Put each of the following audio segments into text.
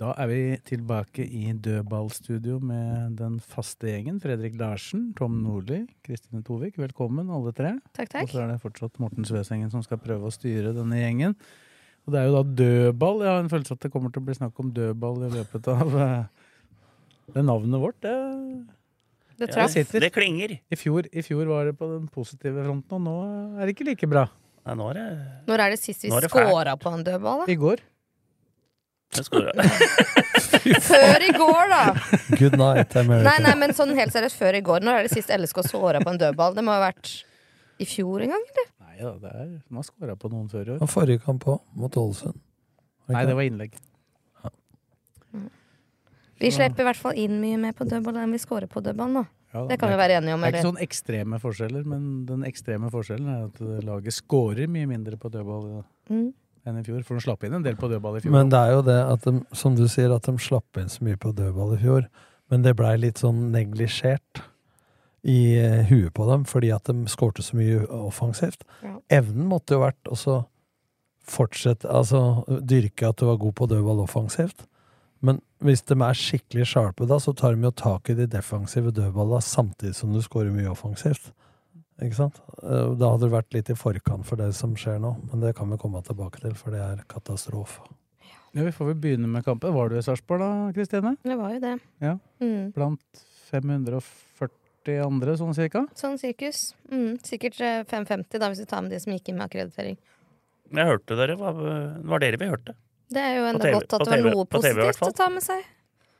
Da er vi tilbake i dødballstudio med den faste gjengen. Fredrik Larsen, Tom Nordli, Kristine Tovik. Velkommen, alle tre. Takk, Og så er det fortsatt Morten Svesengen som skal prøve å styre denne gjengen. Og det er jo da dødball. Jeg har en følelse at det kommer til å bli snakk om dødball i løpet av eh, det navnet vårt. Det, Det det traff. sitter. Det klinger. I fjor, I fjor var det på den positive fronten, og nå er det ikke like bra. Nei, nå er det Når er det sist vi Nå er det fælt. scora på en dødball? da? I går. det skåret. Før i går, da! Good night, America. Nei, nei, men sånn helt seriøst, før i går. Når er det sist LSK scora på en dødball? Det må ha vært i fjor en gang? Nei da, det er, man har scora på noen før i år. Og forrige kamp òg, mot Ålesund. Nei, det var innlegg. Vi slipper i hvert fall inn mye mer på dødball enn vi scorer på dødball nå. Ja, da, Det kan er vi være enige om. Det er Eller? ikke sånn ekstreme forskjeller, men den ekstreme forskjellen er at eh, laget scorer mye mindre på dødball eh, Mm. enn i fjor. For de slapp inn en del på dødball i fjor. Men det er jo det at de, som du sier, at de slapp inn så mye på dødball i fjor. Men det blei litt sånn neglisjert i eh, huet på dem, fordi at de skårte så mye offensivt. Ja. Evnen måtte jo vært også fortsette Altså dyrke at du var god på dødball offensivt. Men hvis de er skikkelig sharpe da, så tar de jo tak i de defensive dødballa samtidig som du skårer mye offensivt. Ikke sant? Eh, Da hadde det vært litt i forkant for det som skjer nå, men det kan vi komme tilbake til, for det er katastrofe. Ja, vi får vel begynne med kampen. Var du i Sarpsborg da, Kristine? Det var jo det. Ja. Mm. Blant 540 andre, sånn cirka? Sånn sirkus. Mm. Sikkert eh, 5,50 da, hvis vi tar med de som gikk inn med akkreditering. Jeg hørte dere. Hva- Det var dere vi hørte. Det er jo På enda TV godt at på det var TV noe på TV i hvert positivt fall. å ta med seg.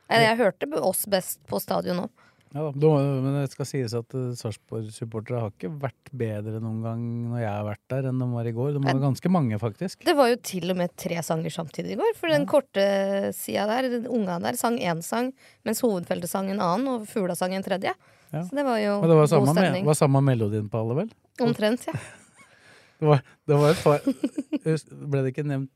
Eller, jeg hørte b- oss best på stadion nå. Ja da. da- Men det skal sies at eh, Sarpsborg-supportere har ikke vært bedre noen gang når jeg har vært der, enn de var i går. De var ganske mange, faktisk. Det var jo til og med tre sanger samtidig i går. For den korte sida der, den unga der, sang én sang, mens hovedfeltet sang en annen, og fugla sang en tredje. Ja. Så det var jo Men det var god samme, me- stemning. var samme melodien på alle, vel? Omtrent, ja. Det var, det var et par Hus- Ble det ikke nevnt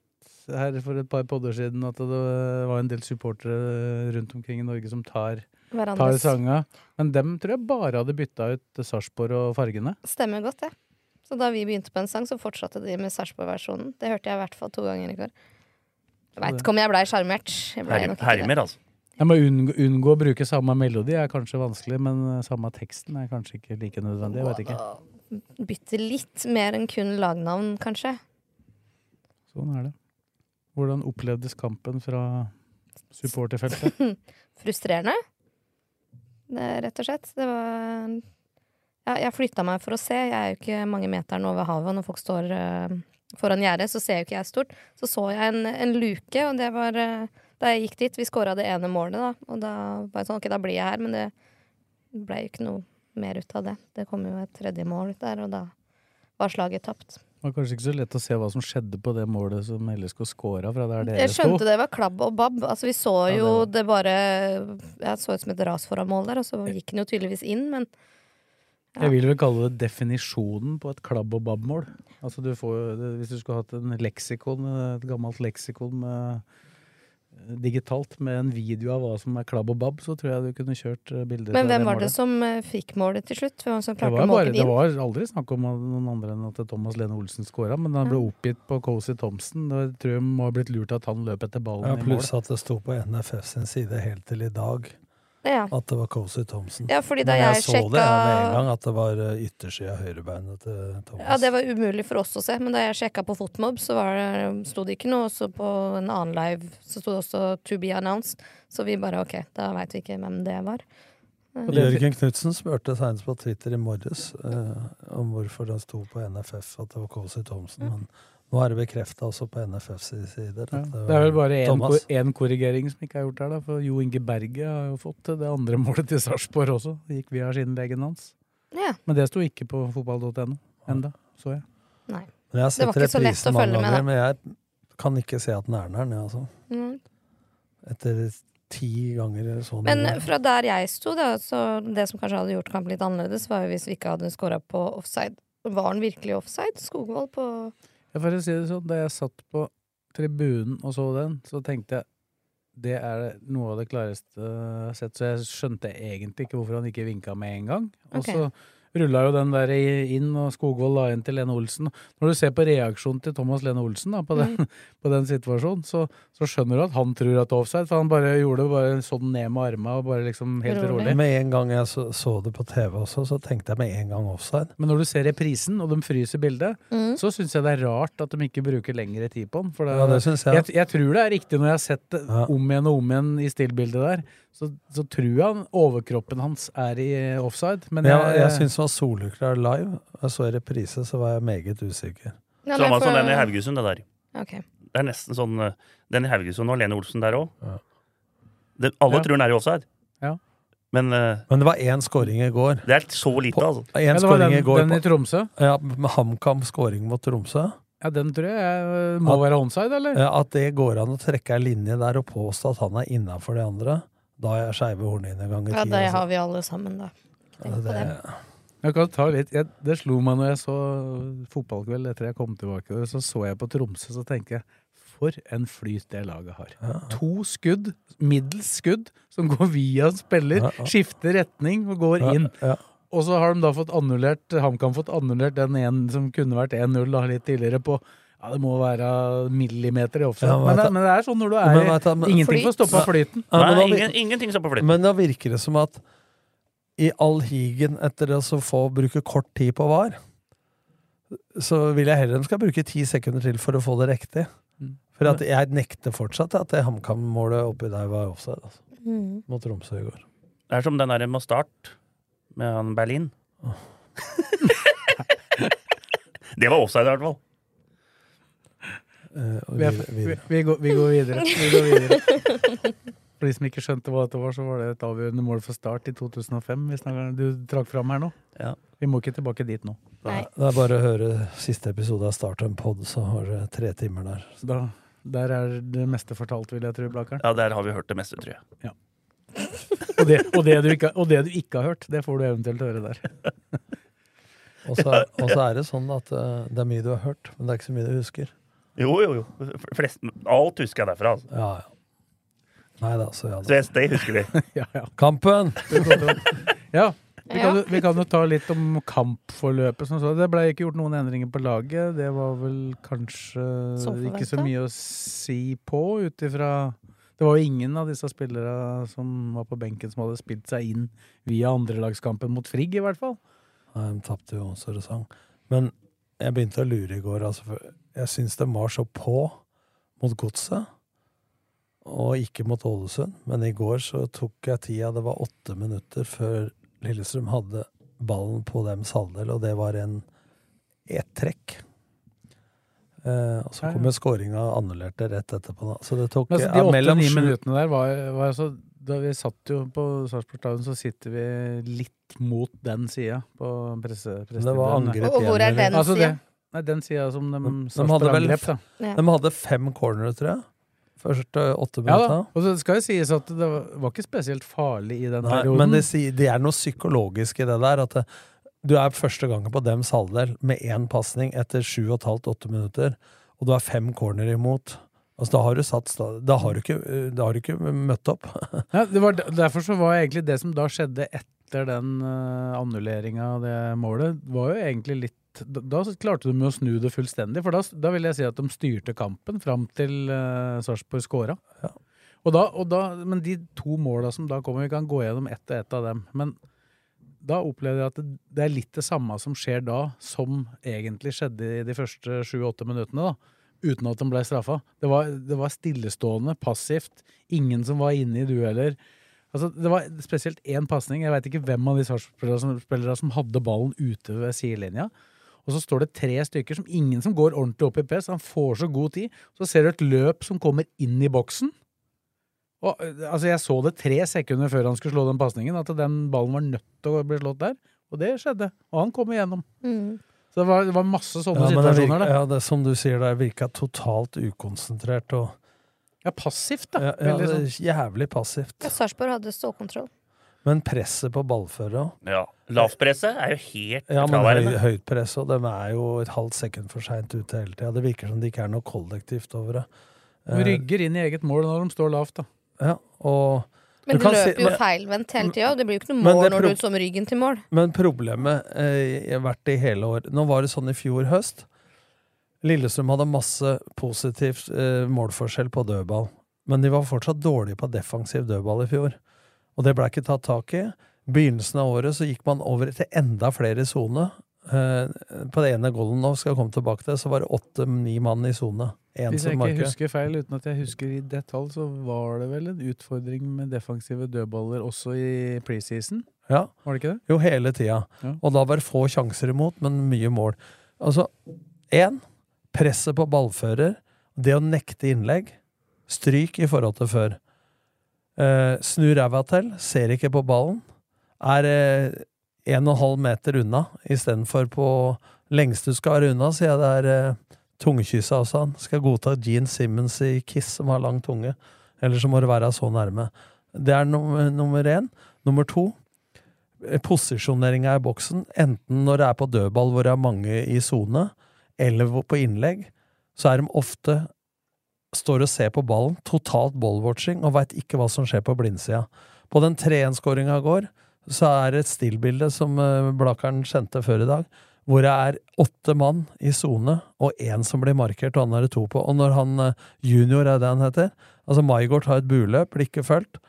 her for et par podder siden at det var en del supportere rundt omkring i Norge som tar, tar Hverandres sanga? Men dem tror jeg bare hadde bytta ut Sarpsborg og fargene. stemmer godt, det. Så da vi begynte på en sang, så fortsatte de med Sarpsborg-versjonen. Det hørte jeg i hvert fall to ganger i går. Jeg veit ikke om jeg blei sjarmert. Jeg blei nok ikke det. Hermer, altså. Jeg må unngå, unngå å bruke samme melodi er kanskje vanskelig, men eh, samme teksten er kanskje ikke like nødvendig. Jeg vet ikke. Bytte litt mer enn kun lagnavn, kanskje. Sånn er det. Hvordan opplevdes kampen fra supporterfeltet? frustrerende. Det, rett og slett. Det var ja, Jeg flytta meg for å se. Jeg er jo ikke mange meterne over havet. og Når folk står eh, foran gjerdet, så ser jo ikke jeg stort. Så så jeg en, en luke, og det var eh, da jeg gikk dit. Vi scora det ene målet, da. Og da var jeg sånn OK, da blir jeg her. Men det ble jo ikke noe mer ut av det. Det kom jo et tredje mål ut der, og da var slaget tapt. Det var kanskje ikke så lett å se hva som skjedde på det målet som LSK scora fra der dere Jeg sto. skjønte det var klabb og babb. Altså, vi så det jo var- det, bare Jeg så ut som et ras foran mål der, og så gikk den jo tydeligvis inn, men Jeg vil vel kalle det definisjonen på et klabb og babb-mål. Altså du får, jo- det- hvis du skulle hatt en leksikon, et gammelt leksikon med digitalt med en video av hva som er klabb og babb, så tror jeg du kunne kjørt eh, bilder. Men fra hvem var det målet. som eh, fikk målet til slutt? Hvem var det som Det klarte var, å måke bare, det det inn? var aldri snakk om at noen andre enn at Thomas Lene Olsen skåra, men han ble Mm. oppgitt på Cozy Thompson. Da tror jeg må ha blitt lurt at han løp etter ballen Ja, i mål. pluss at det sto på NFF sin side helt til i dag Ja. at det var Cozy Thompsen. Ja, fordi da Men jeg så det ja, med sjekka- en gang, at det var eh, yttersida av høyrebeinet til Thomas. Ja, det var umulig for oss å se, men da jeg sjekka på Fotmob, så var det, sto det ikke noe. Og så på en annen live så sto det også 'to be announced', så vi bare ok, da veit vi ikke hvem det var. Eh, Jørgen Knutsen spurte senest på Twitter i morges eh, om hvorfor det sto på NFF at det var Cozy Mm. Thompson, men nå er det bekrefta også på NFFs sider. at Det er vel var bare én Thomas. kor en korrigering som ikke er gjort her, da. For Jo Inge Berge har jo fått det andre målet til Sarpsborg også. Det gikk via skinnlegen hans. Ja. Men det sto ikke på fotball.no enda, så jeg. Nei. Men jeg har Det var sett ikke så lett å reprisen mange følge med, ganger, da. men jeg kan ikke se at den er der, jeg, altså. Mm. Etter ti ganger eller sånn. Men fra der jeg sto, da, så det som kanskje hadde gjort kampen litt annerledes, var jo hvis vi ikke hadde scora på offside. Var han virkelig offside? Skogvold på Ja, for å si det sånn, da jeg satt på tribunen og så den, så tenkte jeg det er noe av det klareste jeg har sett, så jeg skjønte egentlig ikke hvorfor han ikke vinka med en gang. Og Ok. så rulla jo den der i- inn, og Skogvold la inn til Lene Olsen. Når du ser på reaksjonen til Thomas Lene Olsen da, på, den, på den situasjonen, så, så skjønner du at han tror at det er offside, for han bare gjorde det bare sånn ned med arma og bare liksom helt rolig. Med en gang jeg så, så det på TV også, så tenkte jeg med en gang offside. Men når du ser reprisen, og de fryser bildet, så syns jeg det er rart at de ikke bruker lengre tid på den. For det, Ja, det synes jeg. Jeg, tror det er riktig når jeg har sett det om igjen og om igjen i stillbildet der. Så, så tror jeg han- overkroppen hans er i eh, offside. Men jeg jeg, jeg, syns det var soleklar live. Jeg så i reprise, så var jeg meget usikker. Ja, Samme men som for- den i Haugesund, det der. Ok. Det er nesten sånn eh, Den i Haugesund og Lene Olsen der òg. Alle Ja. tror den er i offside. Ja. Men eh, Men det var én scoring i går. det er så lite, altså. En scoring i går på- Tromsø? Ja, med HamKam scoring mot Tromsø. ja, den tror jeg eh, må være onside, eller? Ja, At det går an å trekke ei linje der og påstå at han er innafor de andre, da er jeg skeive hornhinner ganger ti. Ja, det altså. har vi alle sammen, da. Tenk på det. Jeg kan ta litt, jeg, det slo meg når jeg så fotballkveld etter jeg kom tilbake. Så så jeg på Tromsø, så tenker jeg for en flyt det laget har. To skudd, middels skudd, som går via en spiller, Ja, ja. skifter retning og går Ja, inn. ja. Og så har de da fått annullert HamKam fått annullert den en som kunne vært 1-0 da litt tidligere på ja, Det må være millimeter i offside. Ja, men men, det, vet du- men det er sånn når du er Men vet du, men- i Ingenting får stoppa flyten. Ja, men da- ingenting stopper flyten. Men da virker det som at i all higen etter å så få bruke kort tid på VAR, så vil jeg heller de skal bruke ti sekunder til for å få det riktig. For at jeg nekter fortsatt at det HamKam-målet oppi der var offside, altså. Mm. Mot Tromsø i går. Det er som den der med start med han Berlin. det var offside, i hvert fall. Eh, og Vi, er, videre- vi, videre. vi, går, vi går videre. Vi går videre. For de som ikke skjønte hva dette var, så var det et avgjørende mål for Start i 2005. Hvis noen- du trakk fram her nå. Vi må ikke tilbake dit nå. Det er bare å høre siste episode av Start en pod, så har dere tre timer der. Da, der er det meste fortalt, vil jeg tro, Blakkaren. Ja, der har vi hørt det meste, tror jeg. Og det, og, det du ikke, og det du ikke har hørt, det får du eventuelt høre der. Og så er- og så er det sånn at eh, det er mye du har hørt, men det er ikke så mye du husker. Jo, jo, jo. Flest, alt husker jeg derfra. Altså. Ja, ja. Nei da, så ja Så da. jeg- det husker vi. ja, ja. Kampen! Ja, vi kan, jo- vi kan jo ta litt om kampforløpet. Som så. Det ble ikke gjort noen endringer på laget. Det var vel kanskje Som forventet. ikke så mye å si på, ut ifra Det var jo ingen av disse spillerne som var på benken som hadde spilt seg inn via andrelagskampen mot Frigg, i hvert fall. Nei, de tapte jo Sørresang. Men jeg begynte å lure i går. Altså, for jeg syns de var så på mot godset, og ikke mot Ålesund. Men i går så tok jeg tida. Det var åtte minutter før Lillestrøm hadde ballen på deres halvdel, og det var en ett trekk. Eh, og så kom jo skåringa og annullerte rett etterpå. Da. Så det tok Men altså, ja, de mellom åtte-ni sju- minuttene der var, var altså Da vi satt jo på Sarpsborg Stadion, så sitter vi litt mot den sida på presse... Men det var angrep Og hvor er igjen, eller? den Altså, det- siden? Nei, den sida som de, De hadde, vel, angrep, da. de hadde fem cornere, tror jeg. Første åtte Ja da, minutter. og så skal det sies at det var, var ikke spesielt farlig i den Nei, perioden. men det, sier- det er noe psykologisk i det der. At det, du er første gangen på dems halvdel med én pasning etter sju og et halvt, åtte minutter, og du har fem corner imot. Altså, da har du sats, da. Da har du ikke, eh, da har du ikke møtt opp. Ja, det var, de- derfor så var egentlig det som da skjedde etter den uh, annulleringa av det målet, var jo egentlig litt da, da klarte de jo å snu det fullstendig, for da, da vil jeg si at de styrte kampen fram til uh, Sarpsborg skåra. Og da, og da, men de to måla som da kommer, vi kan gå gjennom ett og ett av dem. Men da opplevde jeg at det, det er litt det samme som skjer da, som egentlig skjedde i de første sju-åtte minuttene. da, Uten at de ble straffa. Det var, det var stillestående, passivt. Ingen som var inne i dueller. Altså, det var spesielt én pasning. Jeg veit ikke hvem av de Sarpsborg-spillerne som, spillere som hadde ballen ute ved sidelinja. Og så står det tre stykker som ingen som går ordentlig opp i press. Han får så god tid. Så ser du et løp som kommer inn i boksen. Og, eh, altså, jeg så det tre sekunder før han skulle slå den pasningen, at den ballen var nødt til å bli slått der. Og det skjedde. Og han kom igjennom. Mm. Så det var, det var masse sånne Ja, men det virker- situasjoner. da. ja, det, som du sier, det virka totalt ukonsentrert og Ja, passivt, da. ja, ja, Veldig det er sånn. Jævlig passivt. Ja, Sarpsborg hadde stålkontroll. Men presset på ballførere òg. Ja. Lavtpresset er jo helt Ja, men høy, fraværende. høyt press, og de er jo et halvt sekund for seint ute hele tida. Det virker som det ikke er noe kollektivt over det. De Eh, rygger inn i eget mål når de står lavt, da. Ja, og Men du du kan si- løper jo men- feilvendt hele tida, og det blir jo ikke noe Men mål det når du pro- står med ryggen til mål. Men problemet eh, har vært i hele år. Nå var det sånn i fjor høst. Lillestrøm hadde masse positiv eh, målforskjell på dødball, men de var fortsatt dårlige på defensiv dødball i fjor. Og det ble ikke tatt tak i. Begynnelsen av året så gikk man over til enda flere i sone. Eh, på det ene golden nå, skal jeg komme tilbake til, så var det åtte-ni mann i sone. En Hvis som jeg ikke markerer. husker feil, uten at jeg husker i detalj, så var det vel en utfordring med defensive dødballer også i preseason? Ja. Var det ikke det? Jo, hele tida. Og da var det få sjanser imot, men mye mål. Altså, én presset på ballfører. Det å nekte innlegg. Stryk i forhold til før. Eh, snu ræva til, ser ikke på ballen. Er eh, en og en halv meter unna istedenfor på lengst du skal være unna, sier jeg det er eh, tungekyssa også. Han skal godta Gene Simmons i Kiss, som har lang tunge. Eller så må det være så nærme. Det er nummer, nummer én. Nummer to posisjoneringa i boksen, enten når det er på dødball hvor det er mange i sone, eller hvor- på innlegg, så er de ofte står og ser på ballen, totalt ballwatching, og veit ikke hva som skjer på blindsida. På den 3-1-skåringa i går, så er det et stillbilde som eh, Blakeren kjente før i dag, hvor det er åtte mann i sone, og én som blir markert, og han er det to på. Og når han eh, junior, er det han heter, altså Maigård har et buløp, blir ikke fulgt,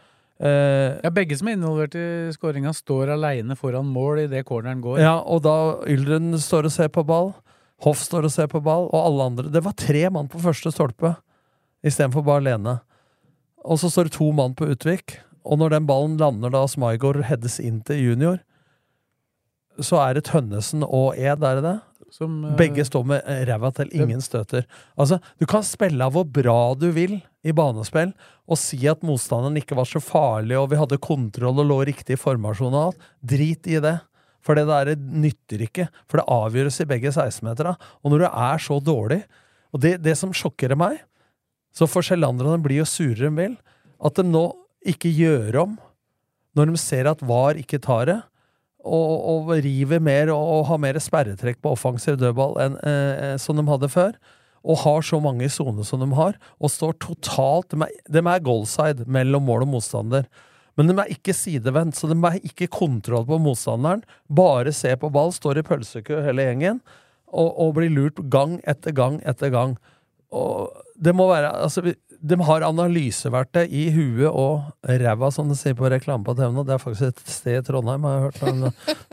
eh, Ja, begge som er involvert i skåringa, står aleine foran mål i det corneren går. Ja, og da Yldren står og ser på ball, Hoff står og ser på ball, og alle andre. Det var tre mann på første stolpe istedenfor bare Lene. Og så står det to mann på Utvik, og når den ballen lander da Smaigård heades inn til junior, så er det Tønnesen og Ed, er det det? Som, eh, Begge står med eh, ræva til, ingen støter. Altså, du kan spille av hvor bra du vil i banespill, og si at motstanderen ikke var så farlig, og vi hadde kontroll og lå riktig i formasjon og alt. Drit i det. For det der nytter ikke. For det avgjøres i begge 16-metera. Og når du er så dårlig Og det, det som sjokkerer meg, så får Sjællanderne bli jo surere enn vil, at de nå ikke gjør om når de ser at VAR ikke tar det, og, og river mer og, og har mer sperretrekk på offensiv dødball enn eh, eh, som de hadde før, og har så mange i sone som de har, og står totalt De er, de er goalside mellom mål og motstander. Men de er ikke sidevendt, så de har ikke kontroll på motstanderen. Bare ser på ball, står i pølsekø hele gjengen, og, og blir lurt gang etter gang etter gang. Og det må være altså, vi- De har analyseverktøy i huet og ræva, som de sier på reklame på TV nå. Det er faktisk et sted i Trondheim, har jeg hørt.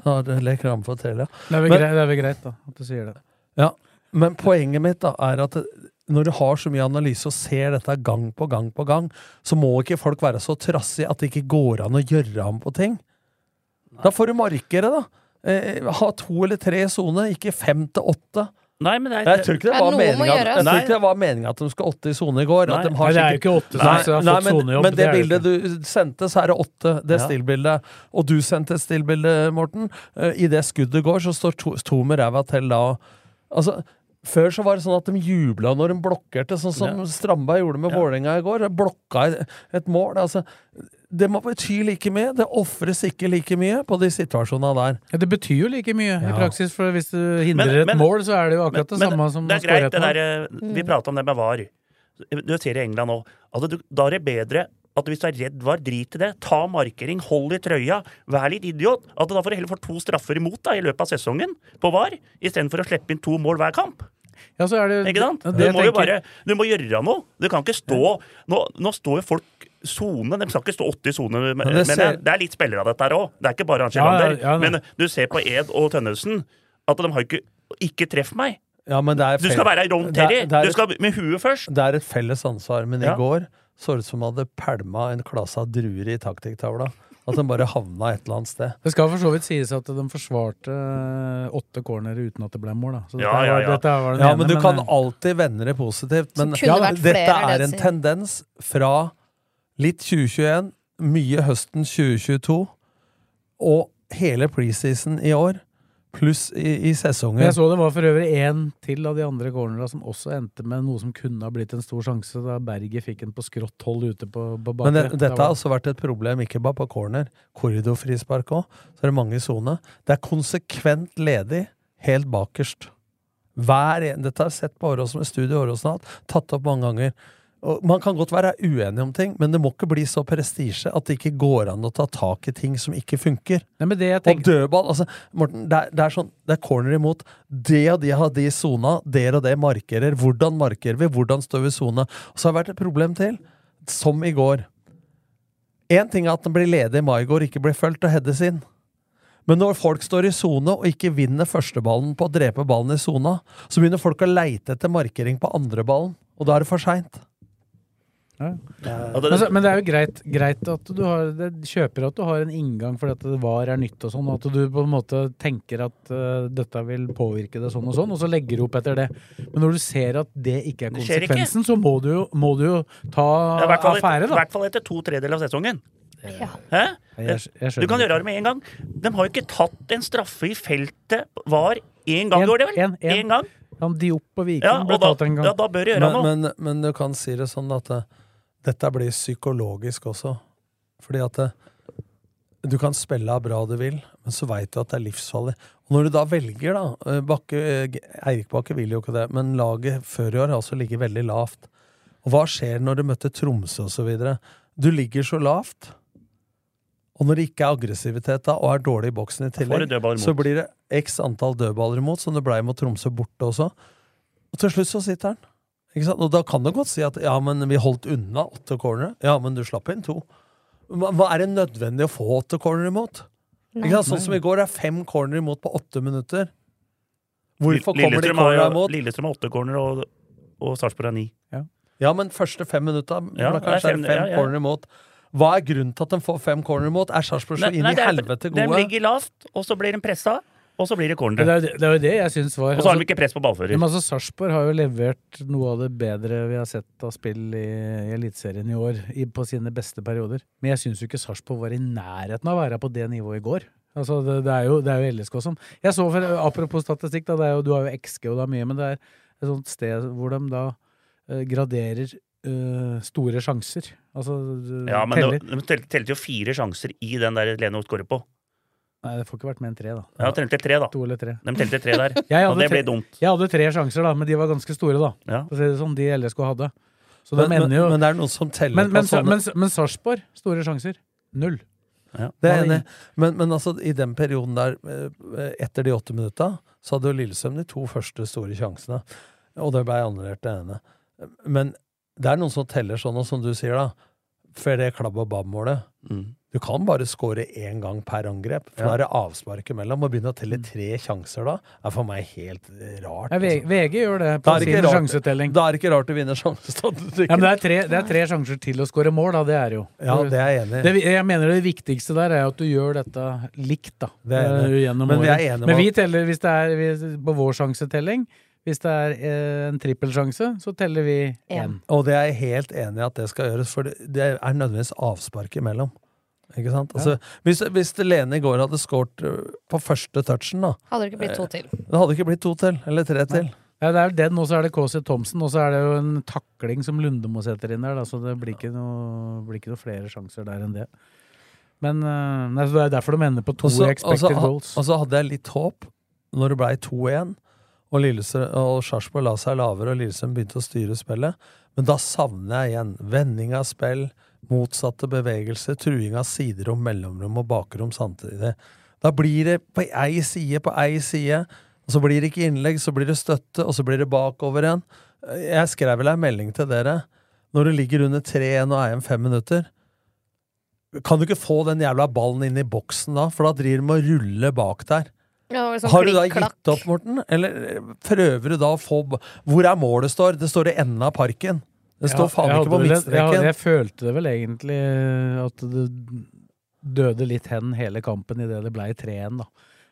når de Har reklame på Telia. Det er vel Men- greit, det er vel greit da, at du sier det. ja, men poenget mitt da er at når du har så mye analyse og ser dette gang på gang på gang, så må ikke folk være så trassige at det ikke går an å gjøre om på ting. Da får du markere, da. Eh, ha to eller tre i sone, ikke fem til åtte. Nei, men det er- jeg tror ikke det Ja, var noe må meningen at- gjøres. jeg tror Nei. ikke det var meningen at de skal åtte i sone i går. Nei. at de har Nei, det er sikkert- jo ikke åtte som Nei, har fått nei, men, Men sonejobb, det, det er bildet det du sendte, så er det åtte. Det Ja. stillbildet. Og du sendte et stillbilde, Morten. Eh, I det skuddet går, så står to, to med ræva til da. Altså, før så var det sånn at de jubla når de blokkerte, sånn som Strandberg gjorde med Vålerenga i går. Blokka et- et mål. Altså, det må bety like mye. Det ofres ikke like mye på de situasjonene der. Ja, det betyr jo like mye i Ja. praksis, for hvis du hindrer et mål, så er det jo akkurat det men- samme som det å er score greit, et det mål. der, eh, Vi prata om det med VAR. Du ser i England òg. Altså, du- da er det bedre at hvis du er redd var, drit i det. Ta markering, hold i trøya, vær litt idiot. At du da får heller får to straffer imot da, i løpet av sesongen på VAR, istedenfor å slippe inn to mål hver kamp. Ja, så er det, Ikke sant? det Du må jo tenker- bare Du må gjøre noe. Du kan ikke stå Nå, nå står jo folk sone. De skal ikke stå 80 i sone, men, Men det men det, ser- det er litt spillere av dette her òg. Det er ikke bare Ja, ja, Angelander. ja, nei. men du ser på Ed og Tønnesen at de har jo ikke Ikke treff meg! Ja, men det er Du skal fel- være Ron det er- Terry! det er Du et- skal med huet først! Det er et felles ansvar, men Ja. i går så det ut som han hadde pælma en klase av druer i taktikktavla. At den bare havna et eller annet sted. Det skal for så vidt sies at de forsvarte eh, åtte cornere uten at det ble mål, da. Så dette ja, ja, var- ja. dette var den ja, ene, eh, men du kan alltid vende det positivt. Men Så kunne det vært flere, dette er det er jeg en sier. tendens fra litt 2021, mye høsten 2022, og hele preseason i år, pluss i, i sesongen. Men Jeg så det var for øvrig én til av de andre cornera som også endte med noe som kunne ha blitt en stor sjanse, da Berget fikk en på skrått hold ute på, på bakre. Men det, Der dette altså- var- har også vært et problem, ikke bare på corner. Korridorfrispark òg. Så er det mange i sone. Det er konsekvent ledig helt bakerst. Hver en, dette har jeg sett på Åråsen, med studiet i Åråsen har hatt, tatt opp mange ganger. Og man kan godt være uenig om ting, men det må ikke bli så prestisje at det ikke går an å ta tak i ting som ikke funker. Og dødball altså, Morten, det, er, det er sånn, det er corner imot. Det og de har de i sona, dere og det markerer. Hvordan markerer vi? Hvordan står vi i sona? Og så har det vært et problem til, som i går. Én ting er at den blir ledig i Maigård, ikke blir fulgt og heades inn. Men når folk står i sone og ikke vinner førsteballen på å drepe ballen i sona, så begynner folk å leite etter markering på andreballen, og da er det for seint. Men, så, men det er jo greit, greit at du har, det kjøper at du har en inngang fordi at det var er nytt og sånn, og at du på en måte tenker at eh, dette vil påvirke det sånn og sånn, og så legger du opp etter det. Men når du ser at det ikke er Det skjer ikke. konsekvensen, så må du jo, må du jo ta Ja, I hvert fall, affære, et, da. hvert fall etter to tredjedeler av sesongen. Hæ? Jeg skj- jeg skjønner du kan ikke. gjøre det med en gang. De har jo ikke tatt en straffe i feltet var én gang, En- gjorde de vel? en- en. En gang. Ja, Diop og Viking Ja, ble og da- tatt en gang. ja, da bør de gjøre men, noe. Men, men du kan si det sånn at eh, dette blir psykologisk også. Fordi at eh, du kan spille av bra du vil, men så veit du at det er livsfarlig. Og når du da velger, da eh, Bakke, eh, G- Eirik Bakke vil jo ikke det, men laget før i år har også ligget veldig lavt. Og hva skjer når du møtte Tromsø og så videre? Du ligger så lavt, og når det ikke er aggressivitet da, og er dårlig i boksen i tillegg, du dødballer imot. så blir det x antall dødballer imot, som det blei mot Tromsø borte også. Og til slutt så sitter han. Ikke sant? Og da kan du godt si at ja, men vi holdt unna åtte cornere. Ja, men du slapp inn to. Hva hva er det nødvendig å få åtte cornere imot? Nei. Ikke sant? Sånn som i går, det er fem cornere imot på åtte minutter. Hvorfor Lillestrøm kommer de har jo- cornera imot? Lillestrøm har åtte corner, og, og Sarpsborg har ni. Ja, men første fem minutta Ja, da det er kanskje er fem- det fem ja, ja. cornere imot. Hva er grunnen til at de får fem cornere imot? Er Sarpsborg så Nei, inn nei, i det er- helvete De gode? ligger lavt, og så blir de pressa, og så blir det corner. Men Det er, jo det- det er jo det jeg syns var Og så har de ikke press på ballfører. Ja, Men altså, Sarpsborg har jo levert noe av det bedre vi har sett av spill i, i Eliteserien i år, i, på sine beste perioder. Men jeg syns jo ikke Sarpsborg var i nærheten av å være på det nivået i går. Altså, det, det er jo, det er jo LSK som Jeg så for, Apropos statistikk, da, det er jo, du har jo XG og det er mye, men det er et sånt sted hvor de da eh, graderer eh, store sjanser. Altså eh, Ja, men teller. det, de tel- telte jo fire sjanser i den der Lene skårer på. Nei, det får ikke vært mer enn tre, da. Ja, de telte tre, da. To eller tre. De telte tre der, Jeg og hadde det ble tre- dumt. Jeg hadde tre sjanser, da, men de var ganske store, da. For å si det sånn, de LSK hadde. Så de Men- men- ender jo men det er noen som teller Men, på men, Sa- sånne- men, men Sarpsborg, store sjanser. Null. Det er jeg Nei. enig. i. Men, men altså, i den perioden der, eh, etter de åtte minutta, så hadde jo Lillestrøm de to første store sjansene. Og det ble annullert, det ene. Men det er noen som teller sånn, og som du sier, da. Før det klabb og babb-målet. Mm. Du kan bare skåre én gang per angrep, for Ja. da er det avspark imellom. Å begynne å telle tre sjanser da, er for meg helt eh, rart. Nei, V- VG gjør det på Da er det sin ikke rart- sjansetelling. Da er det ikke rart du vinner sjansestatistikken. Ja, men det er, tre, det er tre sjanser til å skåre mål, da. Det er det jo. Ja, det er jeg enig i. Det, vi- jeg mener det viktigste der er at du gjør dette likt, da. Det er jeg enig i. eh, gjennom Men vi er året. enige om Men vi at- teller hvis det er hvis, på vår sjansetelling. Hvis det er eh, en trippelsjanse, så teller vi én. Og det er jeg helt enig i at det skal gjøres, for det- det er nødvendigvis avspark imellom. Ikke sant? Altså, hvis, hvis Lene i går hadde skåret på første touchen, da Hadde det ikke blitt to til. eh, Det hadde ikke blitt to til, eller tre til. Ja, det er jo den, og så er det KC Thomsen, og så er det jo en takling som Lundemo setter inn der, da, så det blir ikke, noe, blir ikke noe flere sjanser der enn det. Men eh, nei, så Det er derfor de ender på to Og så- og expected så ha- goals. Og så hadde jeg litt håp når det blei 2-1, og, Lillestrøm- og Sarpsborg la seg lavere, og Lillestrøm begynte å styre spillet. Men da savner jeg igjen vending av spill, motsatte bevegelser, truing av siderom, mellomrom og bakrom samtidig. Da blir det på ei side, på ei side, og så blir det ikke innlegg, så blir det støtte, og så blir det bakover igjen. Jeg skrev vel ei melding til dere. Når det ligger under 3-1 og er igjen fem minutter, kan du ikke få den jævla ballen inn i boksen da, for da driver du med å rulle bak der. Ja, det var sånn Har du da klikk-klakk. gitt opp, Morten? Eller prøver du da å få b- Hvor er målet står? Det står i enden av parken. Det står faen jeg ikke på hadde vel- Jeg, midtstreken. jeg følte det vel egentlig eh, at det døde litt hen hele kampen idet det ble 3-1, da.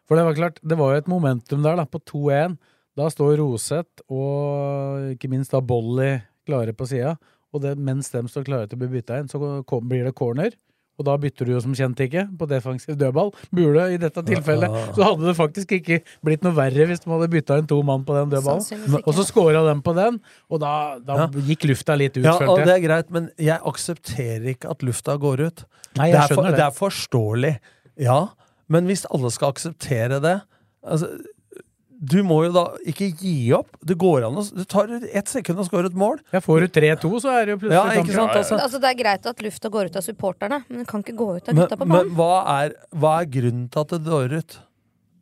For det var klart, det var jo et momentum der, da, på 2-1. Da står Roseth og ikke minst da Bolly klare på sida, og det, mens dem står klare til å bli bytta inn, så kom, blir det corner. Og da bytter du jo som kjent ikke på defensiv dødball. Burde i dette tilfellet. Ja. Så hadde det faktisk ikke blitt noe verre hvis de hadde bytta inn to mann på den Sannsynligvis dødballen. ikke. Og så scora dem på den, og da, da Ja. gikk lufta litt ut, Ja, følte og jeg. det er greit, men jeg aksepterer ikke at lufta går ut. Nei, jeg det, er for, skjønner det. det er forståelig. Ja, men hvis alle skal akseptere det altså, Du må jo da ikke gi opp. Det går an å Du tar ett sekund og scorer et mål. får du 3-2, så er det jo plutselig sånn ja, ikke sant, altså. Men altså, det er greit at lufta går ut av supporterne, men den kan ikke gå ut av Men, gutta på men banen. hva, er, hva er grunnen til at det dør ut?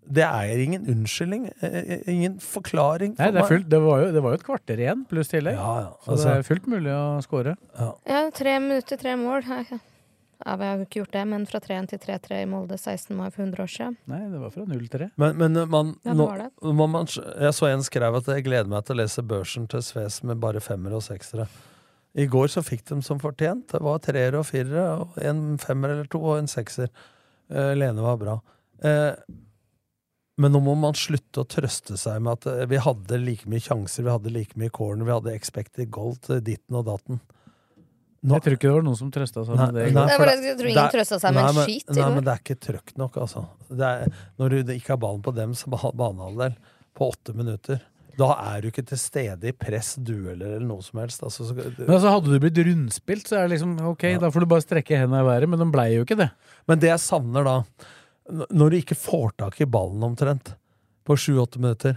Det er ingen unnskyldning. eh, Ingen forklaring. for Nei, det, er meg. fullt, det, var jo, det var jo et kvarter igjen, pluss tillegg. Så det altså. er fullt mulig å score. Ja, tre minutter, tre mål. Ja, ja. Ja, vi har jo ikke gjort det, men fra 3-1 til 3-3 i Molde 16. mai for 100 år siden. Nei, det var fra 0-3. Men, men man, Ja, det nå, var det. må man, jeg så en skrev at jeg gleder meg til å lese børsen til Sves med bare femmere og seksere. I går så fikk de som fortjent. Det var treere og firere, og en femmer eller to og en sekser. Eh, Lene var bra. Eh, men nå må man slutte å trøste seg med at eh, vi hadde like mye sjanser, vi hadde like mye corner, vi hadde expected goal til ditten og datten. Jeg tror ikke det var noen som trøsta seg med sånn, det. i går. for Nei, for jeg tror ingen det er- trøstet seg med nei, en skit i Nei, går. men det er ikke trøkk nok, altså. Det er, når du ikke har ballen på dems ba- banehalvdel på åtte minutter, da er du ikke til stede i press, dueller eller noe som helst. Altså, så, Men altså, hadde du blitt rundspilt, så er det liksom ok, da får du bare strekke hendene i været, men de blei jo ikke det. Men det jeg savner da, n- når du ikke får tak i ballen omtrent på sju-åtte minutter,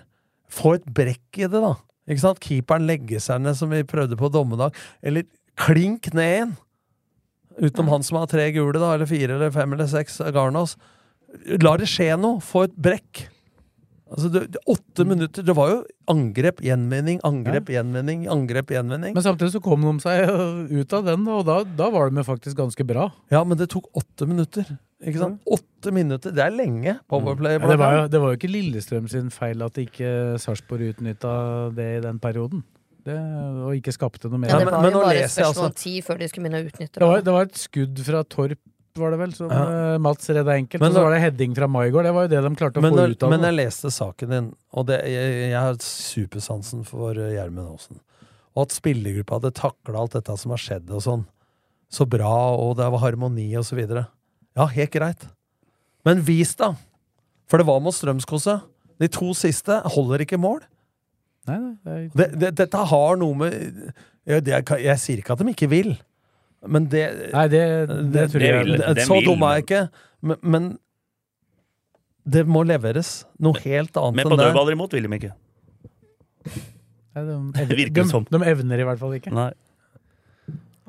få et brekk i det, da. Ikke sant? Keeperen legger seg ned, som vi prøvde på dommedag. Eller klink ned igjen! Utenom han som har tre gule, da, eller fire eller fem eller seks, eh, Garnås. La det skje noe! Få et brekk! Altså, det, det, Mm. åtte minutter Det var jo angrep, gjenvinning, angrep, gjenvinning, angrep, gjenvinning. Men samtidig så kom de seg øh, ut av den, og da, da var de jo faktisk ganske bra. Ja, men det tok åtte minutter. Ikke sant? Åtte minutter, det er lenge. Powerplay. Mm. Ja, det, var jo, det var jo ikke Lillestrøm sin feil at ikke Sarpsborg utnytta det i den perioden. Det, og ikke skapte noe mer. Ja, det var jo nå bare et leser jeg spørsmål om altså- tid før de skulle begynne å utnytte Det var, det. det var et skudd fra Torp, var det vel, som Ja. eh, Mats redda enkelt. Men og så da- var det heading fra Maigard. Det var jo det de klarte å men, få når- ut av men det. jeg leste saken din, og det, jeg, jeg har supersansen for eh, Gjermund Aasen. Og at spillergruppa hadde takla alt dette som har skjedd, og sånn. Så bra, og det var harmoni, og så videre. Ja, helt greit. Men vis, da! For det var mot Strømskose. De to siste holder ikke mål. Nei, nei, det, Det, det, dette har noe med jeg, det, jeg, jeg sier ikke at de ikke vil, men det nei, det, det tror jeg det- det- Så dum er jeg ikke, men, men det må leveres. Noe helt annet Men sånn på enn det. dødballer imot vil de ikke. nei, de, Det virker evner- som. de, de evner i hvert fall ikke. Nei.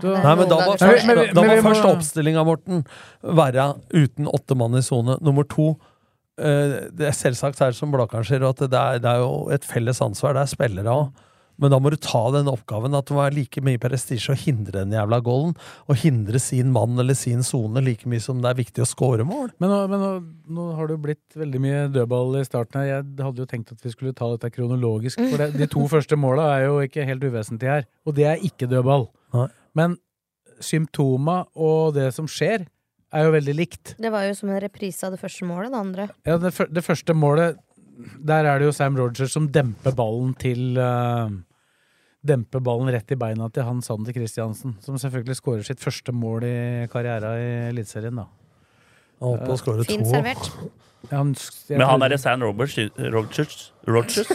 Du- Nei, men Da må, Nei, men- men- da må men vi må- først oppstillinga, Morten, være uten åtte mann i sone. Nummer to eh, det er Selvsagt er det som Blakkaren sier, at det er, det er jo et felles ansvar. Det er spillere òg. Men da må du ta den oppgaven at det må være like mye prestisje å hindre den jævla goalen. Og hindre sin mann eller sin sone like mye som det er viktig å score mål. Men, nå, men nå, nå har det jo blitt veldig mye dødball i starten her. Jeg hadde jo tenkt at vi skulle ta dette kronologisk, for det, de to første måla er jo ikke helt uvesentlige her. Og det er ikke dødball. Nei. Men symptoma og det som skjer, er jo veldig likt. Det var jo som en reprise av det første målet, det andre. Ja, det, fyr- det første målet Der er det jo Sam Rogers som demper ballen til eh, Demper ballen rett i beina til han Sander Kristiansen, som selvfølgelig skårer sitt første mål i karriera i Eliteserien, da. Han holdt på å score Fint to. servert. Ja, han s- jeg Men han tror- derre Sam Roberts Rogers, Rogers?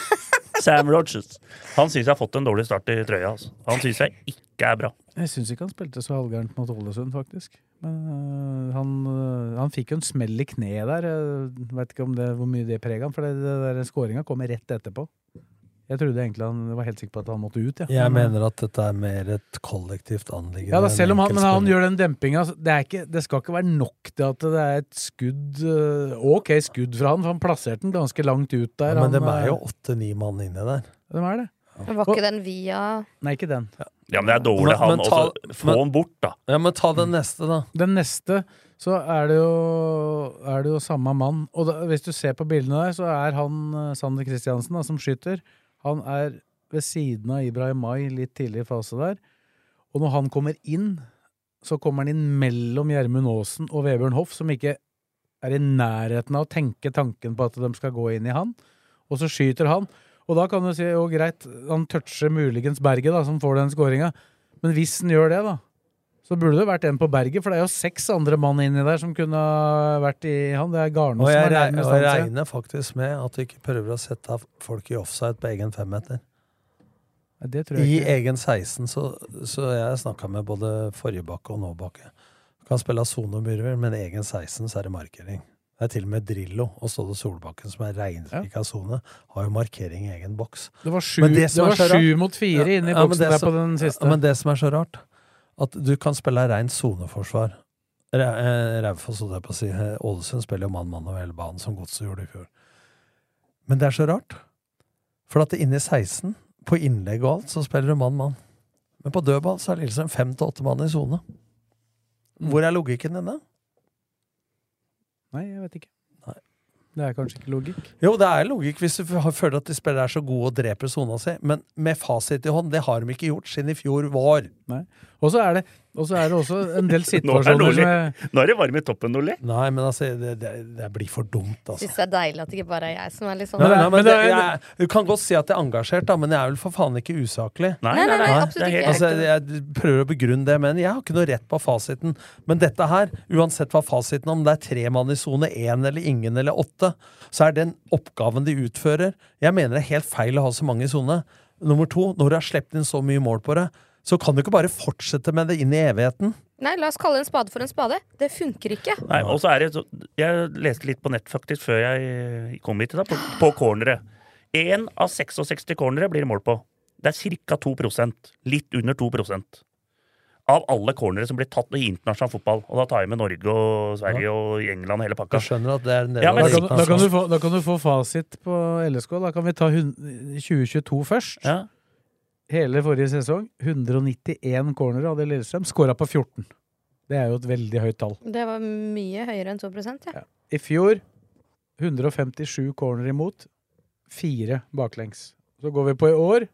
Sam Rogers. Han syns jeg har fått en dårlig start i trøya. Altså. Han syns jeg ikke er bra. Jeg syns ikke han spilte så halvgærent mot Ålesund, faktisk. Men øh, han, øh, han fikk jo en smell i kneet der. Jeg vet ikke om det, hvor mye det prega han, for det, det der skåringa kommer rett etterpå. Jeg trodde egentlig han var helt sikker på at han måtte ut. Ja. Jeg mener at dette er mer et kollektivt anliggende. Mm. Ja, da, selv enn om han, men han enkeltspiller. gjør den dempinga. så Det, er ikke, det skal ikke være nok til at det er et skudd øh, Ok skudd fra han, for han plasserte den ganske langt ut der. ja, Men han, de er jo øh, åtte-ni mann inni der. De er det. Var ikke den via Nei, ikke den. Ja, men det er dårlig, han. også. Få han bort, da. Ja, men ta den neste, da. Den neste, så er det jo, er det jo samme mann. Og da, hvis du ser på bildene der, så er han eh, Sander Kristiansen, da, som skyter, han er ved siden av Ibrahimai litt tidlig i fase der. Og når han kommer inn, så kommer han inn mellom Gjermund Aasen og Vebjørn Hoff, som ikke er i nærheten av å tenke tanken på at de skal gå inn i han. Og så skyter han. Og da kan du si jo greit, han toucher muligens Berget, da, som får den skåringa. Men hvis han gjør det, da, så burde det vært en på Berget, for det er jo seks andre mann inni der som kunne ha vært i han. Det er Garnås Og jeg, som er reg- nærmest og jeg han, sier. regner faktisk med at du ikke prøver å sette folk i offside på egen femmeter. Nei, Det tror jeg I ikke. egen 16, så, så jeg snakka med både forrige bakke og nå bakke. Kan spille av sone og myrvel, men i egen 16 så er det markering. Det er til og med Drillo og Ståle Solbakken, som er reinrik av sone, har jo markering i egen boks. Det var sju- Men det som er var så sju rart- mot fire inne i men boksen det der som- på den siste. Ja, men det som er så rart, at du kan spille av reint soneforsvar. Ra- eh, Raufoss, holdt jeg på å si. Eh, Ålesund spiller jo mann-mann over hele banen, som Godset gjorde i fjor. Men det er så rart, for at inne i 16, på innlegg og alt, så spiller du mann-mann. Men på dødball så er Lillestrøm fem til åtte mann i sone. Mm. Hvor er logikken din, da? Nei, jeg vet ikke. Det er kanskje ikke logikk. Jo, det er logikk hvis du f- føler at de spillere er så gode og dreper sona si, men med fasit i hånd, det har de ikke gjort siden i fjor vår. Nei. Og så er det, og så er det også en del Nå er, situasjoner Nordli, som jeg nå er det varm i toppen, Nordli. Nei, men altså, det, det, det blir for dumt, altså. Syns det er deilig at det ikke bare er jeg som er litt sånn. Nei, nei, men det, det er- jeg, du kan godt si at jeg er engasjert, da, men jeg er vel for faen ikke usaklig. Nei, nei, nei, Nei. absolutt Det er helt- ikke. Altså, jeg prøver å begrunne det, men jeg har ikke noe rett på fasiten. Men dette her, uansett hva fasiten er, om det er tre mann i sone, én eller ingen eller åtte, så er den oppgaven de utfører Jeg mener det er helt feil å ha så mange i sone. Nummer to, når du har sluppet inn så mye mål på det, så kan du ikke bare fortsette med det inn i evigheten. Nei, la oss kalle en spade for en spade. Det funker ikke. Nei, og så er det så, Jeg leste litt på nett faktisk før jeg eh, kom hit, i dag, på, på cornere. Én av 66 cornere blir det mål på. Det er ca. 2 Litt under 2 av alle cornere som blir tatt i internasjonal fotball. Og da tar jeg med Norge og Sverige og England og hele pakka. Jeg skjønner at det er en del Ja, av men- da det. kan, du- da, kan du få, da kan du få fasit på LSK. Da kan vi ta hun- 2022 først. Hele forrige sesong. 191 cornere hadde Lillestrøm. Skåra på 14. Det er jo et veldig høyt tall. Det var mye høyere enn 2 ja. I fjor 157 corner imot. Fire baklengs. Så går vi på i år.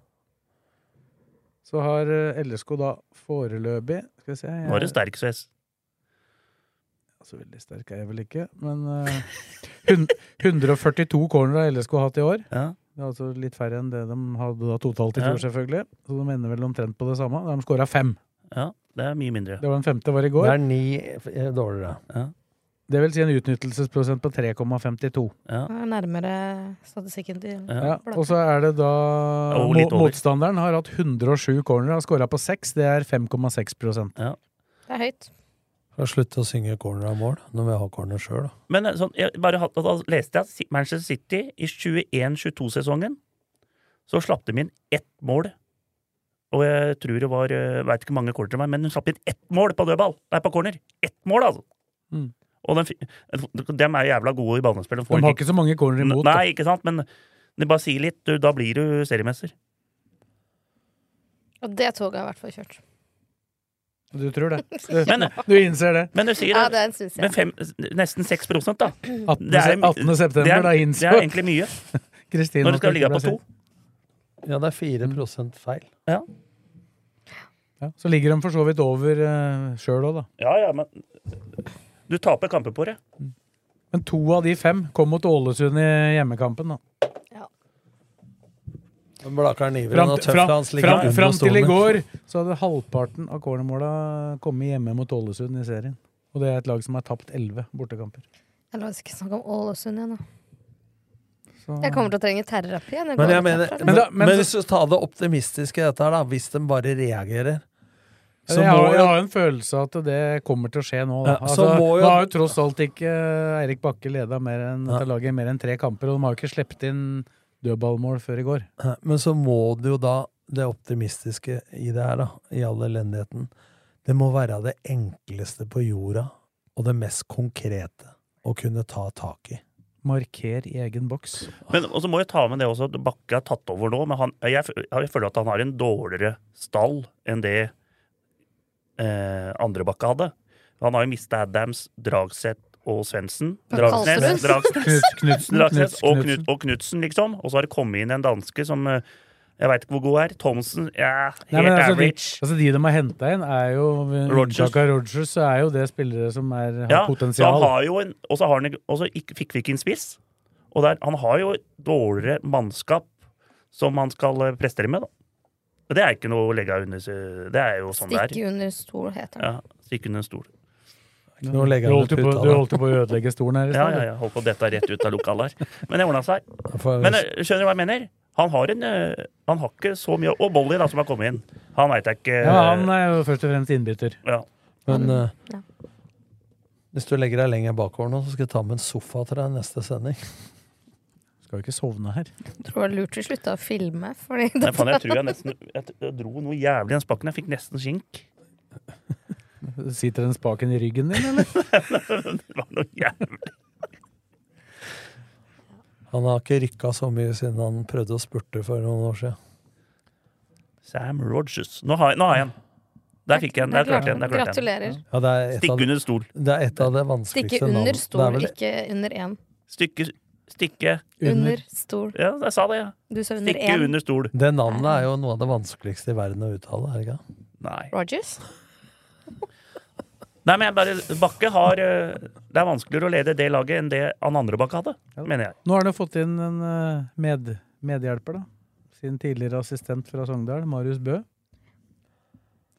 Så har eh, LSK da foreløpig Skal vi se jeg- Nå er du sterk, Sves. Så veldig sterk er jeg vel ikke, men eh, hun- 142 corner har LSK hatt i år. Det er altså litt færre enn det de hadde da totalt i Ja. fjor, selvfølgelig. Så de ender vel omtrent på det samme. De skåra fem. Ja, det er mye mindre. Det var den femte var i går. Det er ni eh, dårligere. Det vil si en utnyttelsesprosent på 3,52. Ja. Nærmere statistikken til Ja, Blakke. og så er det da Og litt mo- over. Motstanderen har hatt 107 corner, har skåra på 6. Det er 5,6 prosent. Det er høyt. Får slutte å synge corner av mål når vi har corner sjøl, da. Men eh, sånn, jeg bare hadde, da leste jeg at Si- Manchester City i 21-22-sesongen så slapp de inn ett mål. Og jeg tror det var Veit ikke hvor mange corner det var, men hun slapp inn ett mål på dødball! Nei, på corner! Ett mål, altså! Mm. Og den, fi- dem er jævla gode i banespill. De har ikke så mange corner imot. da. Nei, ikke sant? Men det bare sier litt. Du, da blir du seriemester. Og det toget har i hvert fall kjørt. Du tror det. Men- du innser det. Men du sier Ja, det. det syns jeg. Men fem, nesten 6 da. 18. se- 18. september, det er, da det innså er egentlig mye. Kristin Når at du skal det ligge ikke ble på to. sett. Ja, det er 4 feil. Ja, så ligger de for så vidt over uh, sjøl òg, da. Ja, ja, men Du taper kamper på det. Men to av de fem kom mot Ålesund i hjemmekampen, da. Men Blakeren ivrig Fram, og tøff, fram, hans ligger fram, under fram til i stolen. går så hadde halvparten av cornermåla kommet hjemme mot Ålesund i serien. Og det er et lag som har tapt 11 bortekamper. Jeg la oss ikke snakke om Ålesund igjen, da. Så- Jeg kommer til å trenge terrerapi igjen. Men, Jeg går jeg litt mener, herfra, liksom. men, da- men men så- hvis du tar det optimistiske i dette her, da, hvis de bare reagerer så må jeg, har, jeg jo har en følelse av at det kommer til å skje nå. Da. Ja, så må altså, jo- nå har jo tross alt ikke eh, Eirik Bakke leda mer enn Nei. dette laget i mer enn tre kamper, og de har jo ikke sluppet inn dødballmål før i går. Nei, Men så må det jo da, det optimistiske i det her, da, i all elendigheten, det må være det enkleste på jorda, og det mest konkrete å kunne ta tak i. Marker i egen boks. Men også må jeg ta med det også at Bakke er tatt over nå, men han, jeg, f- jeg føler at han har en dårligere stall enn det eh, andre Bakke hadde. Han har jo mista Adams, Dragseth og Svendsen. Ja, Dragsnes, Karlsrud. Dragsnes, Knut- Knutsen, Dragsnes og, Knutsen. Knut, og Knutsen, liksom. Og så har det kommet inn en danske som eh, jeg veit ikke hvor god er. Thomsen, ja, helt Nei, men altså, de, average. altså De de har henta inn, er jo ved Rodgers. unntak av Rogers, så er jo det spillere som er, har Ja, så potensial. han har jo en, og så har han ikke- og så ikke- fikk vi ikke en spiss. Og der, han har jo et dårligere mannskap som han skal eh, prestere med, da. Og det er ikke noe å legge under seg- Det er jo sånn det er. Stikke under stol, heter den. Ja, stikke under en stol. Du Nå legger han holdt ut jo på, puta, du da. holdt jo på å ødelegge stolen her i Ja, stad. ja, ja. Holdt på å dette rett ut av lokalet her. Men det ordna seg. For, Men eh, skjønner du hva jeg mener? Han har en eh, Han har ikke så mye Og Bolly, da, som har kommet inn. Han veit jeg ikke ja. Han er jo først og fremst innbytter. ja. men eh, Ja. hvis du legger deg lenger bakover nå, så skal jeg ta med en sofa til deg i neste sending. Skal jo ikke sovne her. Tror det var lurt å slutte å filme. Fordi Nei, faen, jeg tror jeg nesten Jeg t- jeg dro noe jævlig i den spaken. Jeg fikk nesten skink. Sitter den spaken i ryggen din, eller? Det var noe jævlig Han har ikke rykka så mye siden han prøvde å spurte for noen år siden. Sam Rogers. Nå har jeg, nå har jeg en. Der fikk jeg en. Der klarte jeg en. Der klarte jeg en. Gratulerer. Ja, det er et Stikk av, under stol. det, er et av det Stikke vanskeligste under navn- Det er stol, vel- ikke under én. Stykke Stikke Under stol. Ja, jeg sa det, ja. Du sa under Stikke én. under stol. Det navnet er jo noe av det vanskeligste i verden å uttale. er det ikke? Nei. Rogers? Nei, men jeg bare Bakke har øh, Det er vanskeligere å lede det laget enn det han andre Bakke hadde, mener jeg. Nå har han jo fått inn en eh, med, medhjelper, da. Sin tidligere assistent fra Sogndal, Marius Bø.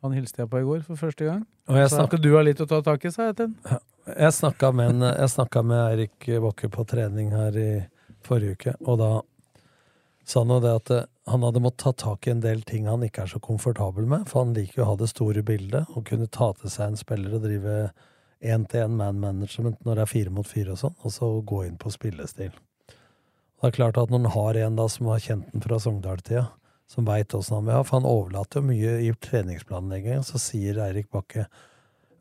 Han hilste jeg på i går for første gang. Og jeg Så snakker skal du ha litt å ta tak i, sa jeg til han. Jeg snakka med, en, jeg snakket med Eirik Bakke på trening her i forrige uke, og da sa han jo det at eh, han hadde måttet ta tak i en del ting han ikke er så komfortabel med, for han liker jo å ha det store bildet og kunne ta til seg en spiller og drive én-til-én man-management når det er fire mot fire og sånn, og så gå inn på spillestil. Det er klart at når han har en da som har kjent den fra Sogndal-tida, som veit åssen han vil ha, for han overlater jo mye i treningsplanleggingen, så sier Eirik Bakke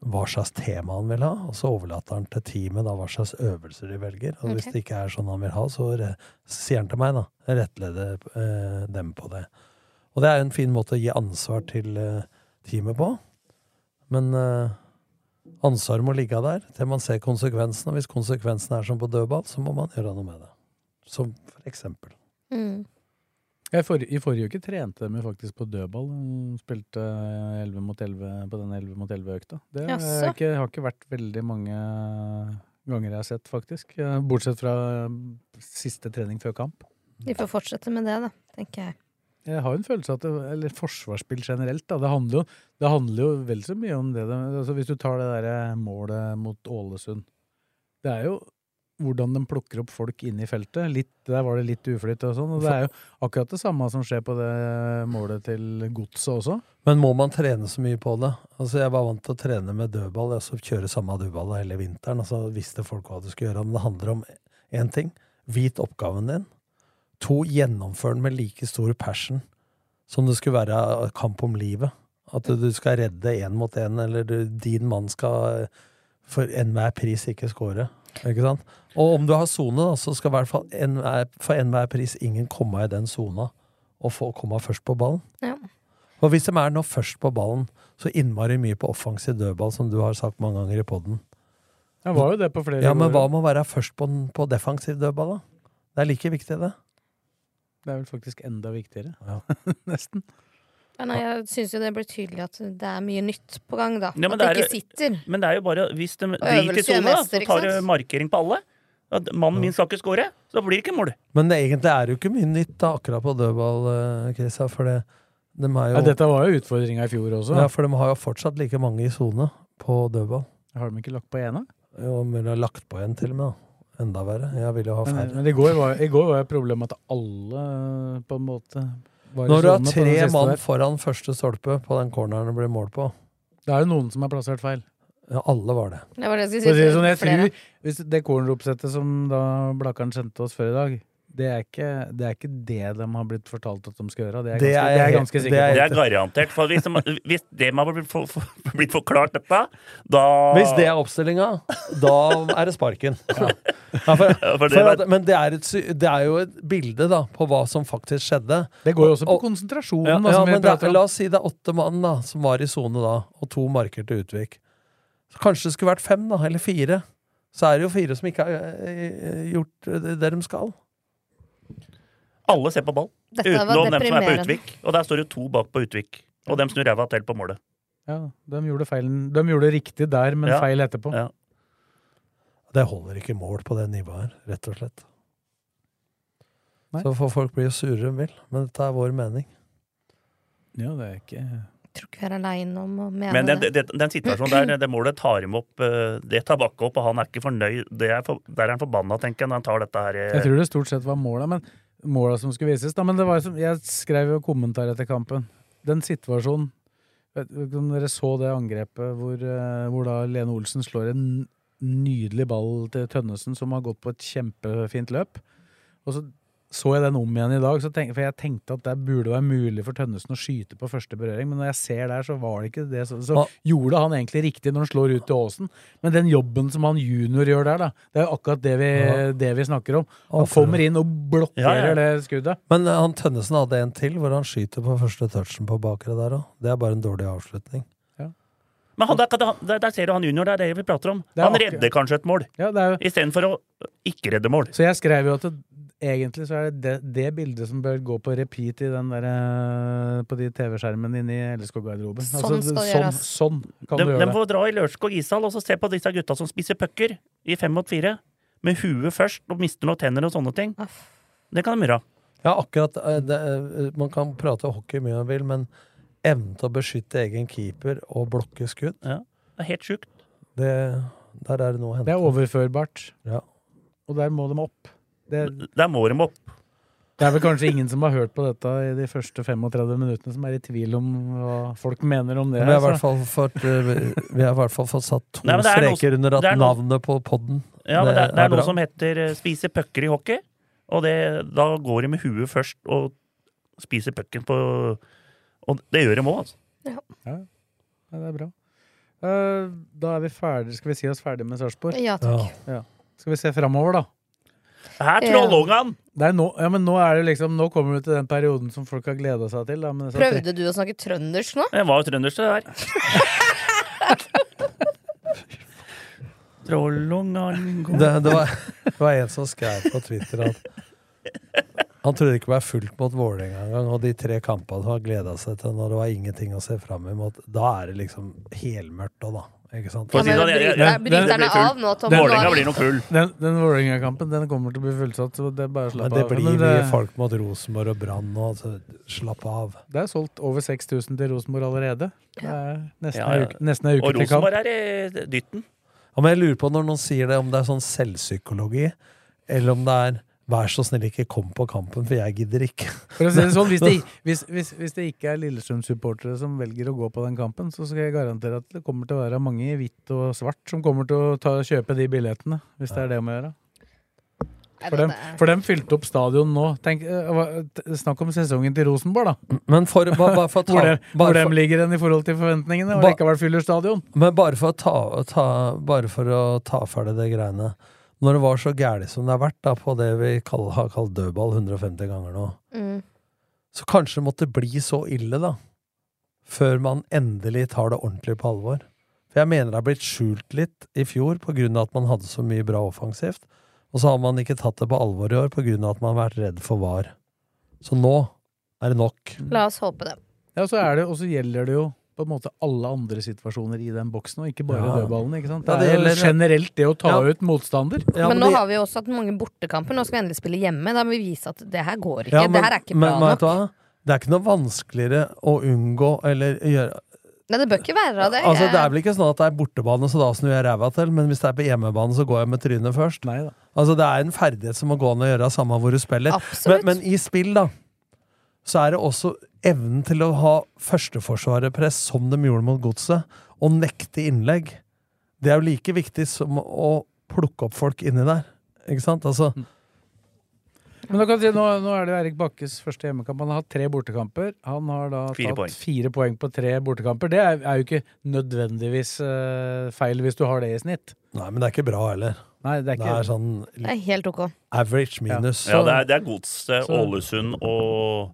hva slags tema han vil ha, og så overlater han til teamet da hva slags øvelser de velger. Og hvis Ok. det ikke er sånn han vil ha, så re sier han til meg, da. Jeg Rettleder eh, dem på det. Og det er en fin måte å gi ansvar til eh, teamet på. Men eh, ansvaret må ligge der til man ser konsekvensen, og hvis konsekvensen er som på dødball, så må man gjøre noe med det. Som for eksempel. Mm. Jeg for, I forrige uke trente de jo faktisk på dødball. De Spilte 11 mot 11 på den 11 mot 11-økta. Det er Jaså. ikke, har ikke vært veldig mange ganger jeg har sett, faktisk. Eh, Bortsett fra eh, siste trening før kamp. De får fortsette med det, da, tenker jeg. Jeg har jo en følelse av at det, eller forsvarsspill generelt, da, det handler jo, det handler jo vel så mye om det. det altså hvis du tar det derre målet mot Ålesund. Det er jo hvordan de plukker opp folk inne i feltet. Litt, der var det litt uflytt og sånn. Og det er jo akkurat det samme som skjer på det målet til Godset også. Men må man trene så mye på det? Altså, jeg var vant til å trene med dødball, og så kjøre samme dødball hele vinteren, og så visste folk hva du skulle gjøre. Men det handler om én ting. Vit oppgaven din. To, gjennomfør den med like stor passion som det skulle være kamp om livet. At du skal redde én mot én, eller du, din mann skal for enhver pris ikke score. Ikke sant? Og om du har sone, da, så skal i hvert fall enhver- for enhver pris ingen komme i den sona, og få komme først på ballen. Ja. Og hvis de er nå først på ballen, så innmari mye på offensiv dødball, som du har sagt mange ganger i poden. Det var jo det på flere Ja, men hva ganger. med å være først på, den- på defensiv dødball, da? Det er like viktig, det. Det er vel faktisk enda viktigere. Ja. Nesten. Ja, nei, jeg syns jo det blir tydelig at det er mye nytt på gang, da. Ja, men at det det er ikke sitter. Men det er jo bare Hvis de driter øvelse i sone, da, gjør mester, så ikke tar du sant? markering på alle. At Mannen min skal ikke score. Så blir det ikke mål. Men det, egentlig er det jo ikke mye nytt da, akkurat på dødball, eh, Christian, for det, de er jo Ja, dette var jo utfordringa i fjor også. Ja, for de har jo fortsatt like mange i sone på dødball. Har de ikke lagt på ena? Og mulig ha lagt på en til og med, da. Enda verre. Jeg ville jo ha Men, færre. men i, går var, i går var jo problemet at alle eh, på en måte var i Når du har sone på den tre siste mann der. foran første stolpe på den corneren det blir mål på, Det er jo noen som er plassert feil. ja, alle var det. Det var det jeg For å skulle si si. det sånn, jeg flere. tror, hvis det corneroppsettet som da Blakkaren sendte oss før i dag, Det er, ikke, det er ikke det de har blitt fortalt at de skal gjøre. Det er, Det er ganske, det er helt- ganske Det sikkert. er garantert. For hvis, de, hvis det må ha blitt for- for- blitt forklart, dette, da Hvis det er oppstillinga, da er det sparken. Ja. for, for det for var- at, men det er, et, sy- det er jo et bilde da, på hva som faktisk skjedde. Det går jo også på Og- konsentrasjonen. Ja, da, ja, som vi men det, prater er- om. la oss si det er åtte mann da, som var i sone da, og to marker til Utvik. Så kanskje det skulle vært fem, da, eller fire. Så er det jo fire som ikke har eh, gjort det det de skal. Alle ser på ball. Dette var Utenom dem som er på deprimerende. Utvik. Og der står det to bak på Utvik. Og dem snur ræva til på målet. Ja, de, gjorde feilen, de gjorde riktig der, men Ja. feil etterpå. Ja. Det holder ikke mål på det nivået her, rett og slett. Nei. Så får folk bli surere enn vil, men dette er vår mening. Ja, det er ikke Tror ikke vi er aleine om å mene Men den, det. den, den situasjonen der, det målet tar him opp, eh, det tar Bakke opp, og han er ikke fornøyd. Det er for, der er han forbanna, tenker jeg, når han tar dette her. eh. Jeg tror det stort sett var måla, men måla som skulle vises. Da, men det var som, jeg skrev jo kommentar etter kampen. Den situasjonen Vet ikke om dere så det angrepet hvor, eh, hvor da Lene Olsen slår en nydelig ball til Tønnesen, som har gått på et kjempefint løp. Og så så jeg den om igjen i dag, så tenk, for jeg tenkte at det burde være mulig for Tønnesen å skyte på første berøring, men når jeg ser der, så var det ikke det. Så, så Ah. gjorde han egentlig riktig når han slår ut til Aasen, men den jobben som han junior gjør der, da, det er jo akkurat det vi, Ja. det vi snakker om. Ah, Han for- kommer inn og blokkerer Ja, ja. det skuddet. Men eh, han Tønnesen hadde en til, hvor han skyter på første touchen på bakre der òg. Det er bare en dårlig avslutning. Men han, der, kan- der, der ser du han junior, det er det vi prater om. Det er Han akkurat- redder kanskje et mål, Ja, det er jo istedenfor å ikke redde mål. Så jeg skrev jo at det, egentlig så er det, det det bildet som bør gå på repeat i den der, eh, på de TV-skjermene inne i LSK-garderoben. Sånn Altså, skal det- det sånn, gjøres. sånn kan De, de du gjøre det. får dra i Lørenskog ishall og så se på disse gutta som spiser pucker i fem mot fire. Med huet først, og mister noen tenner og sånne ting. Det kan de gjøre. Ja, akkurat eh, det, eh, Man kan prate hockey mye man vil, men evnen til å beskytte egen keeper og blokke skudd, Ja. Det er helt sjukt. det, der er det noe å hente. Det er overførbart, Ja. og der må de opp. Det, Der må de opp. det er vel kanskje ingen som har hørt på dette i de første 35 minuttene, som er i tvil om hva folk mener om det. Men vi har i så- hvert fall fått, eh, vi- vi har i hvert fall fått satt to Nei, men det er noe- streker under at det er noe- navnet på podden Ja, men det, det er bra. noe som heter eh, spise pucker i hockey. Og det, da går de med huet først og spiser pucken på Og det gjør de òg, altså. Ja, det er bra. Eh, Da er vi ferdig. Skal vi si oss ferdig med Sarpsborg? Ja takk. Ja. Skal vi se framover, da? Her Ja. trollunga han! Det er nå, ja, men nå, er det liksom, nå kommer du til den perioden som folk har gleda seg til. Da, med disse tre- Prøvde du å snakke trøndersk nå? Det var jo trøndersk, det der. Trollungan Det, det, var, det var en som skrev på Twitter at han trodde det ikke det var fullt mot Vålerenga engang, og de tre kampene han gleda seg til når det var ingenting å se fram imot, da er det liksom helmørkt òg, da. Ikke sant? For å si det sånn, jeg- jeg- Bryter den- den bryterne blir full. av nå, Tom? Vålerenga blir nok full. Den, den Vålerenga-kampen den kommer til å bli fullsatt. Så det er bare å Men slappe det av. blir Men eh, det, mye folk mot Rosenborg og Brann nå, så slapp av. det er solgt over 6000 til Rosenborg allerede. Det er nesten Ja, ei ja. uke, nesten ei Og uke til kamp. Rosenborg er i dytten. Ja, men jeg lurer på når noen sier det, om det er sånn selvpsykologi, eller om det er 'vær så snill, ikke kom på kampen, for jeg gidder ikke'. For å si det sånn, hvis det, hvis, hvis, hvis det ikke er Lillestrøm-supportere som velger å gå på den kampen, så skal jeg garantere at det kommer til å være mange i hvitt og svart som kommer til å ta, kjøpe de billettene. Hvis det er det om å gjøre. For dem, for dem fylte opp stadion nå. Tenk, eh, hva- t- snakk om sesongen til Rosenborg, da. Men for, bare, bare for å ta, Hvor, bare de, hvor for- dem ligger den i forhold til forventningene, og Ba- likevel fyller stadion. Men bare for å ta, ta, bare for å ta ferdig det greiene Når det var så gærlig som det har vært da, på det vi kall, har kalt dødball 150 ganger nå, Mm. så kanskje det måtte bli så ille, da, før man endelig tar det ordentlig på alvor. For jeg mener det har blitt skjult litt i fjor på grunn av at man hadde så mye bra offensivt, og så har man ikke tatt det på alvor i år på grunn av at man har vært redd for VAR. Så nå er det nok. Mm. La oss håpe det. Ja, så er det, Og så gjelder det jo på en måte alle andre situasjoner i den boksen, og ikke bare Ja. dødballen. ikke sant? Det, Ja, det er jo gjelder- generelt det å ta Ja. ut motstander. Ja, men nå det- har vi jo også hatt mange bortekamper. Nå skal vi endelig spille hjemme. Da må vi vise at det her går ikke. Ja, men- det her er ikke bra men, vet nok. du hva? Det er ikke noe vanskeligere å unngå eller gjøre Nei, det bør ikke være det. Altså, Jeg- det er vel ikke sånn at det er bortebane, så da snur jeg ræva til, men hvis det er på hjemmebane, så går jeg med trynet først. Nei da. Altså, det er en ferdighet som må gå an å gjøre, samme hvor du spiller. Absolutt. Men, men i spill, da, så er det også evnen til å ha førsteforsvarerpress, som de gjorde mot Godset, og nekte innlegg. Det er jo Mm. like viktig som å plukke opp folk inni der. Ikke sant? Altså, Men da kan jeg si, nå, nå er det jo Erik Bakkes første hjemmekamp. Han har hatt tre bortekamper. Han har da Fire tatt poeng. fire poeng på tre bortekamper. Det er, er jo ikke nødvendigvis eh, feil hvis du har det i snitt. Nei, men det er ikke bra heller. Nei, det er ikke sånn Det er helt ok. average minus. Ja, det er, det er Gods, eh, Så- Ålesund og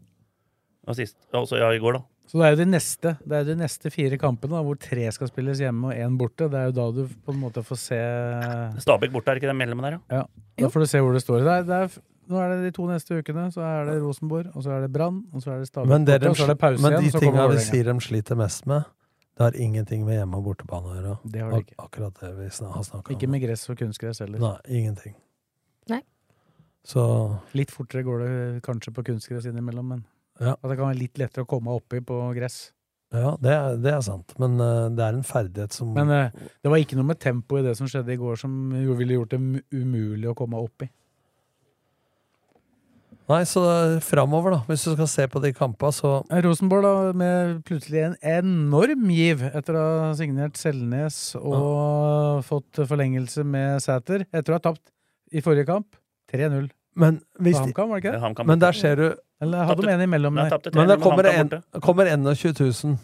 og sist, altså, ja, i går, da. Så det er jo de neste, det er jo de neste fire kampene, da, hvor tre skal spilles hjemme og én borte. Det er jo da du på en måte får se Stabæk borte, er det ikke den medlemmen der, ja? Ja, Da får du se hvor det står. Det er, det er, nå er det de to neste ukene. Så er det Rosenborg, og så er det Brann, og så er det Stabæk. Men, det borte, de, og så er det pause men igjen, de og så tinga kommer de Vålerenga. sier de sliter mest med, det har ingenting med hjemme- og bortebane å gjøre. Det har de ikke. Ak- Akkurat det vi snak- har snakka om. Ikke med gress og kunstgress heller. Nei, ingenting. Nei. Så Litt fortere går det kanskje på kunstgress innimellom, men Ja. at det kan være litt lettere å komme oppi på gress. ja, det er, det er sant. Men eh, det er en ferdighet som Men eh, det var ikke noe med tempo i det som skjedde i går som jo ville gjort det mu- umulig å komme oppi. Nei, så eh, framover, da. Hvis du skal se på de kampene, så Eh, Rosenborg da, med plutselig en enorm giv etter å ha signert Selnes og fått forlengelse med Sæter, etter å ha tapt i forrige kamp 3-0 Men på hvis de- HamKam, var det Ja, ikke det? HamKam Men borte. der ser du- Eller hadde de en imellom der? Men det kommer, en, kommer 21 000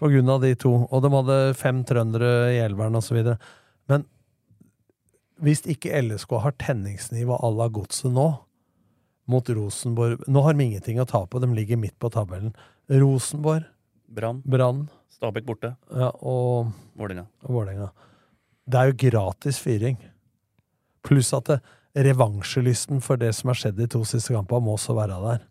på grunn av de to, og de hadde fem trøndere i elveren osv. Men hvis ikke LSK har tenningsnivå à la Godset nå, mot Rosenborg Nå har de ingenting å tape, de ligger midt på tabellen. Rosenborg, Brann, Brann Stabæk borte, ja, og Vålerenga. og Vålerenga. Det er jo gratis fyring. Pluss at det, revansjelysten for det som har skjedd de to siste kampene, må også være der.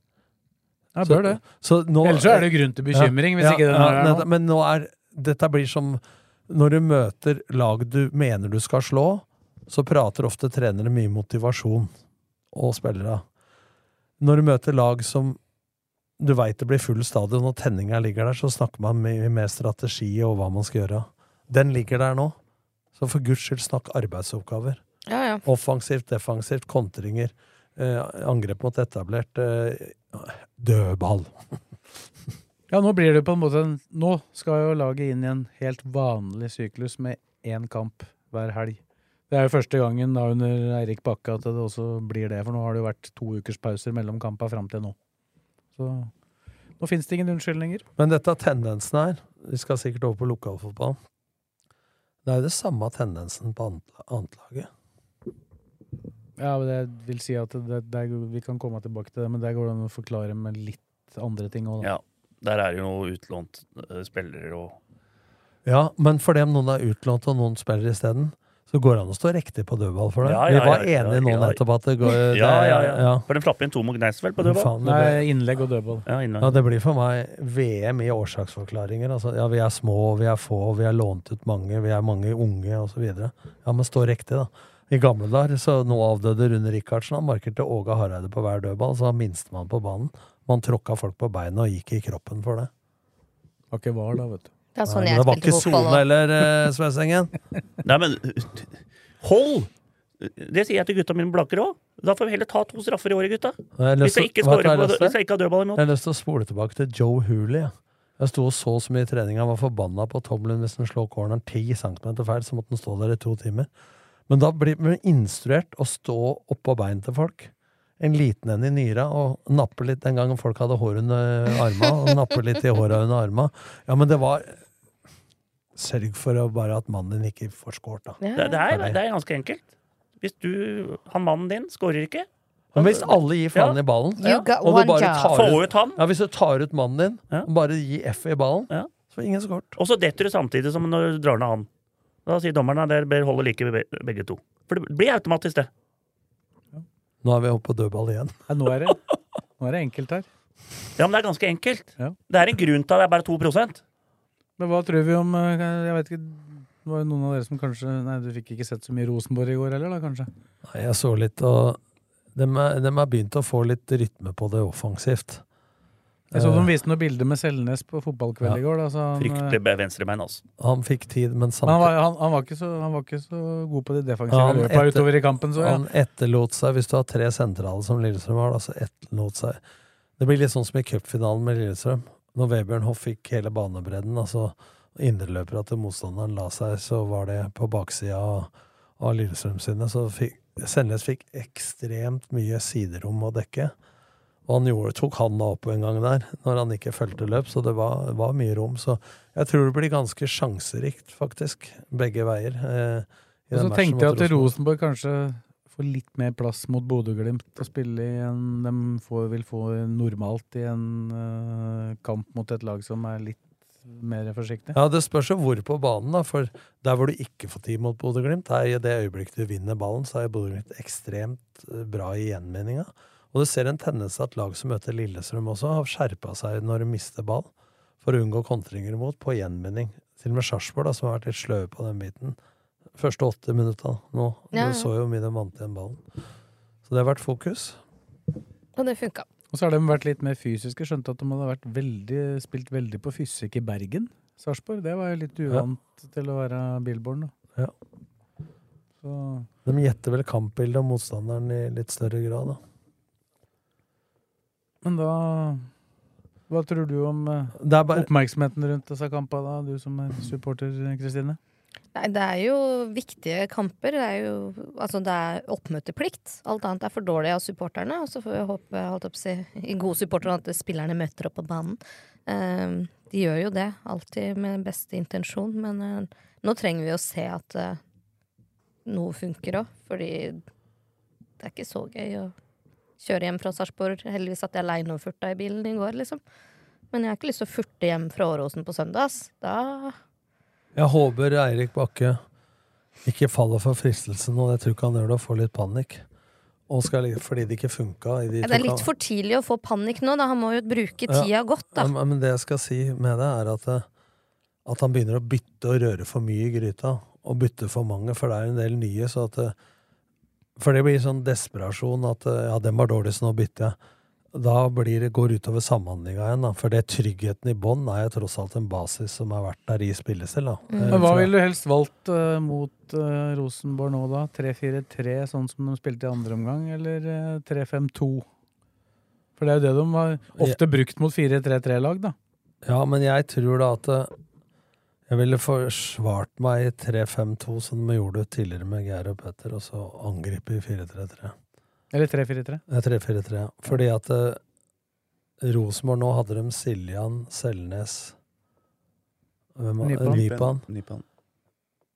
Ja, bør det. så nå- Ellers så er det jo grunn til bekymring, hvis ikke den er der nå. nett- Men nå er Dette blir som når du møter lag du mener du skal slå, så prater ofte trenere mye motivasjon og spillere. Når du møter lag som du veit det blir full stadion, og tenninga ligger der, så snakker man mye mer strategi og hva man skal gjøre. Den ligger der nå. Så for guds skyld, snakk arbeidsoppgaver. Ja, ja. Offensivt, defensivt, kontringer, eh, angrep mot etablert eh, dødball. Ja, nå blir det på en måte en, Nå skal jo laget inn i en helt vanlig syklus med én kamp hver helg. Det er jo første gangen da under Eirik Bakke at det også blir det, for nå har det jo vært to ukers pauser mellom kampene fram til nå. Så nå fins det ingen unnskyldninger. Men dette er tendensen her. Vi skal sikkert over på lokalfotballen. Det er jo det samme tendensen på annet annet laget. Ja, men Jeg vil si at det, det, er- vi kan komme tilbake til det, men der går det an å forklare med litt andre ting òg, da. Ja. Der er det jo noe utlånt eh, spillere og Ja, men fordi om noen er utlånt og noen spiller isteden, så går det an å stå riktig på dødball for det. Ja, ja, Vi var ja, enige ja, nå ja. nettopp at det går det, Ja, ja, ja. ja. For de slapp inn to mot Gneist, vel, på Men dødball? faen, det ble- Nei, innlegg og dødball. Ja, innlegg. Ja, det blir for meg VM i årsaksforklaringer. Altså, ja, vi er små, vi er få, vi har lånt ut mange, vi er mange unge, osv. Ja, men stå riktig, da. I gamle dager, så nå avdøde Rune Rikardsen, han markerte Åge Hareide på hver dødball, så han minstemann på banen. Man tråkka folk på beina og gikk i kroppen for det. Var ikke var, da, vet du. Det er sånn Nei, jeg men det var spilte ikke fotball sone også. heller, eh, Svesengen. Nei, men hold! Det sier jeg til gutta mine blakker òg. Da får vi heller ta to straffer i året, gutta. Jeg har Hvis jeg lyst til- ikke vet du scorer hva jeg har på lyst hvis til? jeg ikke har dødball imot. Jeg har lyst til å spole tilbake til Joe Hooley. jeg. Jeg sto og så så mye i trening. Han var forbanna på Tomlin hvis han slår corneren 10 cm feil, så måtte han stå der i to timer. Men da blir man instruert å stå oppå bein til folk. En liten en i nyra, og nappe litt den gangen folk hadde hår under arma. Og nappe litt i håra under arma. Ja, men det var Sørg for å bare at mannen din ikke får skåret, da. Det, det, er, det er ganske enkelt. Hvis du, han mannen din, scorer ikke Men hvis alle gir faen i ballen, You got og one du bare job. tar Få ut han. ja, Hvis du tar ut mannen din, og bare gir F i ballen, så ingen skåret. Og så detter du samtidig som når du drar ned han. Da sier dommeren at dere bør holde like be- begge to. For det blir automatisk, det. Nå er vi oppe på dødball igjen. Nei, nå er det, nå er det enkelt her. Ja, men det er ganske enkelt. Ja. Det er en grunn til at det er bare 2 Men hva tror vi om eh, Jeg vet ikke det var jo noen av dere som kanskje Nei, du fikk ikke sett så mye Rosenborg i går heller, da, kanskje? Nei, Jeg så litt, og de er, dem er begynt å få litt rytme på det offensivt. Jeg så de Eh, viste noen bilder med Selnes på fotballkveld i går. Da, så han, eh, Fryktelig be- venstrebein, altså. han fikk tid, men men han, samtidig var, han, han, var ikke så, han var ikke så god på de defensive Ja, han løpa etter- utover i kampen, så ja. Han etterlot seg, hvis du har tre sentrale som Lillestrøm har, da, så etterlot seg Det blir litt sånn som i cupfinalen med Lillestrøm. Når Vebjørn Hoff fikk hele banebredden, altså indreløperne til motstanderen la seg, så var det på baksida av- av Lillestrøm sine, så fikk Sandnes fikk ekstremt mye siderom å dekke. Og han gjorde, tok handa opp en gang der, når han ikke fulgte løp, så det var, var mye rom. Så jeg tror det blir ganske sjanserikt, faktisk, begge veier. Eh, i Og den så matchen tenkte jeg mot at Rosenborg kanskje får litt mer plass mot Bodø-Glimt å spille i enn de får, vil få normalt i en eh, kamp mot et lag som er litt mer forsiktig. Ja, Det spørs jo hvor på banen, da. For der hvor du ikke får tid mot Bodø-Glimt, er i det øyeblikket du vinner ballen, så er Bodø-Glimt ekstremt eh, bra i gjenvinninga. Og du ser en tendens at lag som møter Lillestrøm også, har skjerpa seg når de mister ball, for å unngå kontringer imot på gjenvinning. Til og med Sarpsborg, da, som har vært litt sløve på den biten. Første åtte minutta nå. Ja, ja. Du så jo hvor mye de vant igjen ballen. Så det har vært fokus. Og det funka. Og så har de vært litt mer fysiske. Skjønte at de hadde vært veldig, spilt veldig på fysikk i Bergen. Sarpsborg. Det var jo litt uvant til å være Billborn, da. Ja. Så De gjetter vel kampbildet og motstanderen i litt større grad, da. Men da Hva tror du om eh, Det er bare- oppmerksomheten rundt disse kampene, da, du som er supporter, Kristine? Nei, det er jo viktige kamper. Det er jo altså det er oppmøteplikt. Alt annet er for dårlig av supporterne. Og så får vi håpe holdt jeg på å si, i gode supportere at spillerne møter opp på banen. Eh, de gjør jo det, alltid med beste intensjon. Men eh, nå trenger vi å se at eh, noe funker òg, fordi det er ikke så gøy å kjøre hjem fra Sarpsborg. Heldigvis satt jeg aleine og furta i bilen i går, liksom. Men jeg har ikke lyst til å furte hjem fra Åråsen på søndag. ass. Da Jeg håper Eirik Bakke ikke faller for fristelsen, og jeg tror ikke han gjør det, og får litt panikk. Og skal, fordi det ikke funka i de Ja, to Det er litt kam- for tidlig å få panikk nå. Da. Han må jo bruke Ja. tida godt. Da. Ja, Men det jeg skal si med det, er at, eh, at han begynner å bytte og røre for mye i gryta. Og bytte for mange, for det er jo en del nye. Så at, eh, for det blir sånn desperasjon at eh, ja, den var dårlig, så nå bytter jeg. Da blir det, går det utover samhandlinga igjen, da. For det tryggheten i bånn er jo tross alt en basis som har vært der i spillestil, da. Mm. Eh, Men hva fra- ville du helst valgt eh, mot eh, Rosenborg nå, da? 3-4-3, sånn som de spilte i andre omgang, eller eh, 3-5-2? For det er jo det de har ofte brukt mot 4-3-3-lag, da. Ja, men jeg tror da at eh, jeg ville forsvart meg i 3-5-2, som vi gjorde tidligere med Geir og Petter, og så angripe i 4-3-3. Eller 3-4-3. Ja, 3-4-3. ja. Fordi at eh, Rosenborg nå hadde de Siljan, Selnes hvem var- Nypan. Nypan. Nypan.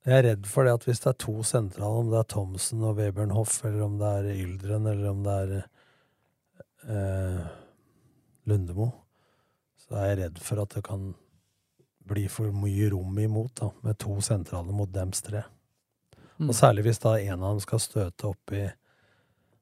Jeg er redd for det at hvis det er to sentrale, om det er Thomsen og Webern Hoff, eller om det er Yldren, eller om det er eh, Lundemo, så er jeg redd for at det kan bli for mye rom imot, da, med to sentrale mot dems tre. Mm. Og særlig hvis da en av dem skal støte opp i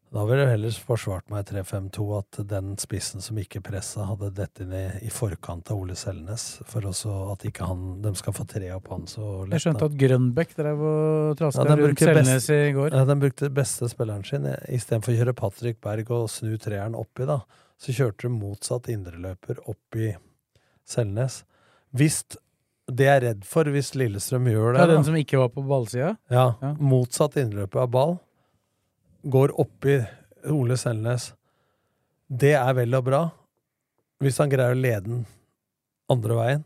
Da ville jeg heller forsvart meg i 3-5-2 at den spissen som ikke pressa, hadde dette ned i forkant av Ole Selnes, for også at ikke han, de skal få tre opp han så lett. Jeg skjønte da. at Grønbæk drev og traska Ja, de rundt bruker Selnes best- i går. Ja, de brukte beste spilleren sin. Istedenfor å kjøre Patrick Berg og snu treeren oppi, da, så kjørte de motsatt indreløper oppi Selnes. Hvis Det jeg er redd for hvis Lillestrøm gjør det Ja, den da. som ikke var på ballsida? Ja, motsatt innløpet av ball. Går oppi Ole Selnes. Det er vel og bra hvis han greier å lede den andre veien.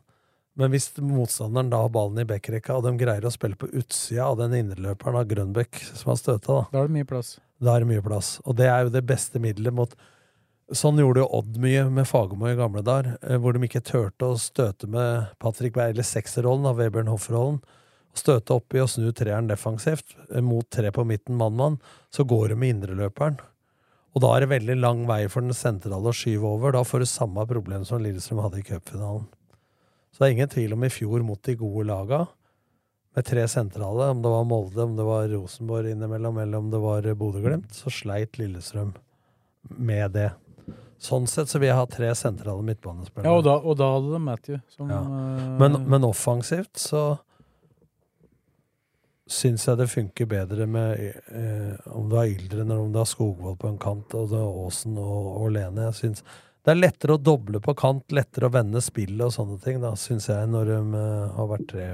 Men hvis motstanderen da har ballen i backrekka, og de greier å spille på utsida av den indreløperen av Grønbæk som har støta, da Da er det mye plass. da er det mye plass. Og det er jo det beste middelet mot Sånn gjorde jo Odd mye med Fagermo i gamle dager, eh, hvor de ikke turte å støte med Patrick Berg, eller sekserrollen av Webern Hoff-rollen. Støte oppi og snu treeren defensivt, eh, mot tre på midten mann-mann. Så går de med indreløperen. Og da er det veldig lang vei for den sentrale å skyve over. Da får du samme problem som Lillestrøm hadde i cupfinalen. Så det er ingen tvil om i fjor mot de gode laga med tre sentrale, om det var Molde, om det var Rosenborg innimellom, eller om det var Bodø-Glimt, så sleit Lillestrøm med det. Sånn sett så vil jeg ha tre sentrale midtbanespillere. Ja, og da, og da hadde de Matthew som Ja. eh, men, men offensivt så syns jeg det funker bedre med eh, om du har Yldren eller om du har Skogvold på en kant, og det er Aasen og, og Lene. Jeg synes det er lettere å doble på kant, lettere å vende spillet og sånne ting, da, syns jeg, når de eh, har vært tre,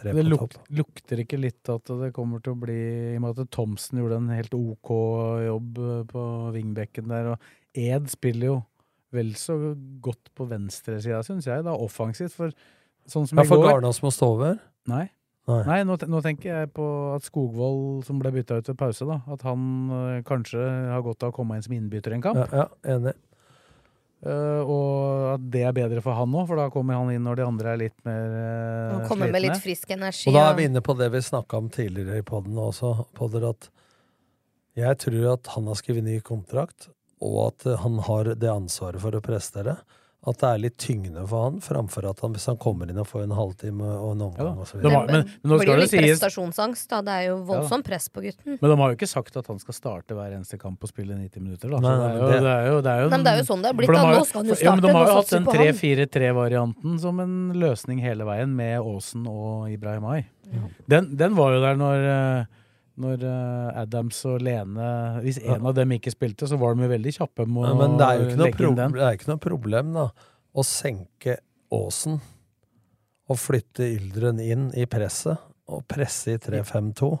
tre det på topp. luk, lukter ikke litt at det kommer til å bli I og med at Thomsen gjorde en helt OK jobb eh, på vingbekken der, og Ed spiller jo vel så godt på venstresida, syns jeg, da offensivt, for sånn som Ja, i for går Garnås må stå over? Nei. Nei, nå, te- nå tenker jeg på at Skogvold, som ble bytta ut ved pause, da, at han eh, kanskje har godt av å komme inn som innbytter i en kamp. Ja, ja, enig. Eh, og at det er bedre for han òg, for da kommer han inn når de andre er litt mer uh, Han kommer med litt frisk energi. Og da er og- vi inne på det vi snakka om tidligere i poden også, podder, at jeg tror at han har skrevet ny kontrakt, og at eh, han har det ansvaret for å prestere. At det er litt tyngende for han, framfor at han, hvis han kommer inn og får en halvtime og en omgang og så Det videre. var- men- men nå det blir skal jo det litt sies- prestasjonsangst, da. Det er Ja jo da. voldsomt press på gutten. Men de har jo ikke sagt at han skal starte hver eneste kamp og spille 90 minutter. Da. Så Nei, nei, men det, er jo, det- det, er jo, det er jo Nei, men det er jo sånn det har blitt, For de da. har jo- Nå skal han jo for- ja, men starte, De har nå jo hatt satser den vi på han. 3-4-3-varianten som en løsning hele veien, med Aasen og Ibrahimai. Den, den var jo der når eh, når eh, Adams og Lene Hvis en av dem ikke spilte, så var de jo veldig kjappe med Ja, å men det er jo ikke noe, legge inn proble den. det er ikke noe problem da, å senke Åsen og flytte Yldren inn i presset, og presse i 3-5-2.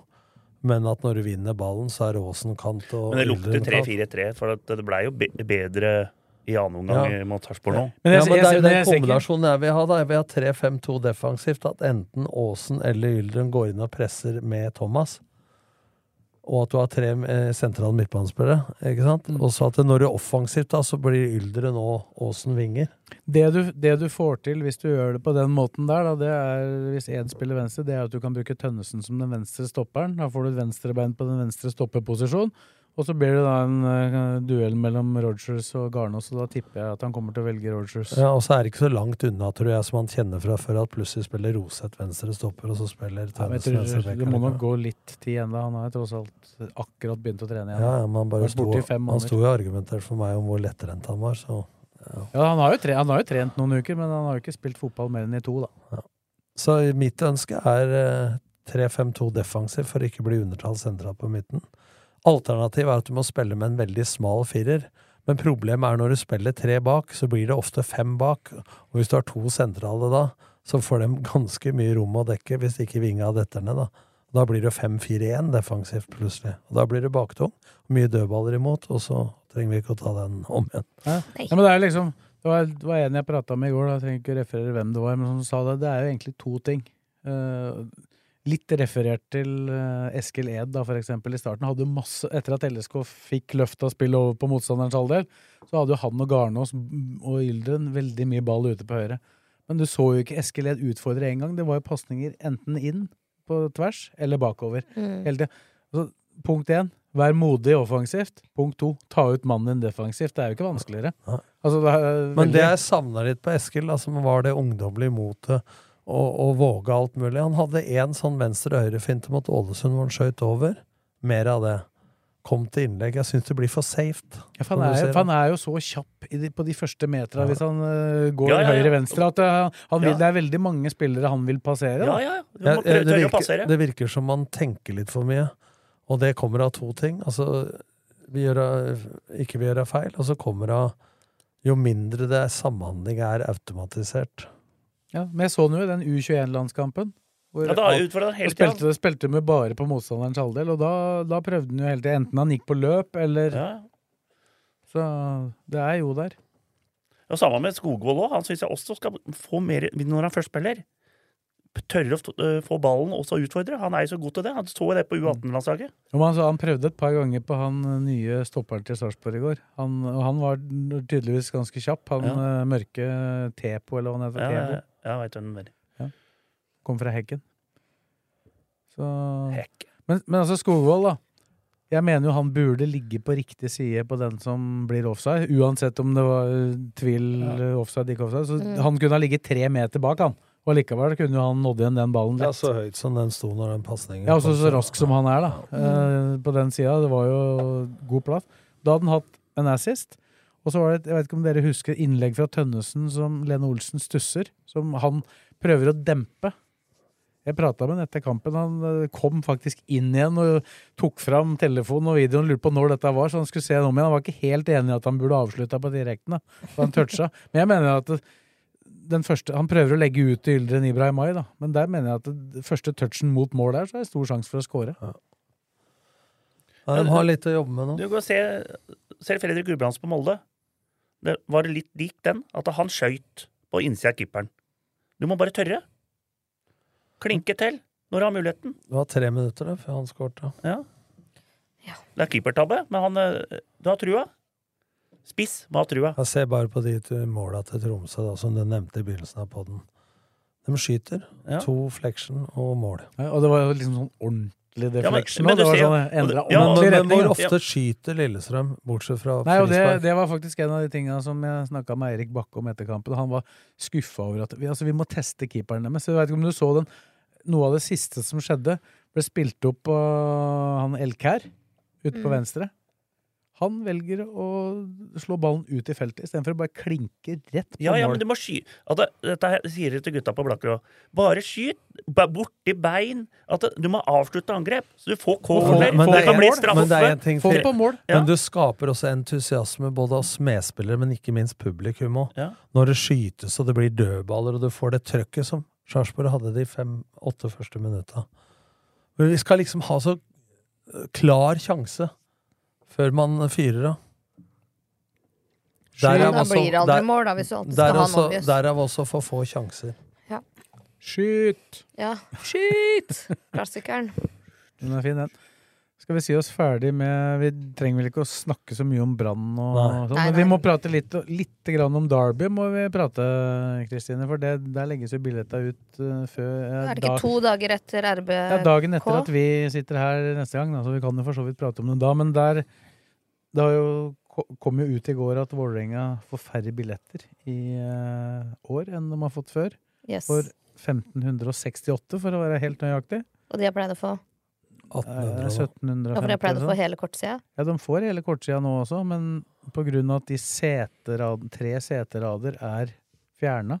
Men at når du vinner ballen, så er Åsen kant og Men det lukter Yldren kant. 3-4-3, for at det blei jo be bedre i annen omgang Ja. mot Sarpsborg nå. Men ja, jeg- men det jeg- er jo jeg- den jeg ser ikke- kombinasjonen jeg vil ha. da. Jeg vil ha 3-5-2 defensivt. At enten Aasen eller Yldren går inn og presser med Thomas. Og at du har tre eh, sentrale midtbanespillere. ikke sant? Mm. Og så at det, når det er offensivt, da, så blir Yldren og Aasen vinger. Det du, det du får til hvis du gjør det på den måten der, da, det er hvis én spiller venstre, det er at du kan bruke Tønnesen som den venstre stopperen. Da får du et venstrebein på den venstre stopperposisjonen. Og så blir det da en eh, duell mellom Rogers og Garnås, og da tipper jeg at han kommer til å velge Rogers. Ja, Og så er det ikke så langt unna, tror jeg, som han kjenner fra før, at plutselig spiller Roseth venstre stopper, og så spiller Ja, men jeg Tønnesen venstre tror, back. det må nok eller hva? gå litt tid ennå. Han har jo tross alt akkurat begynt å trene igjen. Ja, ja, men han bare Vært sto, borte i fem han måneder. sto jo og argumenterte for meg om hvor lettrent han var, så Ja, han har, jo tre, han har jo trent noen uker, men han har jo ikke spilt fotball mer enn i to, da. Så mitt ønske er eh, 3-5-2 defensiv for å ikke bli undertall sentralt på midten. Alternativet er at du må spille med en veldig smal firer. Men problemet er når du spiller tre bak, så blir det ofte fem bak. Og hvis du har to sentrale da, så får de ganske mye rom å dekke hvis ikke vinga detter ned, da. Da blir det 5-4-1 defensivt plutselig. Og da blir det baktung. Mye dødballer imot, og så trenger vi ikke å ta den om igjen. Ja. Ja, men det er liksom Det var, det var en jeg prata med i går, da. jeg trenger ikke referere hvem det var, men som sa det. Det er jo egentlig to ting. Eh, litt referert til eh, Eskil Ed, da, for eksempel, i starten. Hadde jo masse, etter at LSK fikk løft av spillet over på motstanderens halvdel, så hadde jo han og Garnås og Yldren veldig mye ball ute på høyre. Men du så jo ikke Eskil Ed utfordre en gang. Det var jo pasninger enten inn på tvers eller bakover. Mm. Hele tiden. Altså, punkt én, vær modig offensivt. Punkt to, ta ut mannen din defensivt. Det er jo ikke vanskeligere. Nei. Altså, det er Men det veldig- jeg savna litt på Eskil, da, som var det ungdommelige motet og, og våge alt mulig Han hadde én sånn venstre-høyre-finte mot Ålesund hvor han skøyt over. Mer av det. Kom til innlegg. Jeg syns det blir for safe. Ja, for som du han, er, ser. jo- for han er jo så kjapp i de, på de første meterne hvis han øh, går Ja, ja, ja. høyre-venstre at øh, han vil, Ja. det er veldig mange spillere han vil passere. Ja, Da. ja, ja. Du må Jeg- jeg- prøve det, tørre å virker, passere. det virker som man tenker litt for mye. Og det kommer av to ting. Altså, vi gjør, ikke vi gjør feil, og så kommer av jo mindre det er samhandling er automatisert. Ja, men jeg så han jo i den U21-landskampen. Ja, da utfordrer han hele tiden. spilte, spilte med bare på motstanderens halvdel, og da, da prøvde han jo hele tiden. Enten han gikk på løp, eller Ja. Så det er jo der. Og samme med Skogvold òg. Han syns jeg også skal få mer når han først spiller. Tørre å f- øh, få ballen og så utfordre. Han er jo så god til det. Han så jo Mm. det på U18-landslaget. Jo, men han, sa han prøvde et par ganger på han øh, nye stopperen til Sarpsborg i går. Han, og han var tydeligvis ganske kjapp. Han Ja. øh, mørke Tepo, eller hva han heter. Ja, Tebo. ja, ja, vet du hvem det er. Kom fra Hekken. Så... Men, men altså Skogvold, da. Jeg mener jo han burde ligge på riktig side på den som blir offside. Uansett om det var eh, tvil, eh, offside, ikke offside. Så Mm. Han kunne ha ligget tre meter bak, han. Og likevel kunne jo han nådd igjen den ballen. Ja, så høyt som den sto når den pasningen Ja, også kom, så rask som han er, da. Eh, på den sida. Det var jo god plass. Da hadde han hatt en assist. Og så var det et, jeg vet ikke om dere husker innlegg fra Tønnesen som Lene Olsen stusser. Som han prøver å dempe. Jeg prata med ham etter kampen. Han eh, kom faktisk inn igjen og tok fram telefonen og videoen og lurte på når dette var, så han skulle se den om igjen. Han var ikke helt enig i at han burde avslutta på direkten. da. Så han toucha. Men jeg mener at det- den første, han prøver å legge ut til Yldren Ibrahimai, da. men der mener jeg at det første touchen mot mål der, så er det stor sjanse for å score. Ja, de har litt å jobbe med nå. Du kan se, se Fredrik Gudbrandsen på Molde. Det var det litt lik den, at han Mm. skøyt på innsida av keeperen. Du må bare tørre. Klinke til. når du har muligheten. Det var tre minutter da, før han skårte. Ja. Det er keepertabbe, men han, eh, du har trua. Spiss, hva har trua? Jeg ser bare på de to måla til Tromsø, da, som du nevnte i begynnelsen av podden. De skyter. Ja. To flection og mål. Ja, og det var jo liksom sånn ordentlig Ja, men- deflection. men og det du var ser jo- sånn endra Ja, men, ordentlig men, retning. hvor da. ofte skyter Lillestrøm, bortsett fra Nei, og det, frispark? det var faktisk en av de tingene som jeg snakka med Eirik Bakke om etter kampen. Han var skuffa over at vi, altså, vi må teste keeperen deres. Jeg vet ikke om du så den Noe av det siste som skjedde, ble spilt opp av han Elkær ute på Mm. venstre. Han velger å slå ballen ut i feltet istedenfor å bare klinke rett på Ja, ja, men mål. du må skyte Dette her sier de til gutta på Blakker òg. Bare skyt ba- borti bein. At det- du må avslutte angrep. Så du får corner. Men Det det kan er bli en- men det er en ting straffe. til. Ja. Men du skaper også entusiasme både hos medspillere, men ikke minst publikum òg. Ja. Når det skytes og det blir dødballer, og du får det trøkket som Sarpsborg hadde de fem-åtte første minutta. Men vi skal liksom ha så eh, klar sjanse før man fyrer av. Men Derav da også- blir det aldri der- mål, da, hvis du alltid der skal ha også- en obvious. Derav også for få sjanser. Ja. Skyt! ja. Skyt! Klassikeren. Den er fin, den. Skal vi si oss ferdig med Vi trenger vel ikke å snakke så mye om Brann og Nei. sånn, Nei, men vi må prate litt, litt grann om Derby, må vi prate, Kristine. For det, der legges jo billetta ut eh, før eh, Er det ikke dag- to dager etter RBK? ja, dagen etter at vi sitter her neste gang, da, så vi kan jo for så vidt prate om det da. Men der Det har jo, ko- kom jo ut i går at Vålerenga får færre billetter i eh, år enn de har fått før. Yes. For 1568, for å være helt nøyaktig. Og de har pleid å få. Eh, 1750. Ja, for de har pleid å eller få sånn. hele kortsida. Ja, de får hele kortsida nå også, men på grunn av at de seterad, tre seterader er fjerna,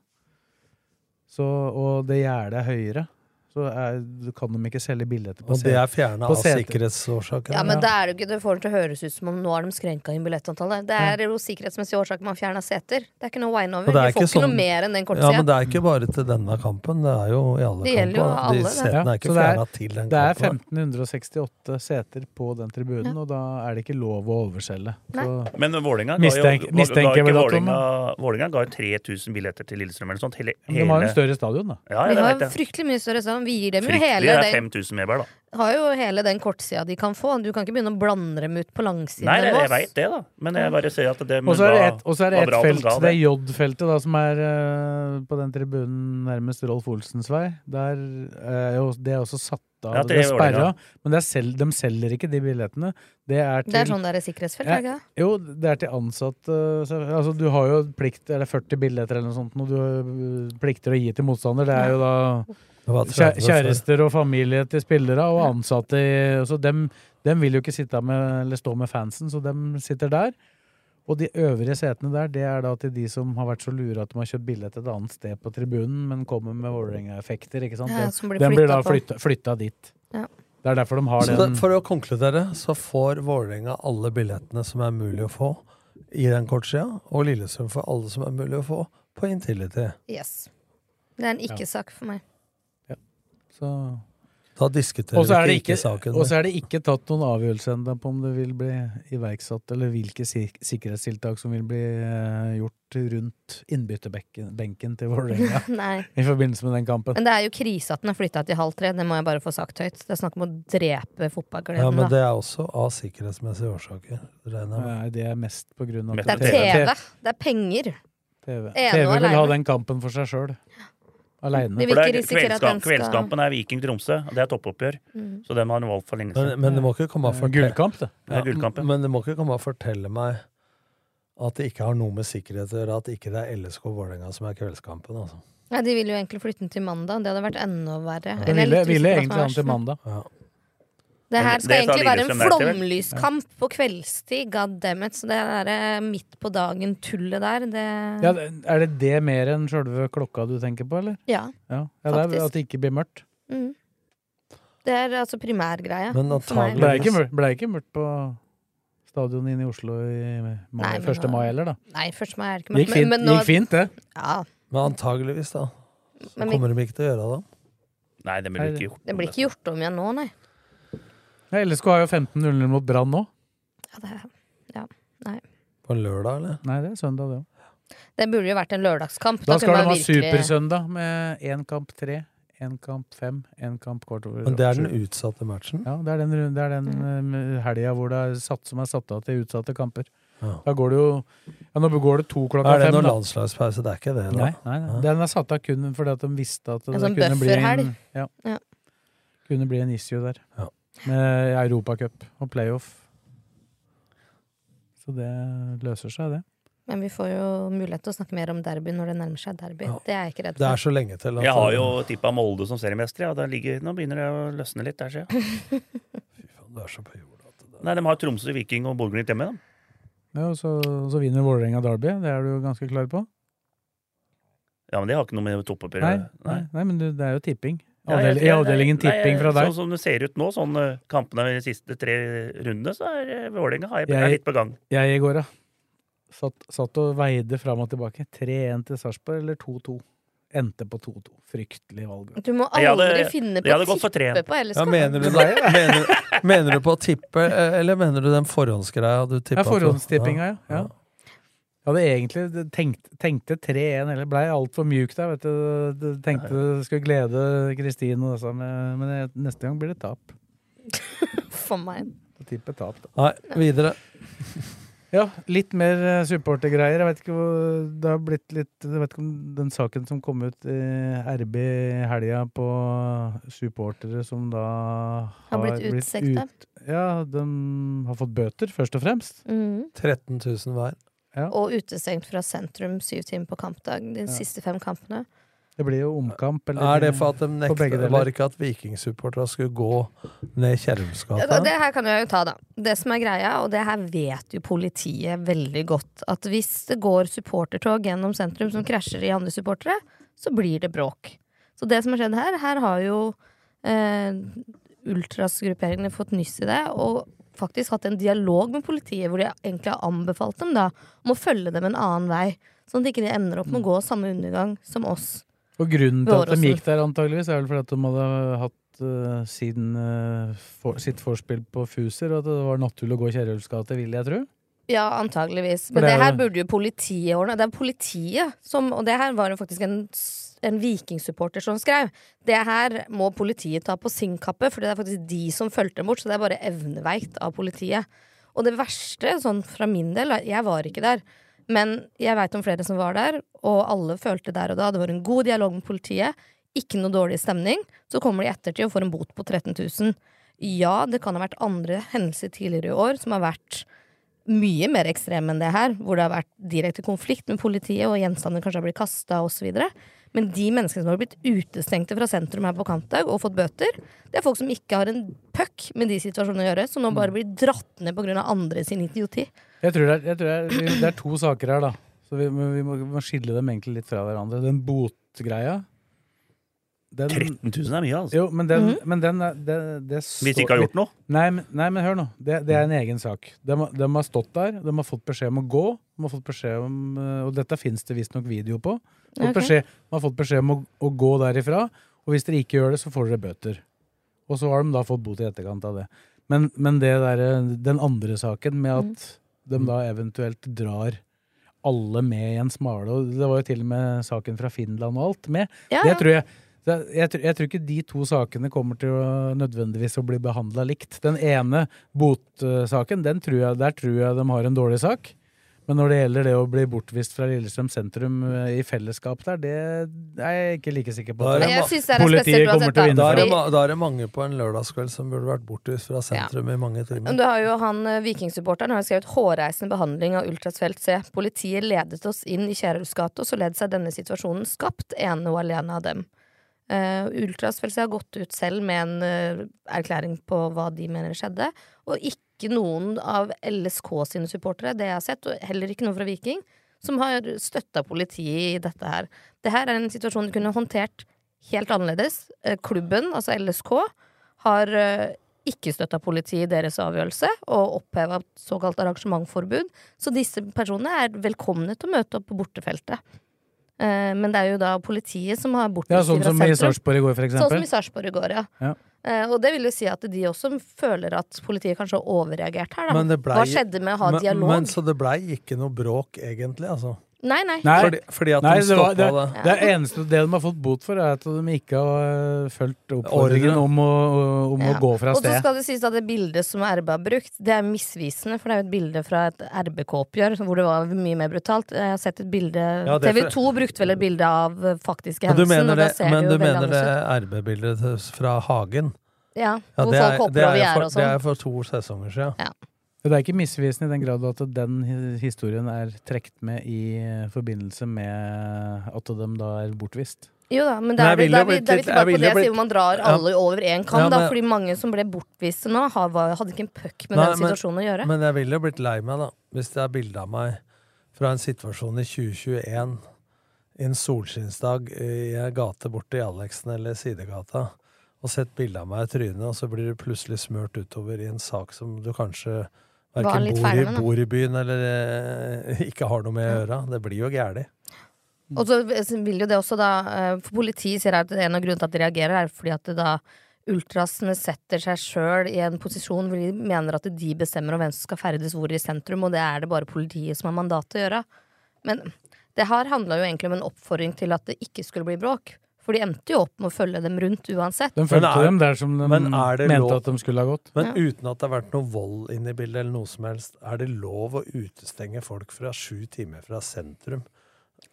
så- og det gjerdet er høyere, så er, kan de ikke selge billetter på Og det er set- fjerna av på seter. sikkerhetsårsaker. Ja, men det er det jo ikke, det får det til å høres ut som om nå har de skrenka inn billettantallet. Det er jo sikkerhetsmessige årsaker man fjerna seter. Det er ikke noe wine over. Og det er De får ikke sånn- noe mer enn den Ja, men det kortsida. er ikke bare til denne kampen, det er jo i alle Det gjelder jo kamper. alle, De det. setene er ikke så det fjerna til den Det er kampen. 1568 seter på den tribunen, og da er det ikke lov å overselge. Så, Men Vålinga ga jo mistenk, ga- mistenker ga vi ikke da, Tom? da? Vålinga- Vålinga ga jo 3000 billetter til Lillestrøm eller noe sånt. Hele, Men De har jo hele- en større stadion, da. Ja, ja, Vi det har vet jeg. fryktelig mye større stadion. Vi gir dem jo Fryktelig, hele det er den, 5000 mer, da. har jo hele den kortsida de kan få. Du kan ikke begynne å blande dem ut på langsiden. Nei, av jeg, jeg oss. veit det, da. Men jeg bare sier at det men Og så er det hva- ett- og så er det hva ett Mm, bra de felt, ga det J-feltet, da, som er eh, på den tribunen nærmest Rolf Olsens vei. Der, eh, jo- det er også satt av, Ja, det er til sperra, Vålerenga. men det er selv, de selger ikke de billettene. Det er til Det er sånn det er i sikkerhetsfelt, er det ikke det? Jo, det er til ansatte. så- Altså, du har jo plikt, eller 40 billetter eller noe sånt, og du eh, plikter å gi til motstander. Det er jo da Det var kjæ- 30 før. kjærester og familie til spillere, og ansatte i Så dem, dem vil jo ikke sitte med, eller stå med fansen, så dem sitter der. Og de øvrige setene der, det er da til de som har vært så lure at de har kjøpt billett et annet sted på tribunen, men kommer med Vålerenga-effekter, ikke sant. Ja, Den- som blir den blir da flyttet på. flytta, flytta dit. Ja. Det er derfor de har Så den. det, for å konkludere, så får Vålerenga alle billettene som er mulig å få i den kortsida, og Lillestrøm får alle som er mulig å få på Intility. Yes. Det er en ikke-sak for meg. Så Da diskuterer Og så er vi det ikke, ikke, ikke saken. og så er det ikke tatt noen avgjørelse ennå på om det vil bli iverksatt, eller hvilke sik sikkerhetstiltak som vil bli eh, gjort rundt innbytterbenken benken til Vålerenga Nei. i forbindelse med den kampen. Men det er jo krise at den er flytta til halv tre, det må jeg bare få sagt høyt. Det er snakk om å drepe fotballgleden. ja, men da. det er også av sikkerhetsmessige årsaker, regner jeg med. Nei, det er mest på grunn av Det er TV. Det er penger. TV, Ene TV og vil ha alene. den kampen for seg sjøl. Aleine. Vi vil ikke risikere at den Kveldskamp, skal kveldskampen er Viking-Tromsø. og Det er toppoppgjør. Mm. Så den har han valgt for lenge Men, siden. men det må ikke komme og fortelle Gullkamp, det. Ja, gullkamp, ja. Men det må ikke komme og fortelle meg at det ikke har noe med sikkerhet å gjøre, at ikke det er LSK og Vålerenga som er kveldskampen, altså. Nei, de ville jo egentlig flytte den til mandag. Det hadde vært enda verre. Det Eller jeg er ville, litt ville usikker på egentlig hva han som til er mandag. verst. Det her Det- skal det tar egentlig være en Lillestrøm der til, vel? flomlyskamp på kveldstid. God damn it. Så det derre midt på dagen-tullet der, det Ja, er det det mer enn sjølve klokka du tenker på, eller? Ja, ja. ja det er faktisk. At det ikke blir mørkt. Mm. Det er altså primærgreia. Men for meg. Blei ikke, mør- ble ikke mørkt på stadionet inne i Oslo i mai, Nei, men 1. da- mai heller, da. Nei, første mai er det ikke Det gikk fint, nå- gikk fint det. Ja, Men antageligvis, da. Så Men vi- kommer de ikke til å gjøre det. Nei, det blir ikke gjort. det blir ikke gjort om igjen nå, nei. Ja, LSK har jo 15-0 mot Brann nå. Ja, det, ja, nei. På lørdag, eller? Nei, det er søndag, det òg. det burde jo vært en lørdagskamp. Da skal kunne de man ha virkelig- supersøndag med én kamp tre, én kamp fem, én kamp kvart over Men det er sju. den utsatte matchen? Ja, det er den, ru- det er den eh, helga hvor det er satt, som er satt av til utsatte kamper. Ja. Da går det jo ja, Nå går det to klokka Er det fem. noen da. landslagspause? Det er ikke det, da? Nei, nei, nei. Den er satt av kun fordi at de visste at det En sånn kunne bli en, bufferhelg. ja, Ja. kunne bli en issue der. Med Europacup og playoff. Så det løser seg, det. Men vi får jo mulighet til å snakke mer om derby når det nærmer seg derby. Det er jeg ikke redd for. til at- Jeg har Altså- jo tippa Molde som seriemester. Ja. Da ligger, nå begynner det å løsne litt der, ser jeg. Nei, de har Tromsø, Viking og Bodø-Glimt hjemme. da. Ja, og så, og så vinner Vålerenga Derby, det er du jo ganske klar på? Ja, men det har ikke noe med toppoppgjør å Nei, gjøre. nei, nei men du, det er jo tipping. Ja, Avdel, jeg- I avdelingen nei, tipping fra Sånn deg. som det ser ut nå, sånn eh, kampene i de siste tre rundene, så er eh, Vålerenga har jeg- Jeg- er litt på gang. Jeg i går, ja. Satt, satt og veide fram og tilbake. 3-1 til Sarpsborg eller 2-2? Endte på 2-2. Fryktelig valg. Du må aldri finne på å tippe på LSK. Ja, mener, du, mener, mener du på å tippe, eh, eller mener du den forhåndsgreia du tippa Ja, på? forhåndstippinga, altså. ja. ja. Jeg hadde egentlig tenkt, tenkte 3-1, eller blei altfor mjuk der. vet du. Du Tenkte det skulle glede Kristin og disse, men men jeg- neste gang blir det tap. For meg. Jeg tipper tap, da. Nei, videre. Ja, litt mer eh, supportergreier. Jeg vet ikke hvor Det har blitt litt Jeg vet ikke om den saken som kom ut i RB i helga på supportere som da Har blitt utsekt, da. ut, Ja, de har fått bøter, først og fremst. Mhm. 13 000 hver. Ja. Og utestengt fra sentrum syv timer på kampdag de siste fem kampene. Det blir jo omkamp. Er det for at de på begge nekta deler. Var det ikke at vikingsupporterne skulle gå ned Kjerrumsgata? Det her kan jeg jo ta, da. Det som er greia, og det her vet jo politiet veldig godt, at hvis det går supportertog gjennom sentrum som krasjer i andre supportere, så blir det bråk. Så det som har skjedd her, her har jo eh, ultrasgrupperingene fått nyss i det, og faktisk hatt en dialog med politiet hvor de egentlig har anbefalt dem da om å følge dem en annen vei. Sånn at de ikke ender opp med å gå samme undergang som oss. Og grunnen til at de Våråsen. gikk der, antageligvis, er vel fordi at de hadde hatt eh, sin, eh, for, sitt vorspiel på Fuser, og at det var naturlig å gå Kjerulfs gate, vil jeg tro. Ja, antageligvis. For Men det det, er jo- her burde jo politiet ordne. Det er politiet som Og det her var jo faktisk en, s- en vikingsupporter som skrev. Det her må politiet ta på sin kappe, for det er faktisk de som fulgte dem bort. Så det er bare evneveikt av politiet. Og det verste, sånn fra min del, er- jeg var ikke der. Men jeg veit om flere som var der, og alle følte der og da. Det var en god dialog med politiet. Ikke noe dårlig stemning. Så kommer de i ettertid og får en bot på 13 000. Ja, det kan ha vært andre hendelser tidligere i år som har vært mye mer ekstrem enn det her, hvor det har vært direkte konflikt med politiet, og gjenstander kanskje har blitt kasta osv. Men de menneskene som har blitt utestengte fra sentrum her på kampdag og fått bøter, det er folk som ikke har en puck med de situasjonene å gjøre, Mm. som nå bare blir dratt ned pga. andre sin idioti. Jeg tror, det er, jeg tror det, er, det er to saker her, da. Så vi, må- vi, må, vi må skille dem egentlig litt fra hverandre. Den botgreia den, 13 000 er mye, altså. Jo, men den, men den er det, det Hvis de ikke har gjort noe. Nei, men, nei, men hør nå. Det, det er en egen sak. De, har- de har stått der, de har fått beskjed om å gå. De har fått beskjed om, eh, og dette fins det visstnok video på. De har Ok. fått beskjed, de har fått beskjed om å, å gå derifra, og hvis dere ikke gjør det, så får dere bøter. Og så har de da fått bot i etterkant av det. Men, men det der, eh, den andre saken med at de da eventuelt drar alle med i en smale, og det var jo til og med saken fra Finland og alt med, Ja, det ja. tror jeg det er- jeg, tror- jeg tror ikke de to sakene kommer til å nødvendigvis å bli behandla likt. Den ene botsaken, den tror jeg, der tror jeg de har en dårlig sak. Men når det gjelder det å bli bortvist fra Lillestrøm sentrum eh, i fellesskap der, det er jeg ikke like sikker på. Da er det at Jeg ma- synes det er spesielt Politiet kommer uansett, til å da. vinne Da er, det, fram. ma- da er det mange på en lørdagskveld som burde vært bortvist fra sentrum i mange Men timer. Du har jo han eh, vikingsupporteren har jo skrevet 'hårreisende behandling av Ultras felt C'. Politiet ledet oss inn i Kjerulfs gate, og således er denne situasjonen skapt ene og alene av dem. Uh, Ultras felt C har gått ut selv med en eh, erklæring på hva de mener skjedde, og ikke noen av LSK sine supportere, det jeg har sett, og heller ikke noen fra Viking, som har støtta politiet i dette her. Det her er en situasjon de kunne håndtert helt annerledes. Eh, Klubben, altså LSK, har eh, ikke støtta politiet i deres avgjørelse og oppheva såkalt arrangementforbud. Så disse personene er velkomne til å møte opp på bortefeltet. Eh, Men det er jo da politiet som har bortvist Ja, sånn fra som i sentrum. Sarpsborg i går, for Sånn som eksempel. i Sarpsborg i går, ja. Ja. Eh, Og det vil jo si at de også føler at politiet kanskje har overreagert her, da. Men det blei- Hva skjedde med å ha men, dialog? Men, så det blei ikke noe bråk, egentlig, altså. Nei, nei. Nei, Fordi- fordi at de det, var, det, stoppa det. det er eneste det de har fått bot for, er at de ikke har øh, fulgt Ordren. oppfordringen om, å, om Ja. å gå fra Og så sted. skal det sies at det bildet som RB har brukt, det er misvisende, for det er jo et bilde fra et RBK-oppgjør hvor det var mye mer brutalt. Jeg har sett et bilde Ja, det er for- TV2 brukte vel et bilde av eh, faktiske Men du hendelser, mener og da det, ser men det du jo mener veldig det annerledes ut. RB-bildet til- fra Hagen? Ja, hvor det folk er, hopper det, er over jo gjerdet for, og det sånn. er for to sesonger siden. Det er ikke misvisende i den grad at den hi- historien er trukket med i øh, forbindelse med at de da er bortvist. Jo da, men Men da jeg er vi, ville da er jo vi, blitt da er vi litt- jeg tilbake på ville det jeg blitt- sier, hvor man drar Ja. alle over én kam. Ja, da, men- fordi mange som ble bortviste nå, har, var- hadde ikke en puck med Nei, den situasjonen å gjøre. Men jeg ville jo blitt lei meg, da, hvis det er bilde av meg fra en situasjon i 2021, en solskinnsdag i en gate borte i Aleksen eller Sidegata, og sett bilde av meg i trynet, og så blir du plutselig smurt utover i en sak som du kanskje Var verken litt bor, ferdig i- med, da. bor i byen eller eh, ikke har noe med å gjøre. Det blir jo gæli. Og så vil jo det også da eh, For politiet sier at en av grunnene til at de reagerer, er fordi at det da ultrasene setter seg sjøl i en posisjon hvor de mener at de bestemmer om hvem som skal ferdes hvor i sentrum, og det er det bare politiet som har mandat til å gjøre. Men det her handla jo egentlig om en oppfordring til at det ikke skulle bli bråk. For de endte jo opp med å følge dem rundt uansett. De fulgte dem der som de Men er det mente lov- at de skulle ha gått. Men uten at det har vært noe vold inne i bildet, eller noe som helst, er det lov å utestenge folk fra sju timer fra sentrum?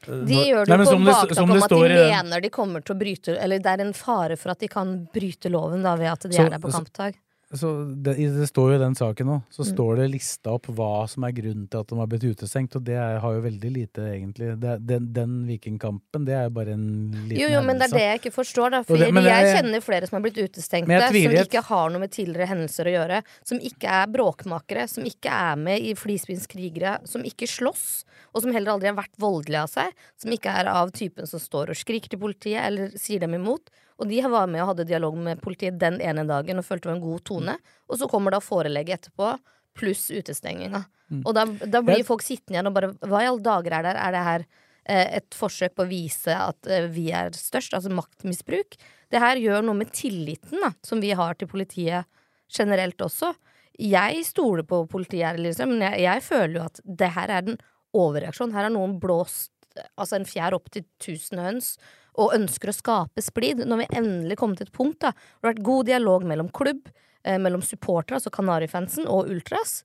Eh, De når- gjør det Nei, men jo på som det- bakgrunn som om det at de står i den- mener de kommer til å bryte Eller det er en fare for at de kan bryte loven da ved at de Så- er der på så- kampdag. så det, i- det står jo i den saken nå, så Mm. står det lista opp hva som er grunnen til at de har blitt utestengt, og det er, har jo veldig lite, egentlig. Det, er- den, den vikingkampen, det er jo bare en liten Jo, jo, men hendelse. det er det jeg ikke forstår, da. Og For det- men jeg jeg- kjenner flere som har blitt utestengte, Men jeg som tviler et- ikke har noe med tidligere hendelser å gjøre. Som ikke er bråkmakere, som ikke er med i flisbindskrigere, som ikke slåss, og som heller aldri har vært voldelige av seg. Som ikke er av typen som står og skriker til politiet eller sier dem imot. Og de var med og hadde dialog med politiet den ene dagen og følte det var en god tone. Og så kommer da forelegget etterpå, pluss utestenginga. Mm. Og da, da blir Jeg- folk sittende igjen og bare Hva i alle dager er det her? Er det her eh, et forsøk på å vise at eh, vi er størst? Altså maktmisbruk. Det her gjør noe med tilliten da, som vi har til politiet generelt også. Jeg stoler på politiet her, liksom, men jeg, jeg føler jo at det her er en overreaksjon. Her har noen blåst eh, altså en fjær opp til tusen høns og ønsker å skape splid. Når vi endelig kom til et punkt da, hvor det har vært god dialog mellom klubb, eh, mellom supportere, altså Kanarifansen, og Ultras.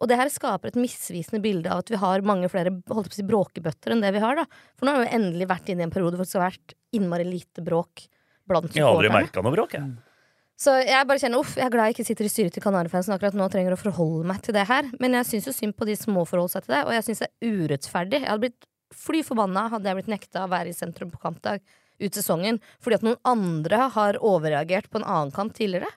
Og det her skaper et misvisende bilde av at vi har mange flere holdt jeg på å si, bråkebøtter enn det vi har. da. For nå har vi jo endelig vært inne i en periode hvor det har vært innmari lite bråk blant Jeg har aldri supporterne. merka noe bråk, Mm. jeg. Så jeg bare kjenner, uff, jeg er glad jeg ikke sitter i styret til Kanarifansen akkurat nå og trenger å forholde meg til det her. Men jeg syns jo synd på de som må forholde seg til det, og jeg syns det er urettferdig. Jeg hadde blitt fly forbanna hadde jeg blitt nekta å være i sentrum på kampdag ut sesongen fordi at noen andre har overreagert på en annen kamp tidligere.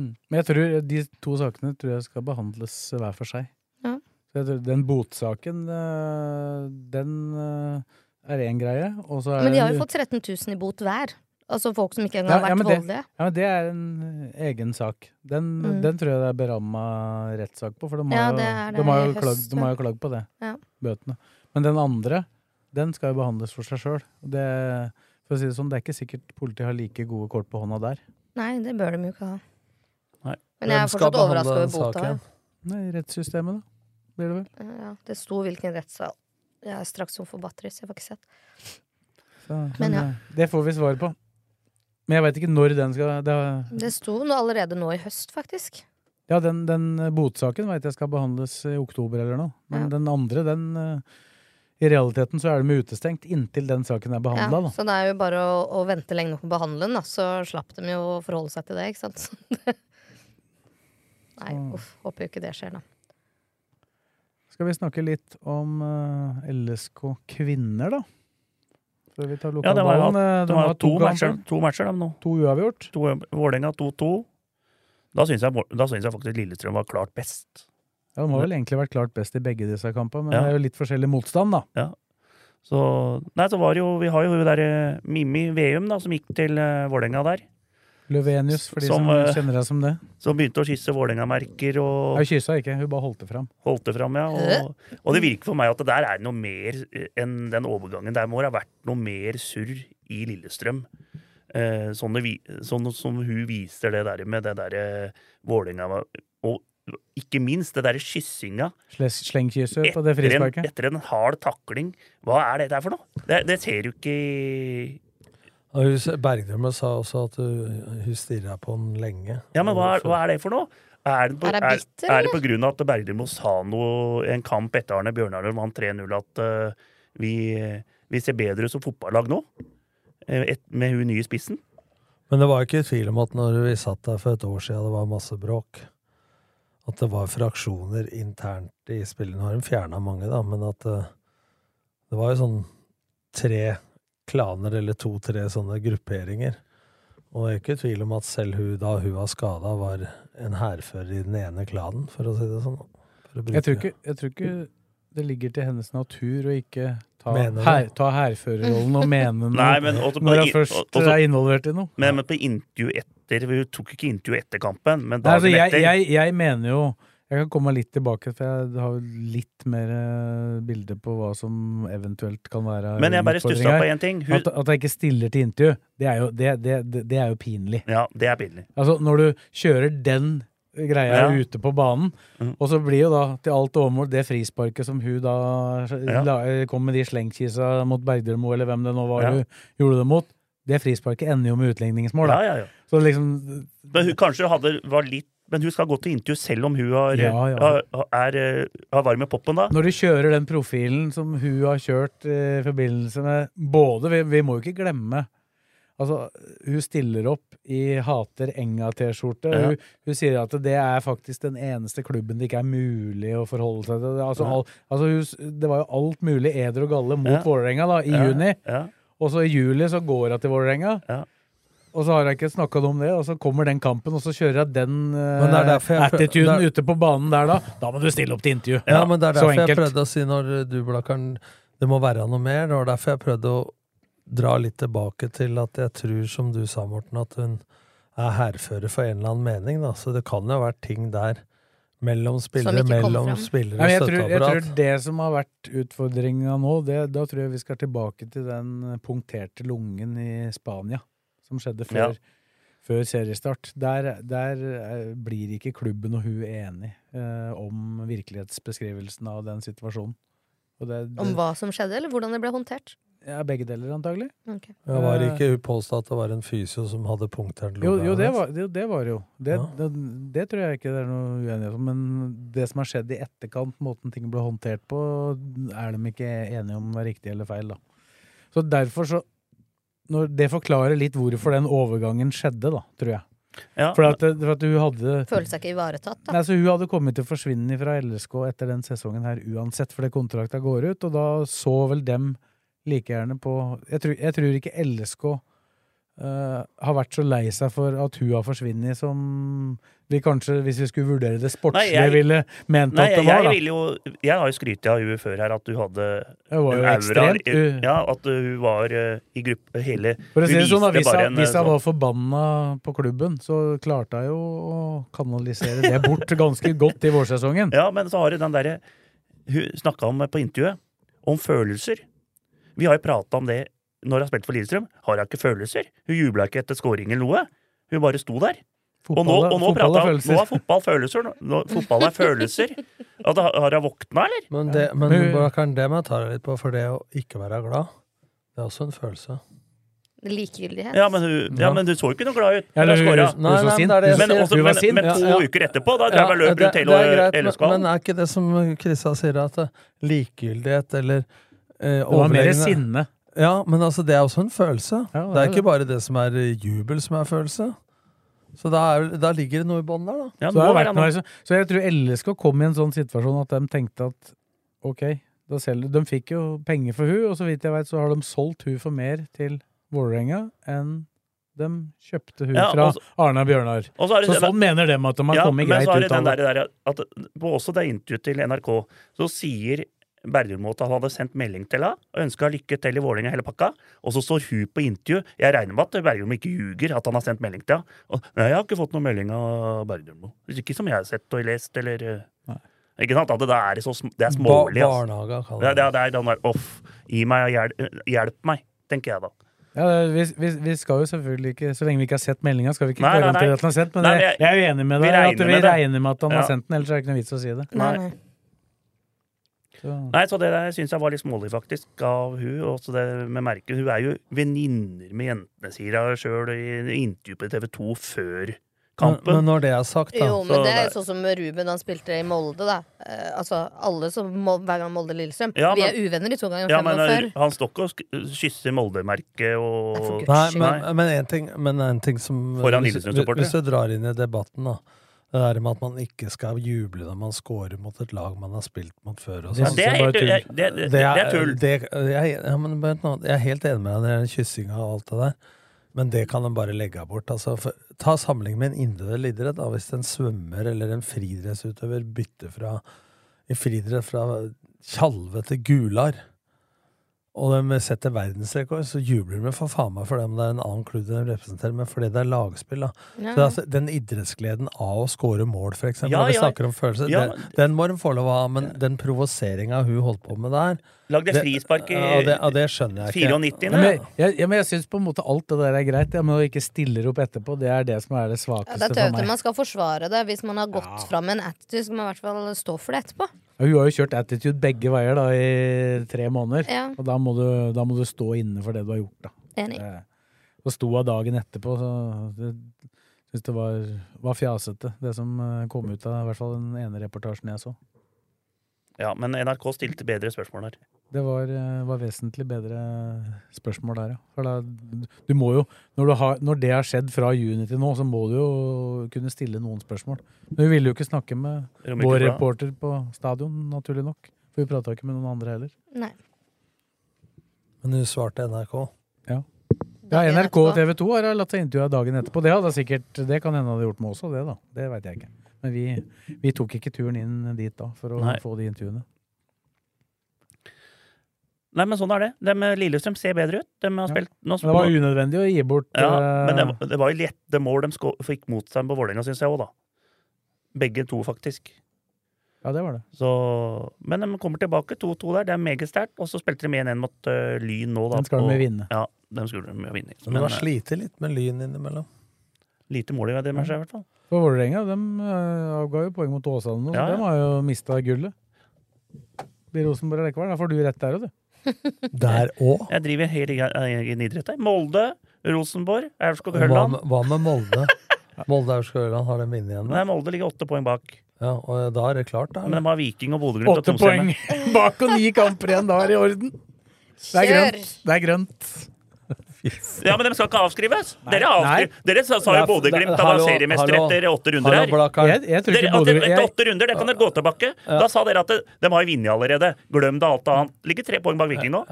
Mm. Men jeg tror de to sakene tror jeg skal behandles hver for seg. Ja. Så jeg tror den botsaken, øh, den øh, er én greie, og så er Men de har det- jo fått 13 000 i bot hver. Altså folk som ikke engang Ja, har ja, vært men det- voldelige. Ja, men det er en eh, egen sak. Den, Mm. den tror jeg det er beramma rettssak på, for de Ja, har, det jo, er det de har, i jo, klagd, høst, de ja. har jo klagd på det. Ja. Bøtene. Men den andre, den skal jo behandles for seg sjøl. Det, for å si det sånn, det er ikke sikkert politiet har like gode kort på hånda der. Nei, det bør de jo ikke ha. Nei. Men jeg Hvem er skal fortsatt behandle overraska den over bota. saken? Nei, rettssystemet, da. Blir det vel. Ja, det sto hvilken rettssal. Jeg er straks tom for batteri, så jeg får ikke sett. Så, Men ja. eh, Det får vi svar på. Men jeg veit ikke når den skal det, Det sto nå allerede nå i høst, faktisk. Ja, den, den eh, botsaken veit jeg skal behandles i oktober eller noe. Men den andre, den eh, I realiteten så er de utestengt inntil den saken er Ja, behandla, da. så det er jo bare å, å vente lenge nok på å behandle den, da. Så slapp de jo å forholde seg til det, ikke sant. Nei, Mm. uff. Håper jo ikke det skjer, da. Skal vi snakke litt om eh, LSK kvinner, da? Før vi tar Ja, de har jo lokalballen. eh, hatt, de de har hatt to, kamper. matcher, to matcher, de nå. To uavgjort. To, Vålerenga 2-2. Da syns jeg, Vål- da syns jeg faktisk Lillestrøm var klart best. Ja, de har vel egentlig vært klart best i begge disse kampene, men Ja. det er jo litt forskjellig motstand, da. Så, nei, så var det jo, vi har jo hun der eh, Mimmi Veum da, som gikk til eh, Vålerenga der. Løvenius, for de som, Som, eh, kjenner deg som det. Som begynte å kysse Vålerenga-merker og Hun kyssa ikke, hun bare holdt det fram. holdt det fram. Ja, Øh, og, og det virker for meg at det der er noe mer eh, enn den overgangen der må det ha vært noe mer surr i Lillestrøm. Eh, sånn, det vi, sånn som hun viser det der med det derre eh, Vålerenga og Ikke minst det derre kyssinga Sles- Slengkysser på det etter en, frisparket. etter en hard takling. Hva er det der for noe? Det, det ser du ikke i- Og hun s- Bergdrømme sa også at øh, hun, hun stirra på han lenge. Ja, men hva er, hva er det for noe? Er det, på, Er er, det bitter, er det på grunn av at Bergdølmo sa noe i en kamp etter Arne Bjørnar vant 3-0, at eh, vi, vi ser bedre ut som fotballag nå? Eh, Et, med hun nye spissen? Men det var jo ikke tvil om at når vi satt der for et år siden, det var masse bråk. At det var fraksjoner internt i spillet. Nå har de fjerna mange, da, men at eh, det var jo sånn tre klaner eller to-tre sånne grupperinger. Og jeg er ikke i tvil om at selv hun da hun var skada, var en hærfører i den ene klanen, for å si det sånn. For å bruke- Jeg tror, ikke, jeg tror ikke det ligger til hennes natur å ikke ta, Mener du? her, ta hærførerrollen og mene noe Nei, men også på når hun i- først eh, og- også- er involvert i noe. Men, men på intervju etter Hun tok ikke intervju etter kampen, men Nei, altså, dagen jeg, etter. jeg, jeg mener jo Jeg kan komme meg litt tilbake, for jeg har jo litt mer eh, bilde på hva som eventuelt kan være Men jeg bare utfordring stussa her. på en ting. Hun- At, at jeg ikke stiller til intervju, det er jo, det, det, det, det er jo pinlig. Ja, det er pinlig. Altså, når du kjører den Ja. greia Mm. ute på banen, og så blir jo da til alt overmål det frisparket som hun da Ja. la, eh, kom med de slengkisa mot Bergdølmo, eller hvem det nå var Ja. hun gjorde det mot, det frisparket ender jo med utligningsmål. da. Ja, ja, ja. Så liksom Men hun kanskje hadde, var litt Men hun skal gå til intervju selv om hun har, Ja, ja. har, er, eh, har varm i poppen, da. Når du kjører den profilen som hun har kjørt eh, i forbindelse med Både Vi, vi må jo ikke glemme Altså, hun stiller opp i Hater Enga-T-skjorte. Ja. Hun, hun sier at det er faktisk den eneste klubben det ikke er mulig å forholde seg til. Altså, Ja. all, altså hun, s- det var jo alt mulig eder og galle mot Ja. Vålerenga da, i Ja, juni. ja. Og så i juli så går hun til Vålerenga. Og så har jeg ikke snakka om det, og så kommer den kampen, og så kjører jeg den Men det er derfor uh, jeg- attituden det ute på banen der da. Da må du stille opp til intervju. Ja, men det er så derfor jeg enkelt. prøvde å si når du, Blakkaren, det må være noe mer. Det var derfor jeg prøvde å dra litt tilbake til at jeg tror, som du sa, Morten, at hun er hærfører for en eller annen mening, da. Så det kan jo ha vært ting der mellom spillere, ikke kom mellom fram. spillere Nei, og men jeg, tror, jeg støtteapparat. tror det som har vært utfordringa nå, det, da tror jeg vi skal tilbake til den punkterte lungen i Spania som skjedde før, Ja. før seriestart. Der, der eh, blir ikke klubben og hun enig eh, om virkelighetsbeskrivelsen av den situasjonen. Og det, det Om hva som skjedde, eller hvordan det ble håndtert? er begge deler, antagelig. Ok. Ja, var det ikke hun påstod at det var en fysio som hadde punktert eh, Jo, jo, det hennes? var jo det var det jo. Det, det, det tror jeg ikke det er noe uenighet om. Men det som har skjedd i etterkant, måten ting ble håndtert på, er de ikke enige om var riktig eller feil. da. Så derfor så når Det forklarer litt hvorfor den overgangen skjedde, da, tror jeg. Ja. For, at, for at hun hadde Følte seg ikke ivaretatt, da. Nei, så Hun hadde kommet til å forsvinne fra LSK etter den sesongen her uansett, fordi kontrakta går ut, og da så vel dem like gjerne på Jeg tror, jeg tror ikke LSK eh, har vært så lei seg for at hun har forsvunnet, som vi kanskje, hvis vi skulle vurdere det sportslige, ville ment Nei, at det jeg, var. da. ville jo, jeg har jo skrytt av henne før her, at hun hadde Hun var en jo aura. ekstremt u- Ja, at hun var eh, i gruppe hele For å si det hun sånn, da, viste hvis bare jeg, en, hvis eh, jeg var forbanna på klubben, så klarte jeg jo å kanalisere det bort ganske godt i vårsesongen. Ja, men så har du den derre Hun snakka om på intervjuet, om følelser. Vi har jo prata om det når hun har spilt for Lillestrøm. Har hun ikke følelser? Hun jubla ikke etter scoring eller noe. Hun bare sto der. og nå, Fotball er- og nå, fotball er prater hun- følelser. nå er fotball følelser. Nå- Nå, fotball er følelser. Ja, da har hun våkna, eller? Men, det, men Blakkaren, det må jeg ta deg litt på, for det å ikke være glad, det er også en følelse. Likegyldighet. Ja, men hun, ja, men hun så jo ikke noe glad ut. Hun Ja, har hun- skåra. nei, nei, men det er det jeg Men, sier. også- Hun var men, sint. men to Ja, ja. uker etterpå, da drev hun løp rundt hele men, LSK-hallen. men er ikke det som Krissa sier, at eh, likegyldighet eller eh, Det var mer overlegne- sinne. Ja, men altså, det er også en følelse. det det, er er det. ikke bare det som er eh, jubel som er følelse. Så da, er, da ligger det noe i bånn der, da. så, det har vært noe, så, så jeg tror LSK kom i en sånn situasjon at de tenkte at ok, da selger De fikk jo penger for hun, og så vidt jeg vet så har de solgt hun for mer til Vålerenga enn de kjøpte hun Ja, fra og så- Arna Bjørnar. Og Så, er det den- sånn mener de at de har Ja, kommet greit Men så er det ut den av der, det. der at på også det intervjuet til NRK, så sier Bergljot at han hadde sendt melding til henne og ønska lykke til i Vålerenga hele pakka. Og så står hun på intervju. Jeg regner med at Bergljot ikke ljuger at han har sendt melding til henne. Og, Nei, jeg har ikke fått noen melding av Bergljot. Ikke som jeg har sett og lest, eller eh, Ikke sant? At det, da er det, så, sm- det er smålig, altså. Ba- barnehaga, kaller det. er- Det er, det er den der off. Gi meg og hjelp, hjelp meg, tenker jeg da. Ja, det- vi, vi, vi skal jo selvfølgelig ikke Så lenge vi ikke har sett meldinga, skal vi ikke Nei, nei, nei. garantere at han har sendt, men Nei, jeg, men jeg- jeg er jo enig med vi deg. regner At vi med det. regner med at han Ja. har sendt den, ellers er det ikke noe vits å si det. Nei. nei. Nei, så det der syns jeg var litt smålig, faktisk, av hun. Og så det med merket. Hun er jo venninner med jentene, sier hun sjøl i intervju på TV 2 før kampen. Men når det er sagt, da Jo, men det er jo sånn som Ruben han spilte i Molde, da. Eh, altså, alle som må, Hver gang Molde-Lillestrøm. Ja, Vi men- er uvenner de to ganger ja, fem men år før. han står ikke og sk- kysser Molde-merket og Nei, men, men, en ting, men en ting som eh, Foran hvis- Lillestrøm-supportere. Hvis du drar inn i debatten, da. Det der med at man ikke skal juble når man scorer mot et lag man har spilt mot før. Og Ja, sånn. det er helt- det- det- det- det er tull. det- jeg, ja, men, vent nå, jeg er helt enig med deg når det gjelder kyssinga og alt det der, men det kan en bare legge bort. Altså, for, ta sammenligning med en individuell idrett. Da, hvis en svømmer eller en friidrettsutøver bytter fra i friidrett fra tjalve til gular og de setter verdensrekord, så jubler de for faen meg for det om det er en annen klubb de representerer, men fordi det er lagspill. da. Ja. Så det er altså, Den idrettsgleden av å score mål, for eksempel, Ja, når vi ja. snakker om følelser, Ja, den, den må de få lov å ha, men den provoseringa hun holdt på med der Lagde frispark i ja, det, ja, det skjønner jeg ikke. 94, Ja, men, jeg, ja, men jeg syns på en måte alt det der er greit, ja, men å ikke stiller opp etterpå, det er det som er det Ja, svakeste det er for tøvete. meg. Man skal forsvare det. Hvis man har gått fram med en attitude, skal man i hvert fall stå for det etterpå. Ja, hun har jo kjørt attitude begge veier da i tre måneder, Ja. og da må, du, da må du stå inne for det du har gjort. da. Enig. Eh, Og sto av dagen etterpå, så det syns det var, var fjasete, det som eh, kom ut av i hvert fall den ene reportasjen jeg så. Ja, men NRK stilte bedre spørsmål her. Det var, eh, var vesentlig bedre spørsmål der, ja. For da, du må jo, når, du har, når det har skjedd fra juni til nå, så må du jo kunne stille noen spørsmål. Men vi ville jo ikke snakke med Romerike vår Blad. reporter på stadion, naturlig nok. For vi prata ikke med noen andre heller. Nei. Men hun svarte NRK. Ja. Ja, NRK og TV 2 har latt seg intervjue dagen etterpå. Det, hadde sikkert, det kan hende hadde gjort med også, det da. Det veit jeg ikke. Men vi, vi tok ikke turen inn dit da for å Nei. få de intervjuene. Nei, men sånn er det. De med Lillestrøm ser bedre ut. De har spilt nå- Men det var unødvendig å gi bort Ja, men det, eh, var- det var jo lette mål de sko fikk mot seg på Vålerenga, syns jeg òg, da. Begge to, faktisk. Ja, det var det. Så, men de kommer tilbake 2-2 der. Det er meget sterkt. Og så spilte de 1-1 mot eh, Lyn nå, da. Den skal på- de vinne. Ja, den skulle de jo vinne. Men hun har eh, slitt litt med lyn innimellom. lite mål i det, med seg, i hvert fall. For Vålerenga de eh, avga jo poeng mot Åsane, nå, så Ja, ja. de har jo mista gullet. Blir Rosenborg likevel. Da får du rett der òg, du. Der òg. Jeg driver helt i- egen idrett her. Molde, Rosenborg, Aurskog Hva, Hølland. med- hva med Molde? Molde Aurskog-Ørland, har de vunnet igjen? Nei, Molde ligger åtte poeng bak. Ja, og da er det klart, da. Men de har Viking og Bodø-Glimt og Åtte Tromsø. poeng hjemme. bak og ni kamper igjen. Da er det i orden. Det er Kjør! grønt. Det er grønt. Ja, men de skal ikke avskrives! Dere, avskri nei. dere sa, sa jo Bodø-Glimt var seriemester etter åtte runder her. Jeg, jeg tror Dere, ikke at Bodø etter jeg- åtte runder, det kan dere gå tilbake. Ja. Da sa dere at det- de har jo vunnet allerede. Glem det alt annet. Ligger tre poeng bak Viking nå.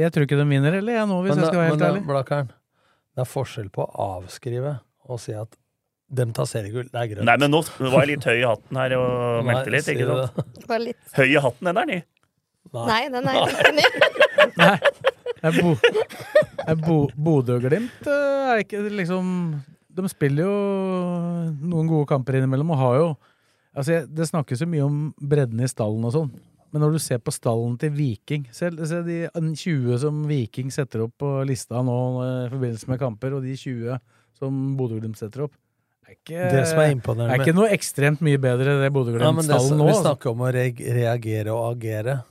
Jeg tror ikke de vinner heller, jeg nå, hvis Men jeg da- skal være helt men da, ærlig. Blakkaren, det er forskjell på å avskrive og si at dem tar seriegull. Det er grønt. Nei, men nå var jeg litt høy i hatten her og Nei, meldte litt, sier ikke du sant? Høy i hatten, den der, ni. Nei, den er ikke ny. Jeg bo, jeg bo, Bodø-Glimt eh, er ikke liksom De spiller jo noen gode kamper innimellom og har jo Altså, jeg- det snakkes jo mye om bredden i stallen og sånn. Men når du ser på stallen til Viking Selv se de 20 som Viking setter opp på lista nå eh, i forbindelse med kamper, og de 20 som Bodø-Glimt setter opp er ikke, Det som er imponerende Eh, er med- ikke noe ekstremt mye bedre, det Ja, men det, Bodø-Glimt-stallen nå. vi altså. snakker om å reg- reagere og agere.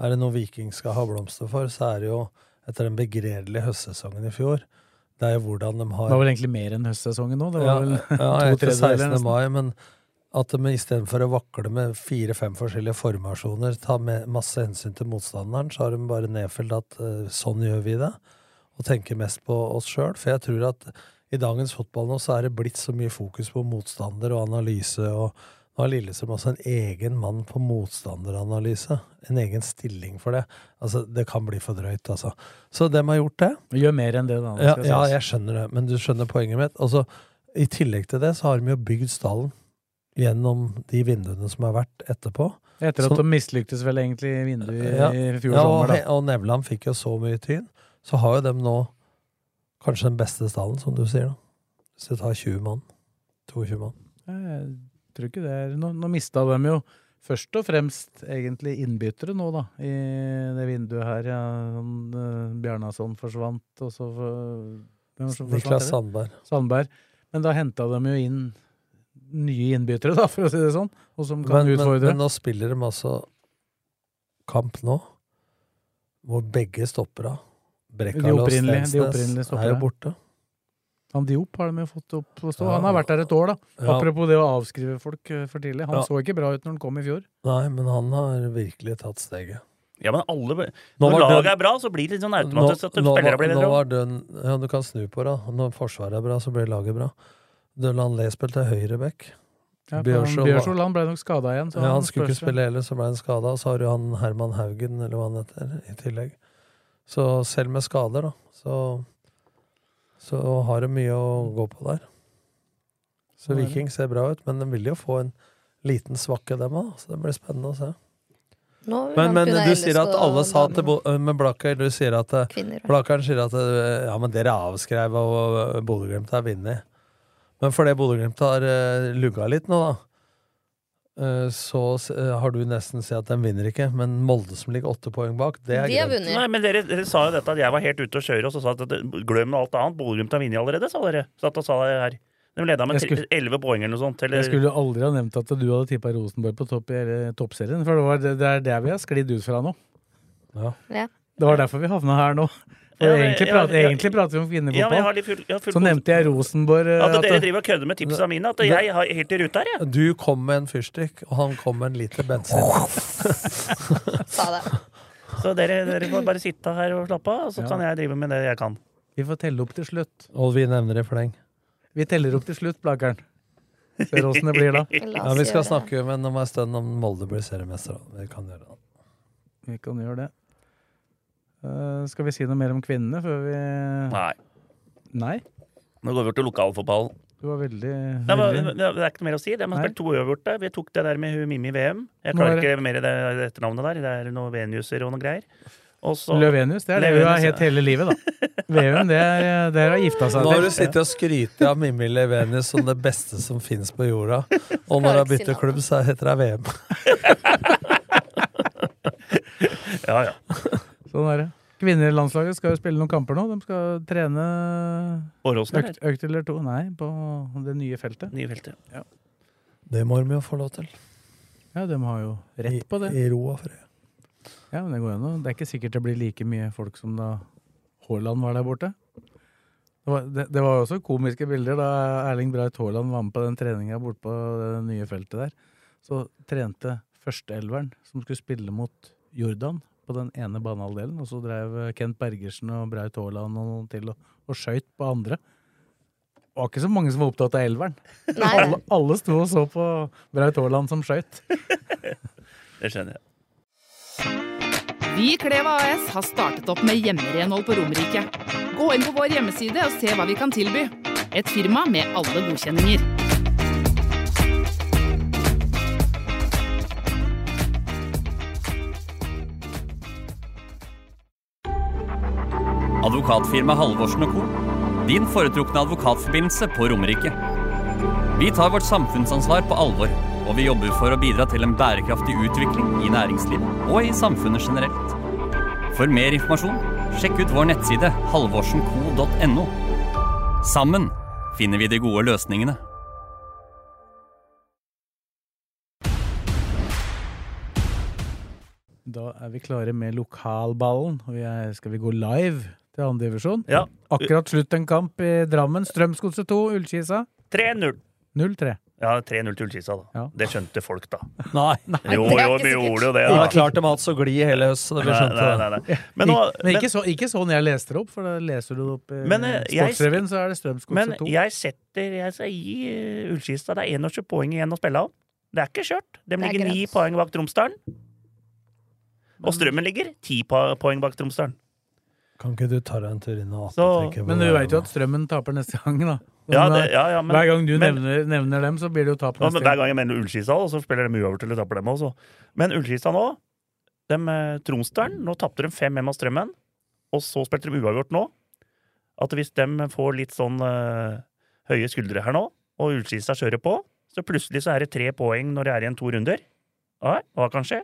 Er det noe Viking skal ha blomster for, så er det jo etter den begredelige høstsesongen i fjor. Det er jo hvordan de har Det var vel egentlig mer enn høstsesongen nå. Det var vel ja, to etter tredjedeler 16. nesten. mai, men at de istedenfor å vakle med fire-fem forskjellige formasjoner, tar med masse hensyn til motstanderen, så har de bare nedfelt at eh, sånn gjør vi det, og tenker mest på oss sjøl. For jeg tror at i dagens fotball nå så er det blitt så mye fokus på motstander og analyse, og nå har Lillestrøm også en egen mann på motstanderanalyse. En egen stilling for det. Altså, det kan bli for drøyt, altså. Så dem har gjort det. Gjør mer enn det, da. det Ja, skal ja, sies. jeg skjønner det, men du skjønner poenget mitt. Altså, I tillegg til det så har de jo bygd stallen gjennom de vinduene som har vært etterpå. Etter at Så- de mislyktes vel egentlig i vinduet i- Ja. i fjor Ja, og, sommer, He- da. og Nevland fikk jo så mye tyn. Så har jo dem nå kanskje den beste stallen, som du sier. da. Hvis du tar 20 mann. 22 mann. Jeg tror ikke det er Nå, nå mista de jo først og fremst egentlig innbyttere nå, da, i det vinduet her. Ja, han, eh, Bjarnason forsvant, og så eh, hvem som forsvant, Niklas er det? Sandberg. Sandberg. Men da henta de jo inn nye innbyttere, da, for å si det sånn, og som Men, kan men, utfordre. men nå spiller de altså kamp nå, hvor begge stopper av. Brekkalo og De opprinnelige- de opprinnelige Stensnes stopper er jo av. borte. Han Diop har de jo fått opp å stå. Ja, han har vært der et år, da. ja. Apropos det å avskrive folk eh, for tidlig. Han Ja. så ikke bra ut når han kom i fjor. Nei, men han har virkelig tatt steget. Ja, men alle, Nå Når var laget det- er bra, så blir det litt sånn Nå, automatisk at nå, spillere var, blir sånn- nå bedre. var den, ja, du kan snu på det. Når Forsvaret er bra, så blir laget bra. Dølan Lesbel til høyre back. Ja, for Bjørsjå han- var- Bjørsjå han ble nok skada igjen. så ja, han skulle ikke spørs- spille heller, så ble han skada. Og så har du han Herman Haugen, eller hva han heter, i tillegg. Så selv med skader, da, så, så har de mye å gå på der. Så Sånn er det. Viking ser bra ut, men de vil jo få en liten svakke, dem òg. Så det blir spennende å se. Nå vil Men, han men kunne du ellers sier at gå alle sa damer. til Bo- med Blakkar Du sier at eh, Kvinner, ja. Blakkaren sier at eh, ja, men dere er avskrevet, og eh, Bodø-Glimt har vunnet. Men fordi Bodø-Glimt har eh, lugga litt nå, da, eh, så s- eh, har du nesten sett at de vinner ikke. Men Molde, som ligger åtte poeng bak, det er greit. Nei, men dere, dere sa jo dette at jeg var helt ute å kjøre, og så sa at det- glem alt annet. Bodø-Glimt har vunnet allerede, sa dere. Satt og sa det her. De leda med Jeg skulle- elleve poeng eller noe sånt. Eller, Jeg skulle aldri ha nevnt at du hadde tippa Rosenborg på topp, eller toppserien, for det, var, det, det er der vi har sklidd ut fra nå. Ja. Det var derfor vi havna her nå. For Ja, men egentlig, jeg- prater, jeg- egentlig prater vi om kvinnefotball. Ja, men jeg har litt full- jeg har full så nevnte jeg Rosenborg. eh, at dere at- driver og kødder med tipsa mine. At jeg har helt i ruta her, jeg. Du kom med en fyrstikk, og han kom med en liter bensin. Sa det. Så dere, dere får bare sitte her og slappe av, og så Ja. kan jeg drive med det jeg kan. Vi får telle opp til slutt. og vi nevner i fleng. Vi teller opp til slutt, Blakkeren. Ser åssen det blir da. Ja, Altså, vi skal snakke med om en stund om Molde blir seriemester. da. Vi kan gjøre det. Vi kan gjøre det. Eh, skal vi si noe mer om kvinnene før vi Nei. Nei? Nå går vi over til lokalfotballen. Du var veldig, Det, var, veldig... det, det er ikke noe mer å si. De har Nei. spilt to øvelser. Vi tok det der med hun Mimmi VM. Jeg Nå er klarer ikke mer i det det etternavnet der. Det er noe Venuser og noe greier. Og så- Løvenius, det er det hun har Løvenius, hett hele livet, da. Veum, det er det har gifta seg Nå har til. du sittet og skrytt av Mimmi Levenius som det beste som finnes på jorda. Og når hun bytter klubb, så heter det VM. Ja, ja. Sånn er det. Kvinnelandslaget skal jo spille noen kamper nå. De skal trene Åråsen, eller? økt, økt eller to. Nei, på det nye feltet. Nye feltet. Ja, Det må de jo få lov til. ja de har jo rett på det. I, i ro og fred. Ja, men Det går an. å- Det er ikke sikkert det blir like mye folk som da Haaland var der borte. Det var, det, det var jo også komiske bilder da Erling Braut Haaland var med på den treninga borte på det nye feltet der. Så trente førsteelveren som skulle spille mot Jordan på den ene banehalvdelen, og så drev Kent Bergersen og Braut Haaland og noen til og, og skøyt på andre. Det var ikke så mange som var opptatt av elveren. Alle, alle sto og så på Braut Haaland som skøyt. Det skjønner jeg. Vi i Kleva AS har startet opp med hjemmerenhold på Romerike. Gå inn på vår hjemmeside og se hva vi kan tilby. Et firma med alle godkjenninger. Advokatfirma Halvorsen og Co. Din foretrukne advokatforbindelse på Romerike. Vi tar vårt samfunnsansvar på alvor, og vi jobber for å bidra til en bærekraftig utvikling i næringslivet og i samfunnet generelt. For mer informasjon, sjekk ut vår nettside halvorsenco.no. Sammen finner vi de gode løsningene. Da er vi klare med lokalballen. og Vi er, skal vi gå live til andredivisjon? Ja. Akkurat slutt en kamp i Drammen. Strømsgodset 2, Ullkisa 3-0. 0-3. Ja, 3-0 til Ullkisa, da. Det skjønte folk, da. Nei. Jo, jo, vi gjorde jo det, Det da. var klart de har hatt så glid hele høst, så det blir Nei, skjønt. nei, det. nei, nei. Men nå- Ik- men ikke, så, ikke sånn jeg leser det opp, for da leser du det opp i Men, eh, jeg- Sportsrevyen, så er Men det Strømsgodset 2. jeg setter Jeg skal gi eh, Ullkista Det er 21 poeng igjen å spille av. Det er ikke kjørt. De Det er ligger ni greit. poeng bak Tromsdalen. Og Mm. Strømmen ligger ti po- poeng bak Tromsdalen. Kan ikke du ta deg en tur inn og Så- tenke på Men du det? veit jo at Strømmen taper neste gang, Mm, da. eh, Ja, det- ja, ja, men- Hver gang du men- nevner, nevner dem, så blir det jo tap Ja, neste men hver gang jeg mener Ullskisa, så spiller de uavgjort eller tapper dem også. Men Ullskisa nå de, eh, Tromsdalen, nå tapte de 5-1 av Strømmen, og så spilte de uavgjort nå. At hvis de får litt sånn eh, høye skuldre her nå, og Ullskisa kjører på, så plutselig så er det tre poeng når det er igjen to runder. Nei, hva kan skje?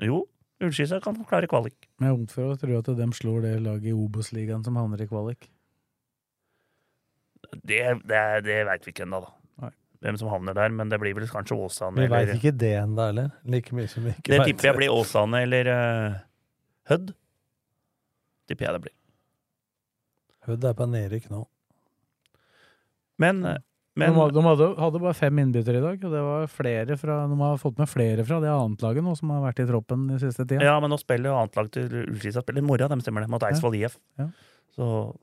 Jo, Ullskisa kan klare kvalik. Men jeg er vondt for å tro at de slår det laget i Obos-ligaen som havner i kvalik. Det, det, det veit vi ikke ennå, da. Hvem som havner der, men det blir vel kanskje Åsane. Vi veit eller- ikke det ennå, eller? Like mye som vi ikke Det vet tipper jeg blir Åsane eller eh, Hødd. Tipper jeg det blir. Hødd er på nedrykk nå. Men, eh, men de hadde, de hadde, hadde bare fem innbyttere i dag, og det var flere fra, de har fått med flere fra det annetlaget nå som har vært i troppen den siste tida. Ja, men nå spiller jo annet lag til Ullskisa spiller i morgen, dem stemmer det, mot Eidsvoll IF. Ja. Så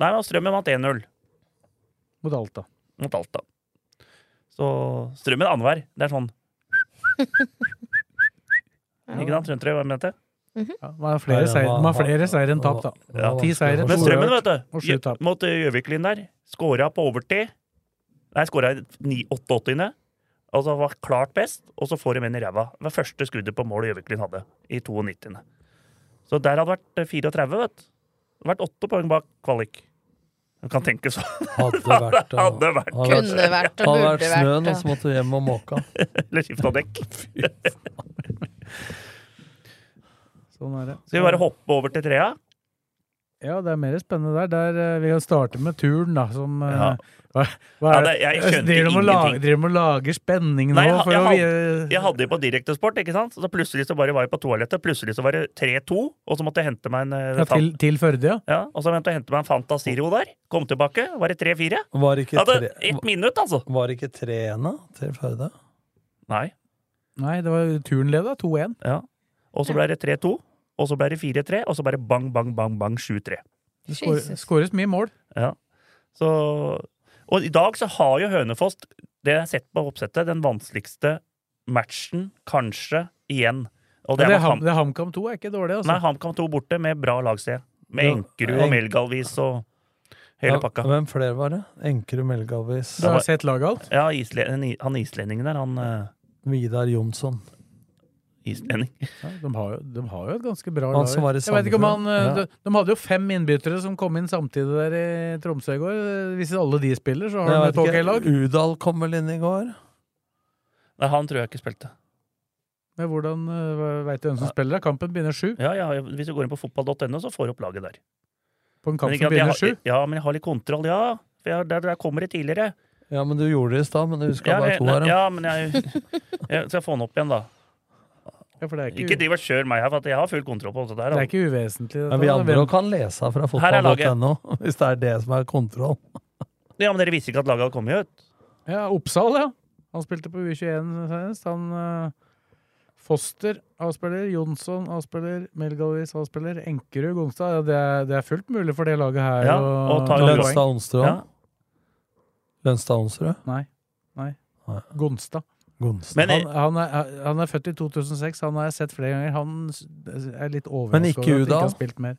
Nei, men Strømmen vant 1-0 Mot Alta. mot Alta. Så Strømmen annenhver. Det er sånn Ikke sant? Skjønte dere hva jeg mente? Ja, de har flere, seier, de har flere seier enn tap, da. Ti seier Men Strømmen, vet du, Og sju tap. Gjø- mot eh, Gjøvik-Lyn der, skåra på overtid. Nei, skåra i 88-ene. Altså var klart best, og så får de en i ræva. Det var første skuddet på mål Gjøvik-Lyn hadde, i 92-ene. Så der hadde vært eh, 34, vet du. Det hadde vært åtte poeng bak kvalik. Du kan tenke sånn. Hadde vært, det hadde vært, Kunne kanskje. vært og Hadde burde vært snøen, altså. vært, og så måtte du hjem og måke. Eller skifta dekk. Sånn er det. Skal vi bare hoppe over til trea? Ja, det er mer spennende der. der eh, vi kan starte med turn, da, som eh, Ja. hva, hva Ja, er det? det- jeg skjønte Driver de og la- ingenting. Driver de og lager spenning nå? Nei, jeg, for jeg, å hadde, vi- jeg hadde jo på direktesport, ikke sant? Så plutselig så bare var jeg på toalettet, plutselig så var det 3-2, og så måtte jeg hente meg en eh, ja, til, til Førde, ja. Ja, og så måtte jeg hente meg en Fanta Zero der. Kom tilbake, var det 3-4? Var ikke Hadde tre, ett minutt, altså! var ikke tre ennå til Førde? Nei. Nei, det var turnleda 2-1. Ja. Og så ble det 3-2, og så ble det 4-3, og så ble det bang, bang, bang, bang 7-3. Det skår- skåres mye mål. Ja. Så Og i dag så har jo Hønefoss, det jeg har sett på oppsettet, den vanskeligste matchen kanskje igjen. Og Det, det er det, er mot ham, Ham- det er HamKam 2 er ikke dårlig, altså. Nei, HamKam 2 borte med bra lagside. Med Ja, Enkerud og Enk- Melgalvis og hele Ja, pakka. Hvem flere var det? Enkerud Melgalvis. Du har sett laget alt? Ja, isle han islendingen der, han eh, Vidar Jonsson. islending. Ja, de, har jo, de har jo et ganske bra Han lag. som var i Jeg vet ikke om han, Sandefjord. eh, Ja. de, de hadde jo fem innbyttere som kom inn samtidig der i Tromsø i går. Hvis alle de spiller, så har Jeg de vet et ok ikke, lag. Udal kom vel inn i går? Nei, han tror jeg ikke spilte. Men hvordan eh, vet du hvem som spiller? da? Kampen begynner sju. Ja, ja, Hvis du går inn på fotball.no, så får du opp laget der. På en Men kamp ikke som at jeg begynner har- sju. Ja, men jeg har litt kontroll, ja. For jeg, der, der kommer det tidligere. Ja, men du gjorde det i stad, men du huska Ja, bare jeg- to her. ja. ja, men jeg, jeg skal få den opp igjen, da. Ja, for det er ikke, Ikke driv og kjør meg her, for at jeg har full kontroll på det der. det er altså. ikke uvesentlig. dette, Men vi da. andre Hvem- kan lese fra Her er laget. fotball.no, hvis det er det som er kontroll. Ja, men dere visste ikke at laget hadde kommet ut? Ja, Oppsal, ja. Han spilte på U21 senest. Han eh, Foster avspiller, Jonsson avspiller, Melgalvis avspiller, Enkerud Gonstad. Ja, det, er, det er fullt mulig for det laget her Ja, å og ta- ta Lønstad. poeng. Lønstad Onsrud. Ja. Lønstad Onsrud? Nei. Nei. Nei. Gonstad. Gonstad. Men, eh, Han, han, er, han er født i 2006, han har jeg sett flere ganger. Han s- er litt Men ikke overrasket over at han ikke Udal? har spilt mer.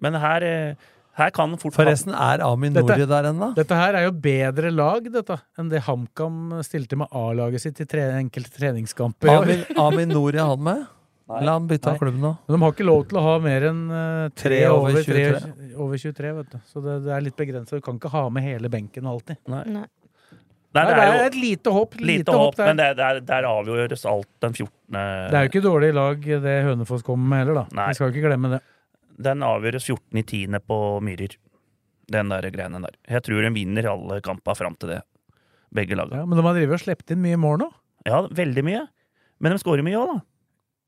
men her, eh, her kan fort Forresten, er Amin Dette- Nori der ennå? Dette her er jo bedre lag dette, enn det HamKam stilte med A-laget sitt i tre, enkelte treningskamper. i år. Amin, Amin Nori er han med? La han bytte Nei. av klubb nå. Men de har ikke lov til å ha mer enn eh, tre Tre over over 23, 23. over 23 vet du. Så det, det er litt begrenset. Du kan ikke ha med hele benken alltid. Nei. Nei. Nei, Nei, det er jo et lite hopp. Lite, lite håp, hopp der. men Det, det, der, der avgjøres alt den 14. er jo ikke dårlig lag det Hønefoss kommer med heller, da. Nei. Vi skal jo ikke glemme det. Den avgjøres 14 i 10. på Myrer. Den der greiene der. Jeg tror de vinner alle kampa fram til det. Begge laga. Ja, men de har drevet og sluppet inn mye mål nå. Ja, veldig mye. Men de skårer mye òg, da.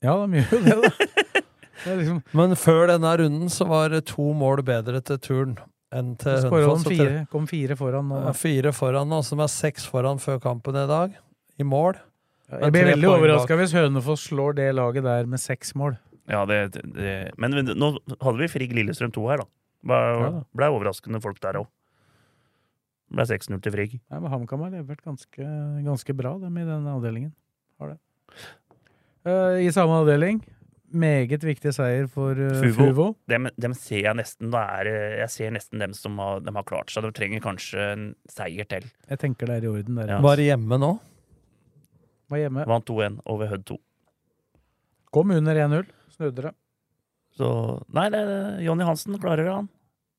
Ja, de gjør jo det, da. Det er liksom, Men før denne runden så var det to mål bedre til turn enn til skåra Hønefoss. de og fire, Eh, kom fire foran nå. tre- da. ja, Fire foran nå, som er seks foran før kampen i dag, i mål. Jeg blir tre veldig poeng overraska bak. hvis Hønefoss slår det laget der med seks mål. Ja, det, det. Men men nå hadde vi Frigg Lillestrøm 2 her, da. Ja Ble, da. ble overraskende folk der òg. Ble 6-0 til Frigg. Nei, men HamKam har levert ganske, ganske bra, dem, i denne avdelingen. Har det. Eh, I samme avdeling, meget viktig seier for eh, Fuvo. Fuvo. Dem, dem ser jeg nesten da er, eh, Jeg ser nesten dem som har, dem har klart seg. De trenger kanskje en seier til. Jeg tenker det er i orden der. Ja. Var hjemme nå. Var hjemme. Vant 2-1 over Hødd 2. Kom under 1-0. Snudde det. Så Nei, det, eh, Jonny Hansen klarer det, han.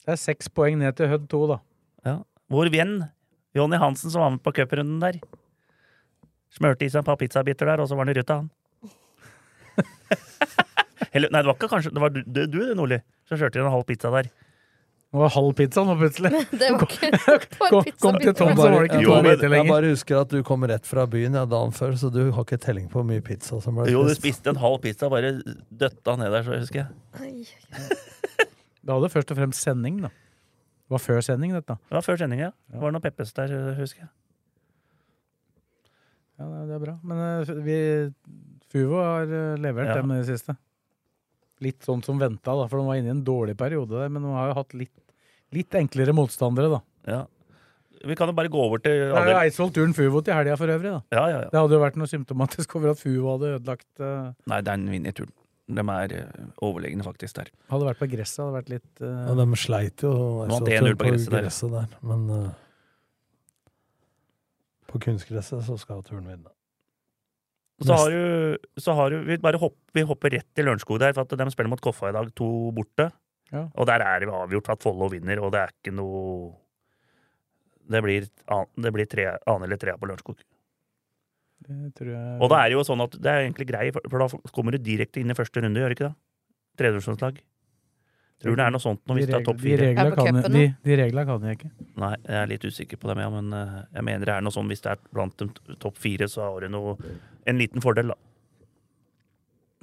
Det er seks poeng ned til Hødd 2, da. Vår venn Jonny Hansen som var med på cuprunden der. Smørte i seg et par pizzabiter der, og så var han i ruta, han. Eller, nei, det var ikke kanskje Det var du, du, du Nordli, som kjørte inn en halv pizza der. Det var halv pizza nå, plutselig. Det var ikke Kom- kom til Tom, Jeg bare, så var det jeg, ikke to bare, liter jeg lenger. bare husker at du kom rett fra byen ja, dagen før, så du har ikke telling på hvor mye pizza som ble Jo, du spist. spiste en halv pizza, bare døtta ned der, så jeg husker jeg. Det hadde først og fremst sending, da. Det var før sending, dette. Det var før sendinga. Det var noe Peppes der, husker jeg. Ja, nei, det er bra. Men eh, vi, Fuvo har eh, levert Ja. dem i det siste. Litt sånn som venta, da, for de var inne i en dårlig periode der, men de har jo hatt litt, litt enklere motstandere, da. Vi kan jo bare gå over til Det er jo Eidsvoll turen Fuvo til helga for øvrig, da. Ja, ja, ja. Det hadde jo vært noe symptomatisk over at Fuvo hadde ødelagt eh, Nei, den vinner turen. De er eh, overlegne, faktisk, der. Hadde vært på gresset, hadde vært litt eh, Ja, de sleit jo Vant altså, 1-0 på gresset der. der. Men eh, på kunstgresset så skal turen vinne. Og Så har du, så har du vi, bare hopp, vi hopper rett til Lørenskog der, for at de spiller mot Koffa i dag, to borte. Ja. Og der er det avgjort at Follo vinner, og det er ikke noe Det blir, an- det blir tre, annen eller trea på Lørenskog. Det tror jeg Og da er det jo sånn at det er egentlig grei, for for da kommer du direkte inn i første runde, gjør du ikke det? Tredjevisjonslag. Tror det er noe sånt når vi de, tar reg topp de, fire. reglene Er på kan, cupen jeg- de, de reglene kan jeg ikke. Nei, jeg er litt usikker på dem, ja, men eh, jeg mener det er noe sånn hvis det er blant de t- topp fire, så har du noe, en liten fordel, da.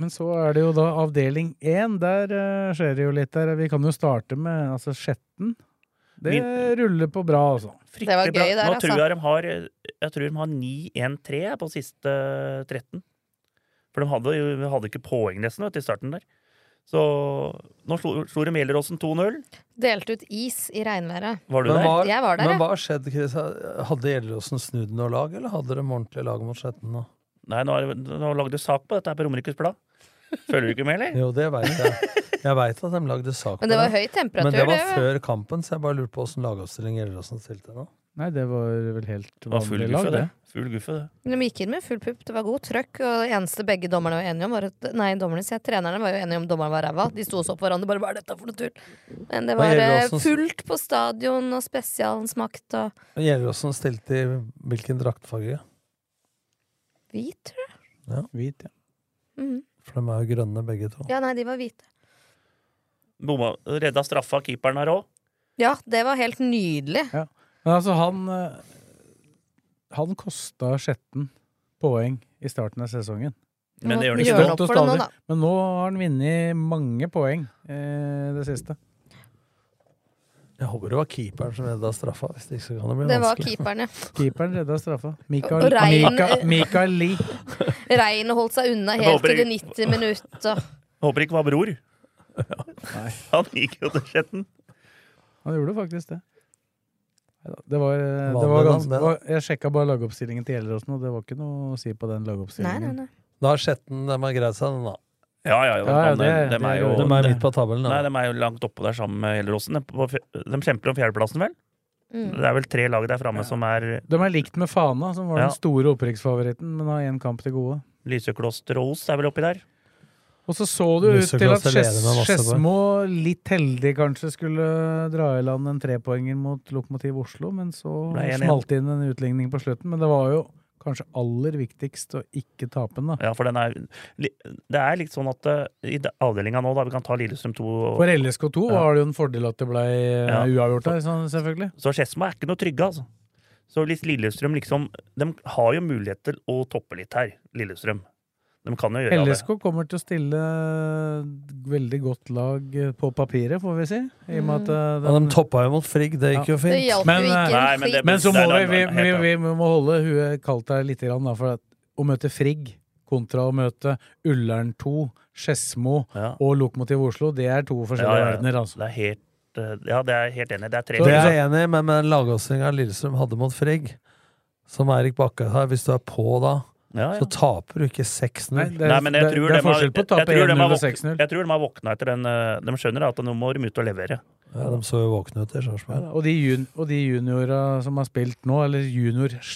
Men så er det jo da avdeling én. Der eh, skjer det jo litt der. Vi kan jo starte med altså Skjetten. Det Min- ruller på bra, altså. Det var Fryktelig bra. gøy der, Nå altså. tror jeg de har, jeg tror de har 9-1-3 på siste 13. For de hadde, jo- de hadde ikke poeng nesten vet, du, i starten der. Så nå slo, slo de Gjelleråsen 2-0. Delte ut is i regnværet. Var du Men der? hva- Jeg var der, Men jeg. hva har skjedd, Chris? Hadde Gjelleråsen snudd noe lag, eller hadde de ordentlig lag mot Skjetten nå? Nei, nå, er, det- nå lagde du sak på dette her på Romerikes Blad. Følger du ikke med, eller? Jo, det veit jeg. Jeg veit at de lagde sak Men det på var høy temperatur. Men det var det. før kampen, så jeg bare lurte på åssen lagoppstilling Gjelleråsen stilte nå. Nei, det var vel helt var full vanlig guffe, lag, det. det. Full guffe, det. Men De gikk inn med full pupp, det var god trøkk. Og det eneste begge dommerne var enige om, var at Nei, dommerne sier jeg, trenerne var jo enige om dommeren var ræva. De sto og så på hverandre bare 'hva er dette for noe tull?' Men det Hva var gjelder eh, også- fullt på stadion, og spesialens makt og Men Gjelleråsen stilte i hvilken draktfarge? Hvit, tror jeg. Hvit, ja. Mhm. For de er jo grønne begge to. Ja, nei, de var hvite. Bomma, redda straffa av keeperen her òg. Ja, det var helt nydelig. Men altså, han eh, Han kosta Skjetten poeng i starten av sesongen. Men det gjør han Gjør ikke. han opp for det nå, da. Men nå har han vunnet mange poeng eh, det siste. Jeg håper det var keeperen som redda straffa. Hvis det ikke så kan det bli Det var vanskelig. keeperen, ja. Keeperen redda straffa. Og- og Michael, Rein- Mika- Michael Lee. Regnet holdt seg unna Jeg helt håper til det ikke- 90 minutt. Og... Håper det ikke var bror. Han gikk jo til Skjetten. Han gjorde faktisk det. Neida, Det var, eh, det Vanlig var navn, ganske, det det var, jeg sjekka bare lagoppstillingen til Gjelleråsen, og det var ikke noe å si på den Nei, nei, lagoppstillingen. nei. Da har Skjetten de har greid seg, den da. Ja, ja, ja. Ja, ja, han er- det- dem er det- jo, De er midt på tabellen. Nei, Da. de er jo langt oppå der sammen med Gjelleråsen. De, på fj- de kjemper om fjerdeplassen, vel? Mm. Det er vel tre lag der framme som er De er likt med Fana, som var Ja. den store opprykksfavoritten, men har én kamp til gode. Lysekloster og Os er vel oppi der. Og så så det ut Lysekloster til at leder Skeis- med masse poeng. Skedsmo litt heldig kanskje skulle dra i land en trepoenger mot Lokomotiv Oslo, men så Ble 1-1. smalt det inn en utligning på slutten. Men det var jo kanskje aller viktigst å ikke tape den, da. Ja, for den er li- Det er litt sånn at eh, i da- avdelinga nå, da, vi kan ta Lillestrøm 2 og For LSK2 Ja. var det jo en fordel at det ble eh, Ja. uavgjort der, sånn, selvfølgelig. Så Skedsmo er ikke noe trygge, altså. Så hvis Lillestrøm liksom De har jo mulighet til å toppe litt her, Lillestrøm. De kan jo gjøre det. LSK kommer til å stille veldig godt lag på papiret, får vi si. I og med at eh, Ja, den- de toppa jo mot Frigg, det gikk jo Det fint. hjalp Men, jo eh, ikke nei, men en det- flik. Men så må Der, vi, der, vi, der, vi, helt vi må holde huet kaldt her litt, grann, da, for at å møte Frigg kontra å møte Ullern 2, Skedsmo Ja. og Lokomotiv Oslo, det er to forskjellige Ja, ja, ja. verdener. Altså. Det er helt, eh, ja, det er helt enig. Det er tre Så Det lag. er jeg enig i, men med den lagoppstillinga Lillestrøm hadde mot Frigg, som Eirik Bakke har, hvis du er på da, Ja, ja. så taper du ikke 6-0. Nei, det, er- Nei, men jeg det, tror det er dem har- forskjell på jeg å tape tror dem 1-0 har og våk- 6-0 Jeg tror de har våkna etter den eh, De skjønner at nå må de ut og levere. Ja, de så jo våkne ut i Sarpsborg. Og de, jun og de juniora som har spilt nå, eller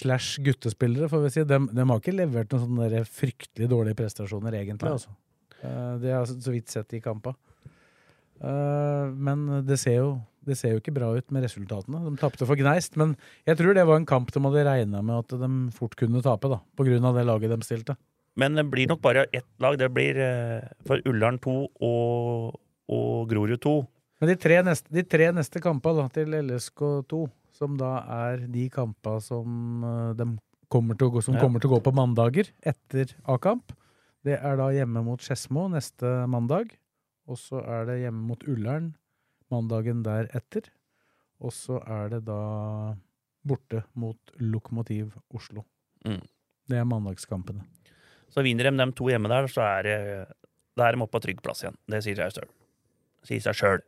junior-slash-guttespillere, får vi si, dem, dem har ikke levert noen sånne der fryktelig dårlige prestasjoner, egentlig. Altså. Eh, Det er så så vidt sett i kampa. Eh, Men det ser jo det ser jo ikke bra ut med resultatene. De tapte for Gneist, men jeg tror det var en kamp de hadde regna med at de fort kunne tape, da, på grunn av det laget de stilte. Men det blir nok bare ett lag. Det blir eh, for Ullern 2 og, og Grorud 2. Men de tre neste, de tre neste kampene da, til LSK2, som da er de kampene som, eh, dem kommer, til å gå, som Ja. kommer til å gå på mandager etter A-kamp, det er da hjemme mot Skedsmo neste mandag. Og så er det hjemme mot Ullern mandagen deretter. Og så er det da borte mot Lokomotiv Oslo. Mm. Det er mandagskampene. Så vinner de de to hjemme der, så er, det- da er de oppe på trygg plass igjen. Det sier seg sjøl. Sier seg sjøl.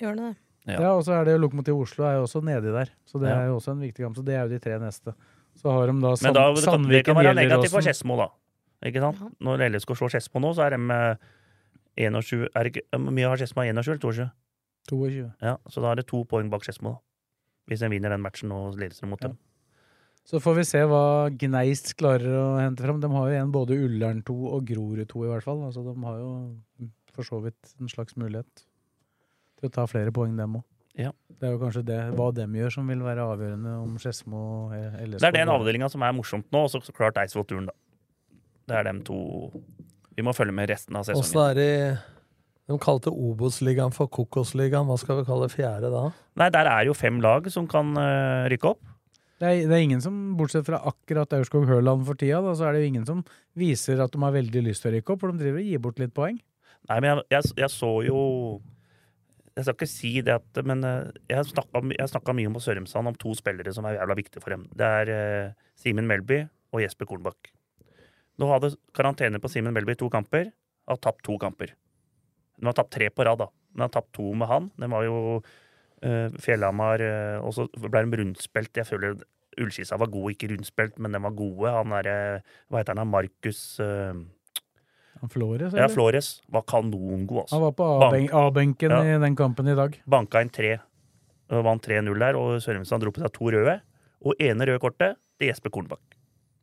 Gjør det det? Ja, Ja. og så er det jo Lokomotiv Oslo er jo også nedi der, så det Ja. er jo også en viktig kamp. Så det er jo de tre neste. Så har de da, Men Sand da det kan, det kan være negativt for Gjelleråsen. Skedsmo, da. Ikke sant? Når LSK slår Skedsmo nå, så er de eh, 21 er det ikke, Hvor mye har Skedsmo? 21 eller 22? 22. Ja, så da er det to poeng bak Skedsmo, da. Hvis de vinner den matchen og Lillestrøm mot dem. Så får vi se hva Gneist klarer å hente fram. De har jo igjen både Ullern 2 og Grorud 2, i hvert fall. Altså, de har jo for så vidt en slags mulighet til å ta flere poeng, dem òg. Ja. Det er jo kanskje det, hva dem gjør, som vil være avgjørende om Skedsmo eh, LSK Det er den avdelinga som er morsomt nå, og så så klart Eidsvoll-turen, da. Det er dem to Vi må følge med resten av Åssen sesongen. er det i De kalte Obos-ligaen for Kokos-ligaen. Hva skal vi kalle fjerde da? Nei, der er jo fem lag som kan eh, rykke opp. Det er, det er ingen som, bortsett fra akkurat Aurskog Høland for tida, da, så er det jo ingen som viser at de har veldig lyst til å rykke opp, for de driver og gir bort litt poeng. Nei, men jeg, jeg, jeg så jo Jeg skal ikke si det, at, men eh, jeg snakka, my- jeg snakka mye om på Sørumsand om to spillere som er jævla viktige for dem. Det er eh, Simen Melby og Jesper Kornbakk. Nå hadde karantene på Simen Melby to kamper. Har tapt to kamper. De har tapt tre på rad, da. De har tapt to med han. De var jo eh, Fjellhamar eh, Og så ble de rundspilt. Jeg føler Ullskissa var god, ikke rundspilt, men de var gode. Han derre Hva heter han, da? Markus eh, Han Flores, ja, Flores var kanongod, altså. Han var på Bank- A-ben- A-benken Ja. i den kampen i dag. Banka inn tre. Og vant 3-0 der, og Sørumsand dro på seg to røde. Og ene røde kortet til Jesper Kornbakk.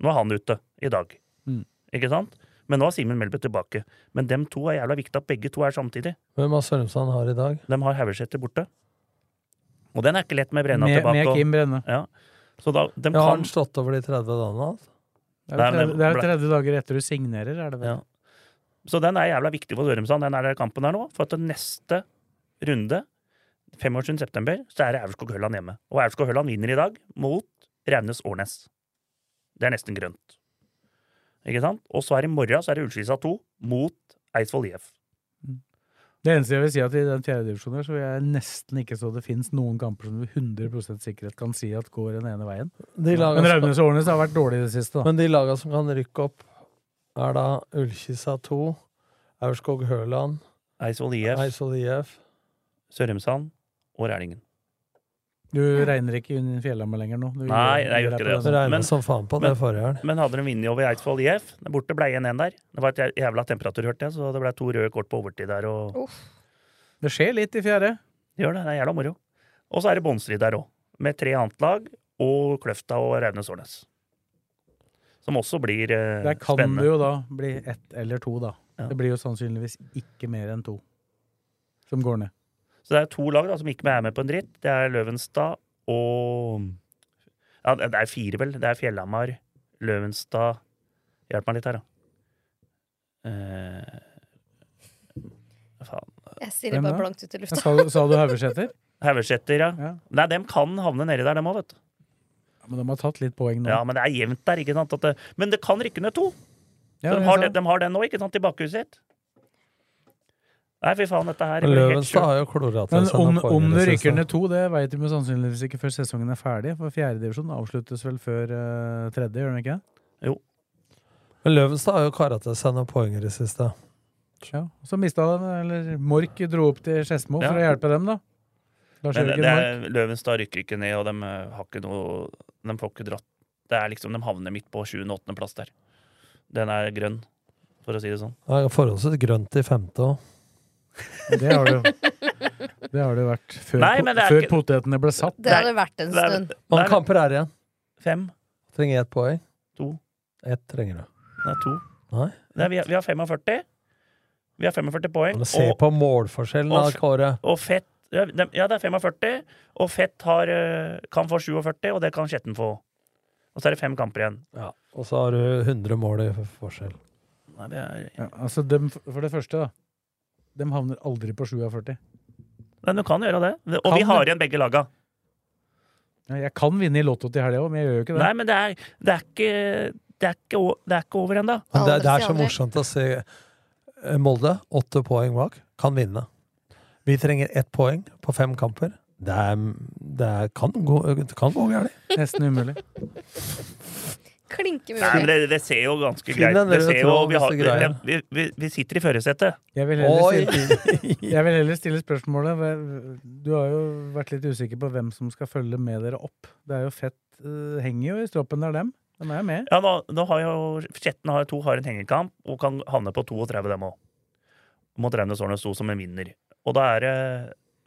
Nå er han ute i dag. Mm. Ikke sant? Men nå er Simen Melbø tilbake. Men dem to er jævla viktig at begge to er samtidig. Hvem av Sørumsand har i dag? De har Haugesæter borte. Og den er ikke lett med Brenna Med- tilbake. med og- Kim Brenne. Ja. Så da, de Ja, har kan han slått over de 30 dagene? hans? Det er Nei, jo men- 30, det er jo 30 dager etter du signerer, er det vel? Så den er jævla viktig for Sørumsand, den er der kampen her nå. For at den neste runde, 25. september, så er det Aurskog Høland hjemme. Og Aurskog Høland vinner i dag mot Raunes Årnes. Det er nesten grønt. Ikke sant? Og så er i morgen så er det Ullskisa 2 mot Eidsvoll IF. Det eneste jeg vil si er at i den fjerde divisjonen her, så vil jeg nesten ikke så det finnes noen kamper som du 100 sikkerhet kan si at går den ene veien. De lagene Men som- Raunes og Årnes har vært dårlige i det siste, da. Men de laga som kan rykke opp, er da Ullkisa 2, Aurskog Høland, Eidsvoll IF, Eidsvoll IF Sørumsand og Rælingen. Du regner ikke inn Fjellhammer lenger nå? Nei, Du gjør- jeg gjør gjør ikke på det. den. altså. Regnet som faen på det forrige helg. Men hadde de vunnet over Eidsvoll IF der Borte ble 1-1 der. Det var et jævla temperatur, hørte jeg, så det ble to røde kort på overtid der. Og... Det skjer litt i fjerde. Gjør det. Det er jævla moro. Og så er det båndstrid der òg, med tre annet lag og Kløfta og Raunes Årnes. Som også blir eh, Der kan spennende. det jo da bli ett eller to, da. Ja. Det blir jo sannsynligvis ikke mer enn to som går ned. Så det er to lag da, som ikke er med på en dritt. Det er Løvenstad og Ja, det er fire, vel. Det er Fjellhamar, Løvenstad Hjelp meg litt her, da. Eh, faen. Jeg stirrer bare blankt ut i lufta. Sa, du- sa du Haugeseter? Haugeseter, ja. Nei, dem kan havne nedi der, dem òg, vet du. Men de har tatt litt poeng nå. Ja, men det er jevnt der, ikke sant? At det, men det kan rykke ned to. Ja, så de det er har, det, sant. de har den nå, ikke sant, i bakhuset sitt. Nei, fy faen, dette her Men blir helt Løvenstad sjukt. har jo klora til Men seg om, noen om poeng i det sånn det rykker siste. ned to, det veit vi sannsynligvis ikke før sesongen er ferdig. For fjerdedivisjon avsluttes vel før eh, tredje, gjør den ikke? Men Løvenstad har jo kara til seg noen poeng i det siste. Ja. Så mista de, eller Mork dro opp til Skedsmo Ja. for å hjelpe dem, da. Men det, Lars-Jørgen det Mork. er, Løvenstad rykker ikke ned, og de eh, har ikke noe De får ikke dratt Det er liksom, De havner midt på 7.-8. plass der. Den er grønn, for å si det sånn. Det er forholdsvis grønt i femte òg. Det har det jo. Det har det jo vært før, Nei, po- men det er før ikke- potetene ble satt. Det hadde vært en Det er- stund. Hvor mange kamper er det igjen? Fem. Trenger ett poeng? To. Ett trenger du. Nei, to. Nei. Nei, vi, har- vi har 45. Vi har 45 poeng. Men se på målforskjellen og- da, Kåre. Og fett Ja, dem- ja, det er 45, og Fett har, eh, kan få 47, og det kan Skjetten få. Og så er det fem kamper igjen. Og så har du 100 mål i forskjell. Nei, det er... Ja, altså dem, for det første, da. De havner aldri på 47. Nei, du kan gjøre det. Det- Og Kan vi har det. igjen begge laga. Ja, Jeg kan vinne i Lotto til helga òg, men jeg gjør jo ikke det. Nei, men det er, det er ikke det er ikke, o- det er ikke over ennå. Men det, det er så morsomt å se eh, Molde, åtte poeng bak, kan vinne. Vi trenger ett poeng på fem kamper. Det, er, det er, kan gå, det kan gå gærent. Nesten umulig. Klinke Nei, men mulig. det, det ser jo ganske Finn greit en Det rød ser jo, tråd, vi, har, disse greiene. vi, vi, vi sitter i førersetet. Jeg vil Oi! heller stille, jeg vil heller stille spørsmålet hva- Du har jo vært litt usikker på hvem som skal følge med dere opp. Det er jo fett eh, Henger jo i stroppen der, dem. De er jo med. Ja, nå, nå har jo Skjetten har to har en hengekamp og kan havne på 32, dem òg. Mot Raunes Årene sto som en vinner. Og da er det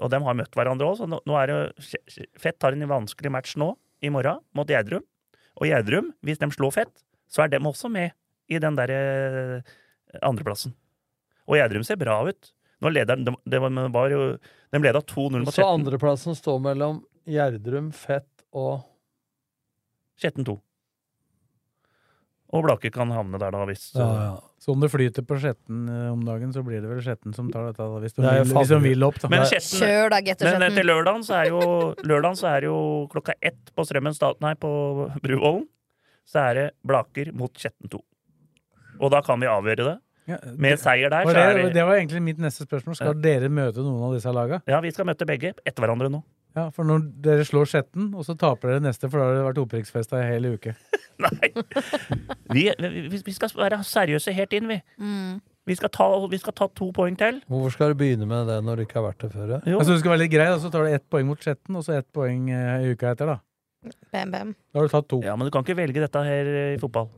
Og dem har møtt hverandre òg, så nå, nå er det Skje- Skje- Fett har en vanskelig match nå, i morgen, mot Gjerdrum. Og Gjerdrum, hvis dem slår Fett, så er dem også med i den derre andreplassen. Og Gjerdrum ser bra ut. Nå leder de, det var, men var jo, de leda 2-0 mot Så Skjetten. andreplassen står mellom Gjerdrum, Fett og Skjetten 2. Og Blake kan havne der, da, hvis Så om det flyter på Skjetten eh, om dagen, så blir det vel Skjetten som tar dette, da, hvis de Det er jo vil, hvis de faen- vil opp. Da. Men Nei. Skjetten- Kjør da, Getter Men eh, til Skjetten. lørdagen så er jo, lørdagen så er jo klokka ett på Strømmen stat, nei, på Bruvollen. Så er det Blaker mot Skjetten 2. Og da kan vi avgjøre det. Ja, Med seier der, var så er det, det det var egentlig mitt neste spørsmål. Skal dere møte noen av disse laga? Ja, vi skal møte begge etter hverandre nå. Ja, for når dere slår Skjetten, og så taper dere neste, for da har det vært opprykksfest ei hel uke. Vi, vi, vi skal være seriøse helt inn, vi. Mm. Vi skal ta, vi skal ta to poeng til. Hvorfor skal du begynne med det når du ikke har vært det før? ja? Jo. Altså, du skal være litt grei, da, så tar du ett poeng mot Skjetten, og så ett poeng eh, i uka etter, da. Bam, bam. Da har du tatt to. Ja, men du kan ikke velge dette her eh, i fotball.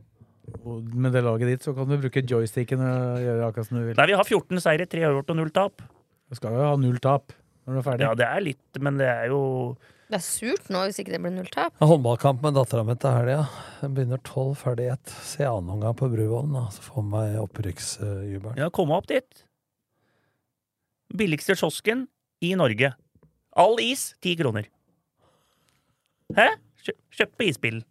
Og Med det laget ditt så kan du bruke joysticken og gjøre akkurat som du vil. Nei, vi har 14 seire, 3 uavgjort og 0 tap. Du skal jo ha null tap når du er ferdig. Ja, det er litt, men det er jo Det er surt nå hvis ikke det blir nulltap. Jeg har Håndballkamp med dattera mi til helga. Den begynner tolv, ferdig ett. Se annen omgang på Bruvollen, da, så får meg opprykksjubelen. Ja, komme opp dit. Billigste kiosken i Norge. All is, ti kroner. Hæ? Kjø kjøp på isbilen.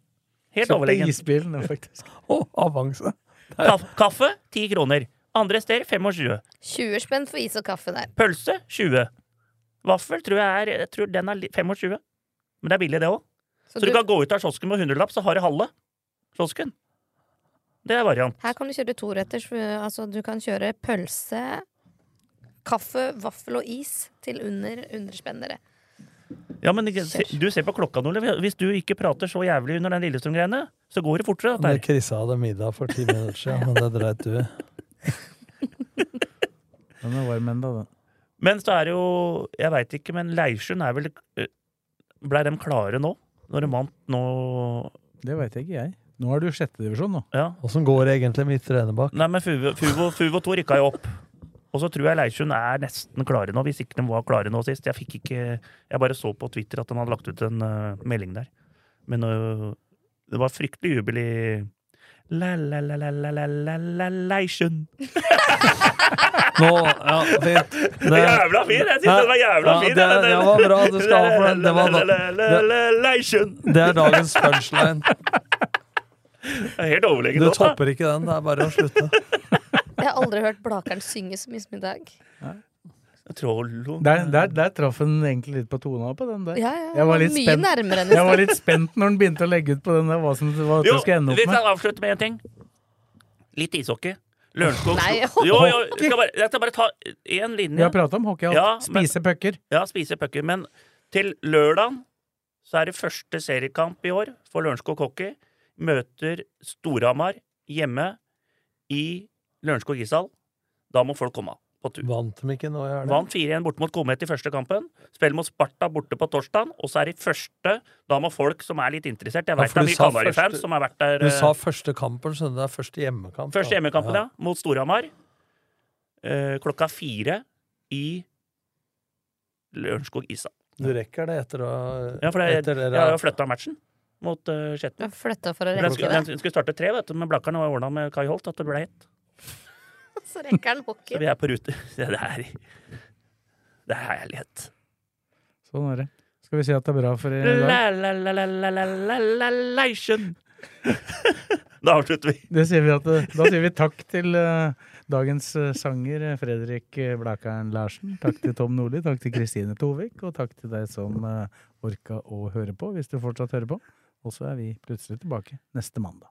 Helt overlegen. Isbilen, ja, faktisk. Å, avanse! Kaf kaffe, ti kroner. Andre steder 25. 20 spenn for is og kaffe der. Pølse, 20. Vaffel tror jeg er jeg tror den er li- 25. Men det er billig, det òg. Så Så du du, kan gå ut av kiosken med hundrelapp, så har du halve kiosken. Det er variant. her kan du kjøre toretters. for, Altså, du kan kjøre pølse, kaffe, vaffel og is til under 100 spenn, dere. Ja, men ikke- se- du ser på klokka, Ole. Hvis du ikke prater så jævlig under den Lillestrøm-greiene, så går det fortere. dette her. Det krissa hadde middag for ti minutter siden, men det dreit du i. Den er varm ennå, den. Men så er det jo Jeg veit ikke, men Leirsund er vel Blei de klare nå? Når de vant nå Det veit ikke jeg. Nå er du sjettedivisjon, nå. Ja. Åssen går det egentlig med Midtre Enebakk? Nei, men Fuvo, Fuvo, Fuvo 2 rykka jo opp. Og så tror jeg Leirsund er nesten klare nå, hvis ikke de var klare nå sist. Jeg fikk ikke Jeg bare så på Twitter at de hadde lagt ut en eh, melding der. Men eh, det var fryktelig jubel i La-la-la-la-la-la-la-Leirsund. Nå, ja, fint. Det, Jævla fin! Jeg syns den var jævla Ja, fin! det- det var bra. Du skal ha for den. Det var da- Leirsund! det er dagens punchline. Det er Helt overlegen Du låt, da. topper ikke den. Det er bare å slutte. Jeg har aldri hørt Blakeren synge så mye som i dag. Trollo. Der, der, der traff den egentlig litt på tona på den der. Ja, ja, Jeg var litt mye spent. nærmere enn i Jeg var stad. litt spent når den begynte å legge ut på den der hva som hva Jo, det skulle ende vi opp kan med. avslutte med én ting. Litt ishockey. Lørenskog Nei, Jo, jo, jeg skal bare, jeg skal bare ta én Vi linje. har prata om hockey og Ja, alt. men- Spise pucker. Ja, spise pucker. Men til lørdag så er det første seriekamp i år for Lørenskog hockey. Møter Storhamar hjemme i Lørenskog ishall. Da må folk komme på tur. Vant dem ikke nå i helga? Vant 4-1 borte mot Komet i første kampen. Spiller mot Sparta borte på torsdag. Og så er det første Da må folk som er litt interessert Jeg Ja, vet for det er du mye sa Kalvarøy-fans første- som har vært der. Du eh, sa første kampen, skjønner du. Det er første hjemmekamp. da. Første hjemmekampen, ja. Mot Storhamar. Eh, klokka fire i Lørenskog ishall. Du rekker det etter å Ja, for det, etter jeg dere- har jo flytta matchen mot uh, Skjetten. Jeg flytta for å Den, rekke skulle- det. den skulle starte tre, vet du, men Blakkaren var ordna med Kai Holt at det ble ett. Så rekker han Så hockey. vi er på rute. Det er, det er herlighet. Sånn er det. Skal vi si at det er bra for i dag? La-la-la-la-la-la-la-la-leisjen. Da avslutter vi. Det sier vi at, da sier vi takk til eh, dagens eh, sanger eh, Fredrik eh, Blakeren Larsen. Takk til Tom Nordli, takk til Kristine Tovik, og takk til deg som eh, orka å høre på, hvis du fortsatt hører på. Og så er vi plutselig tilbake neste mandag.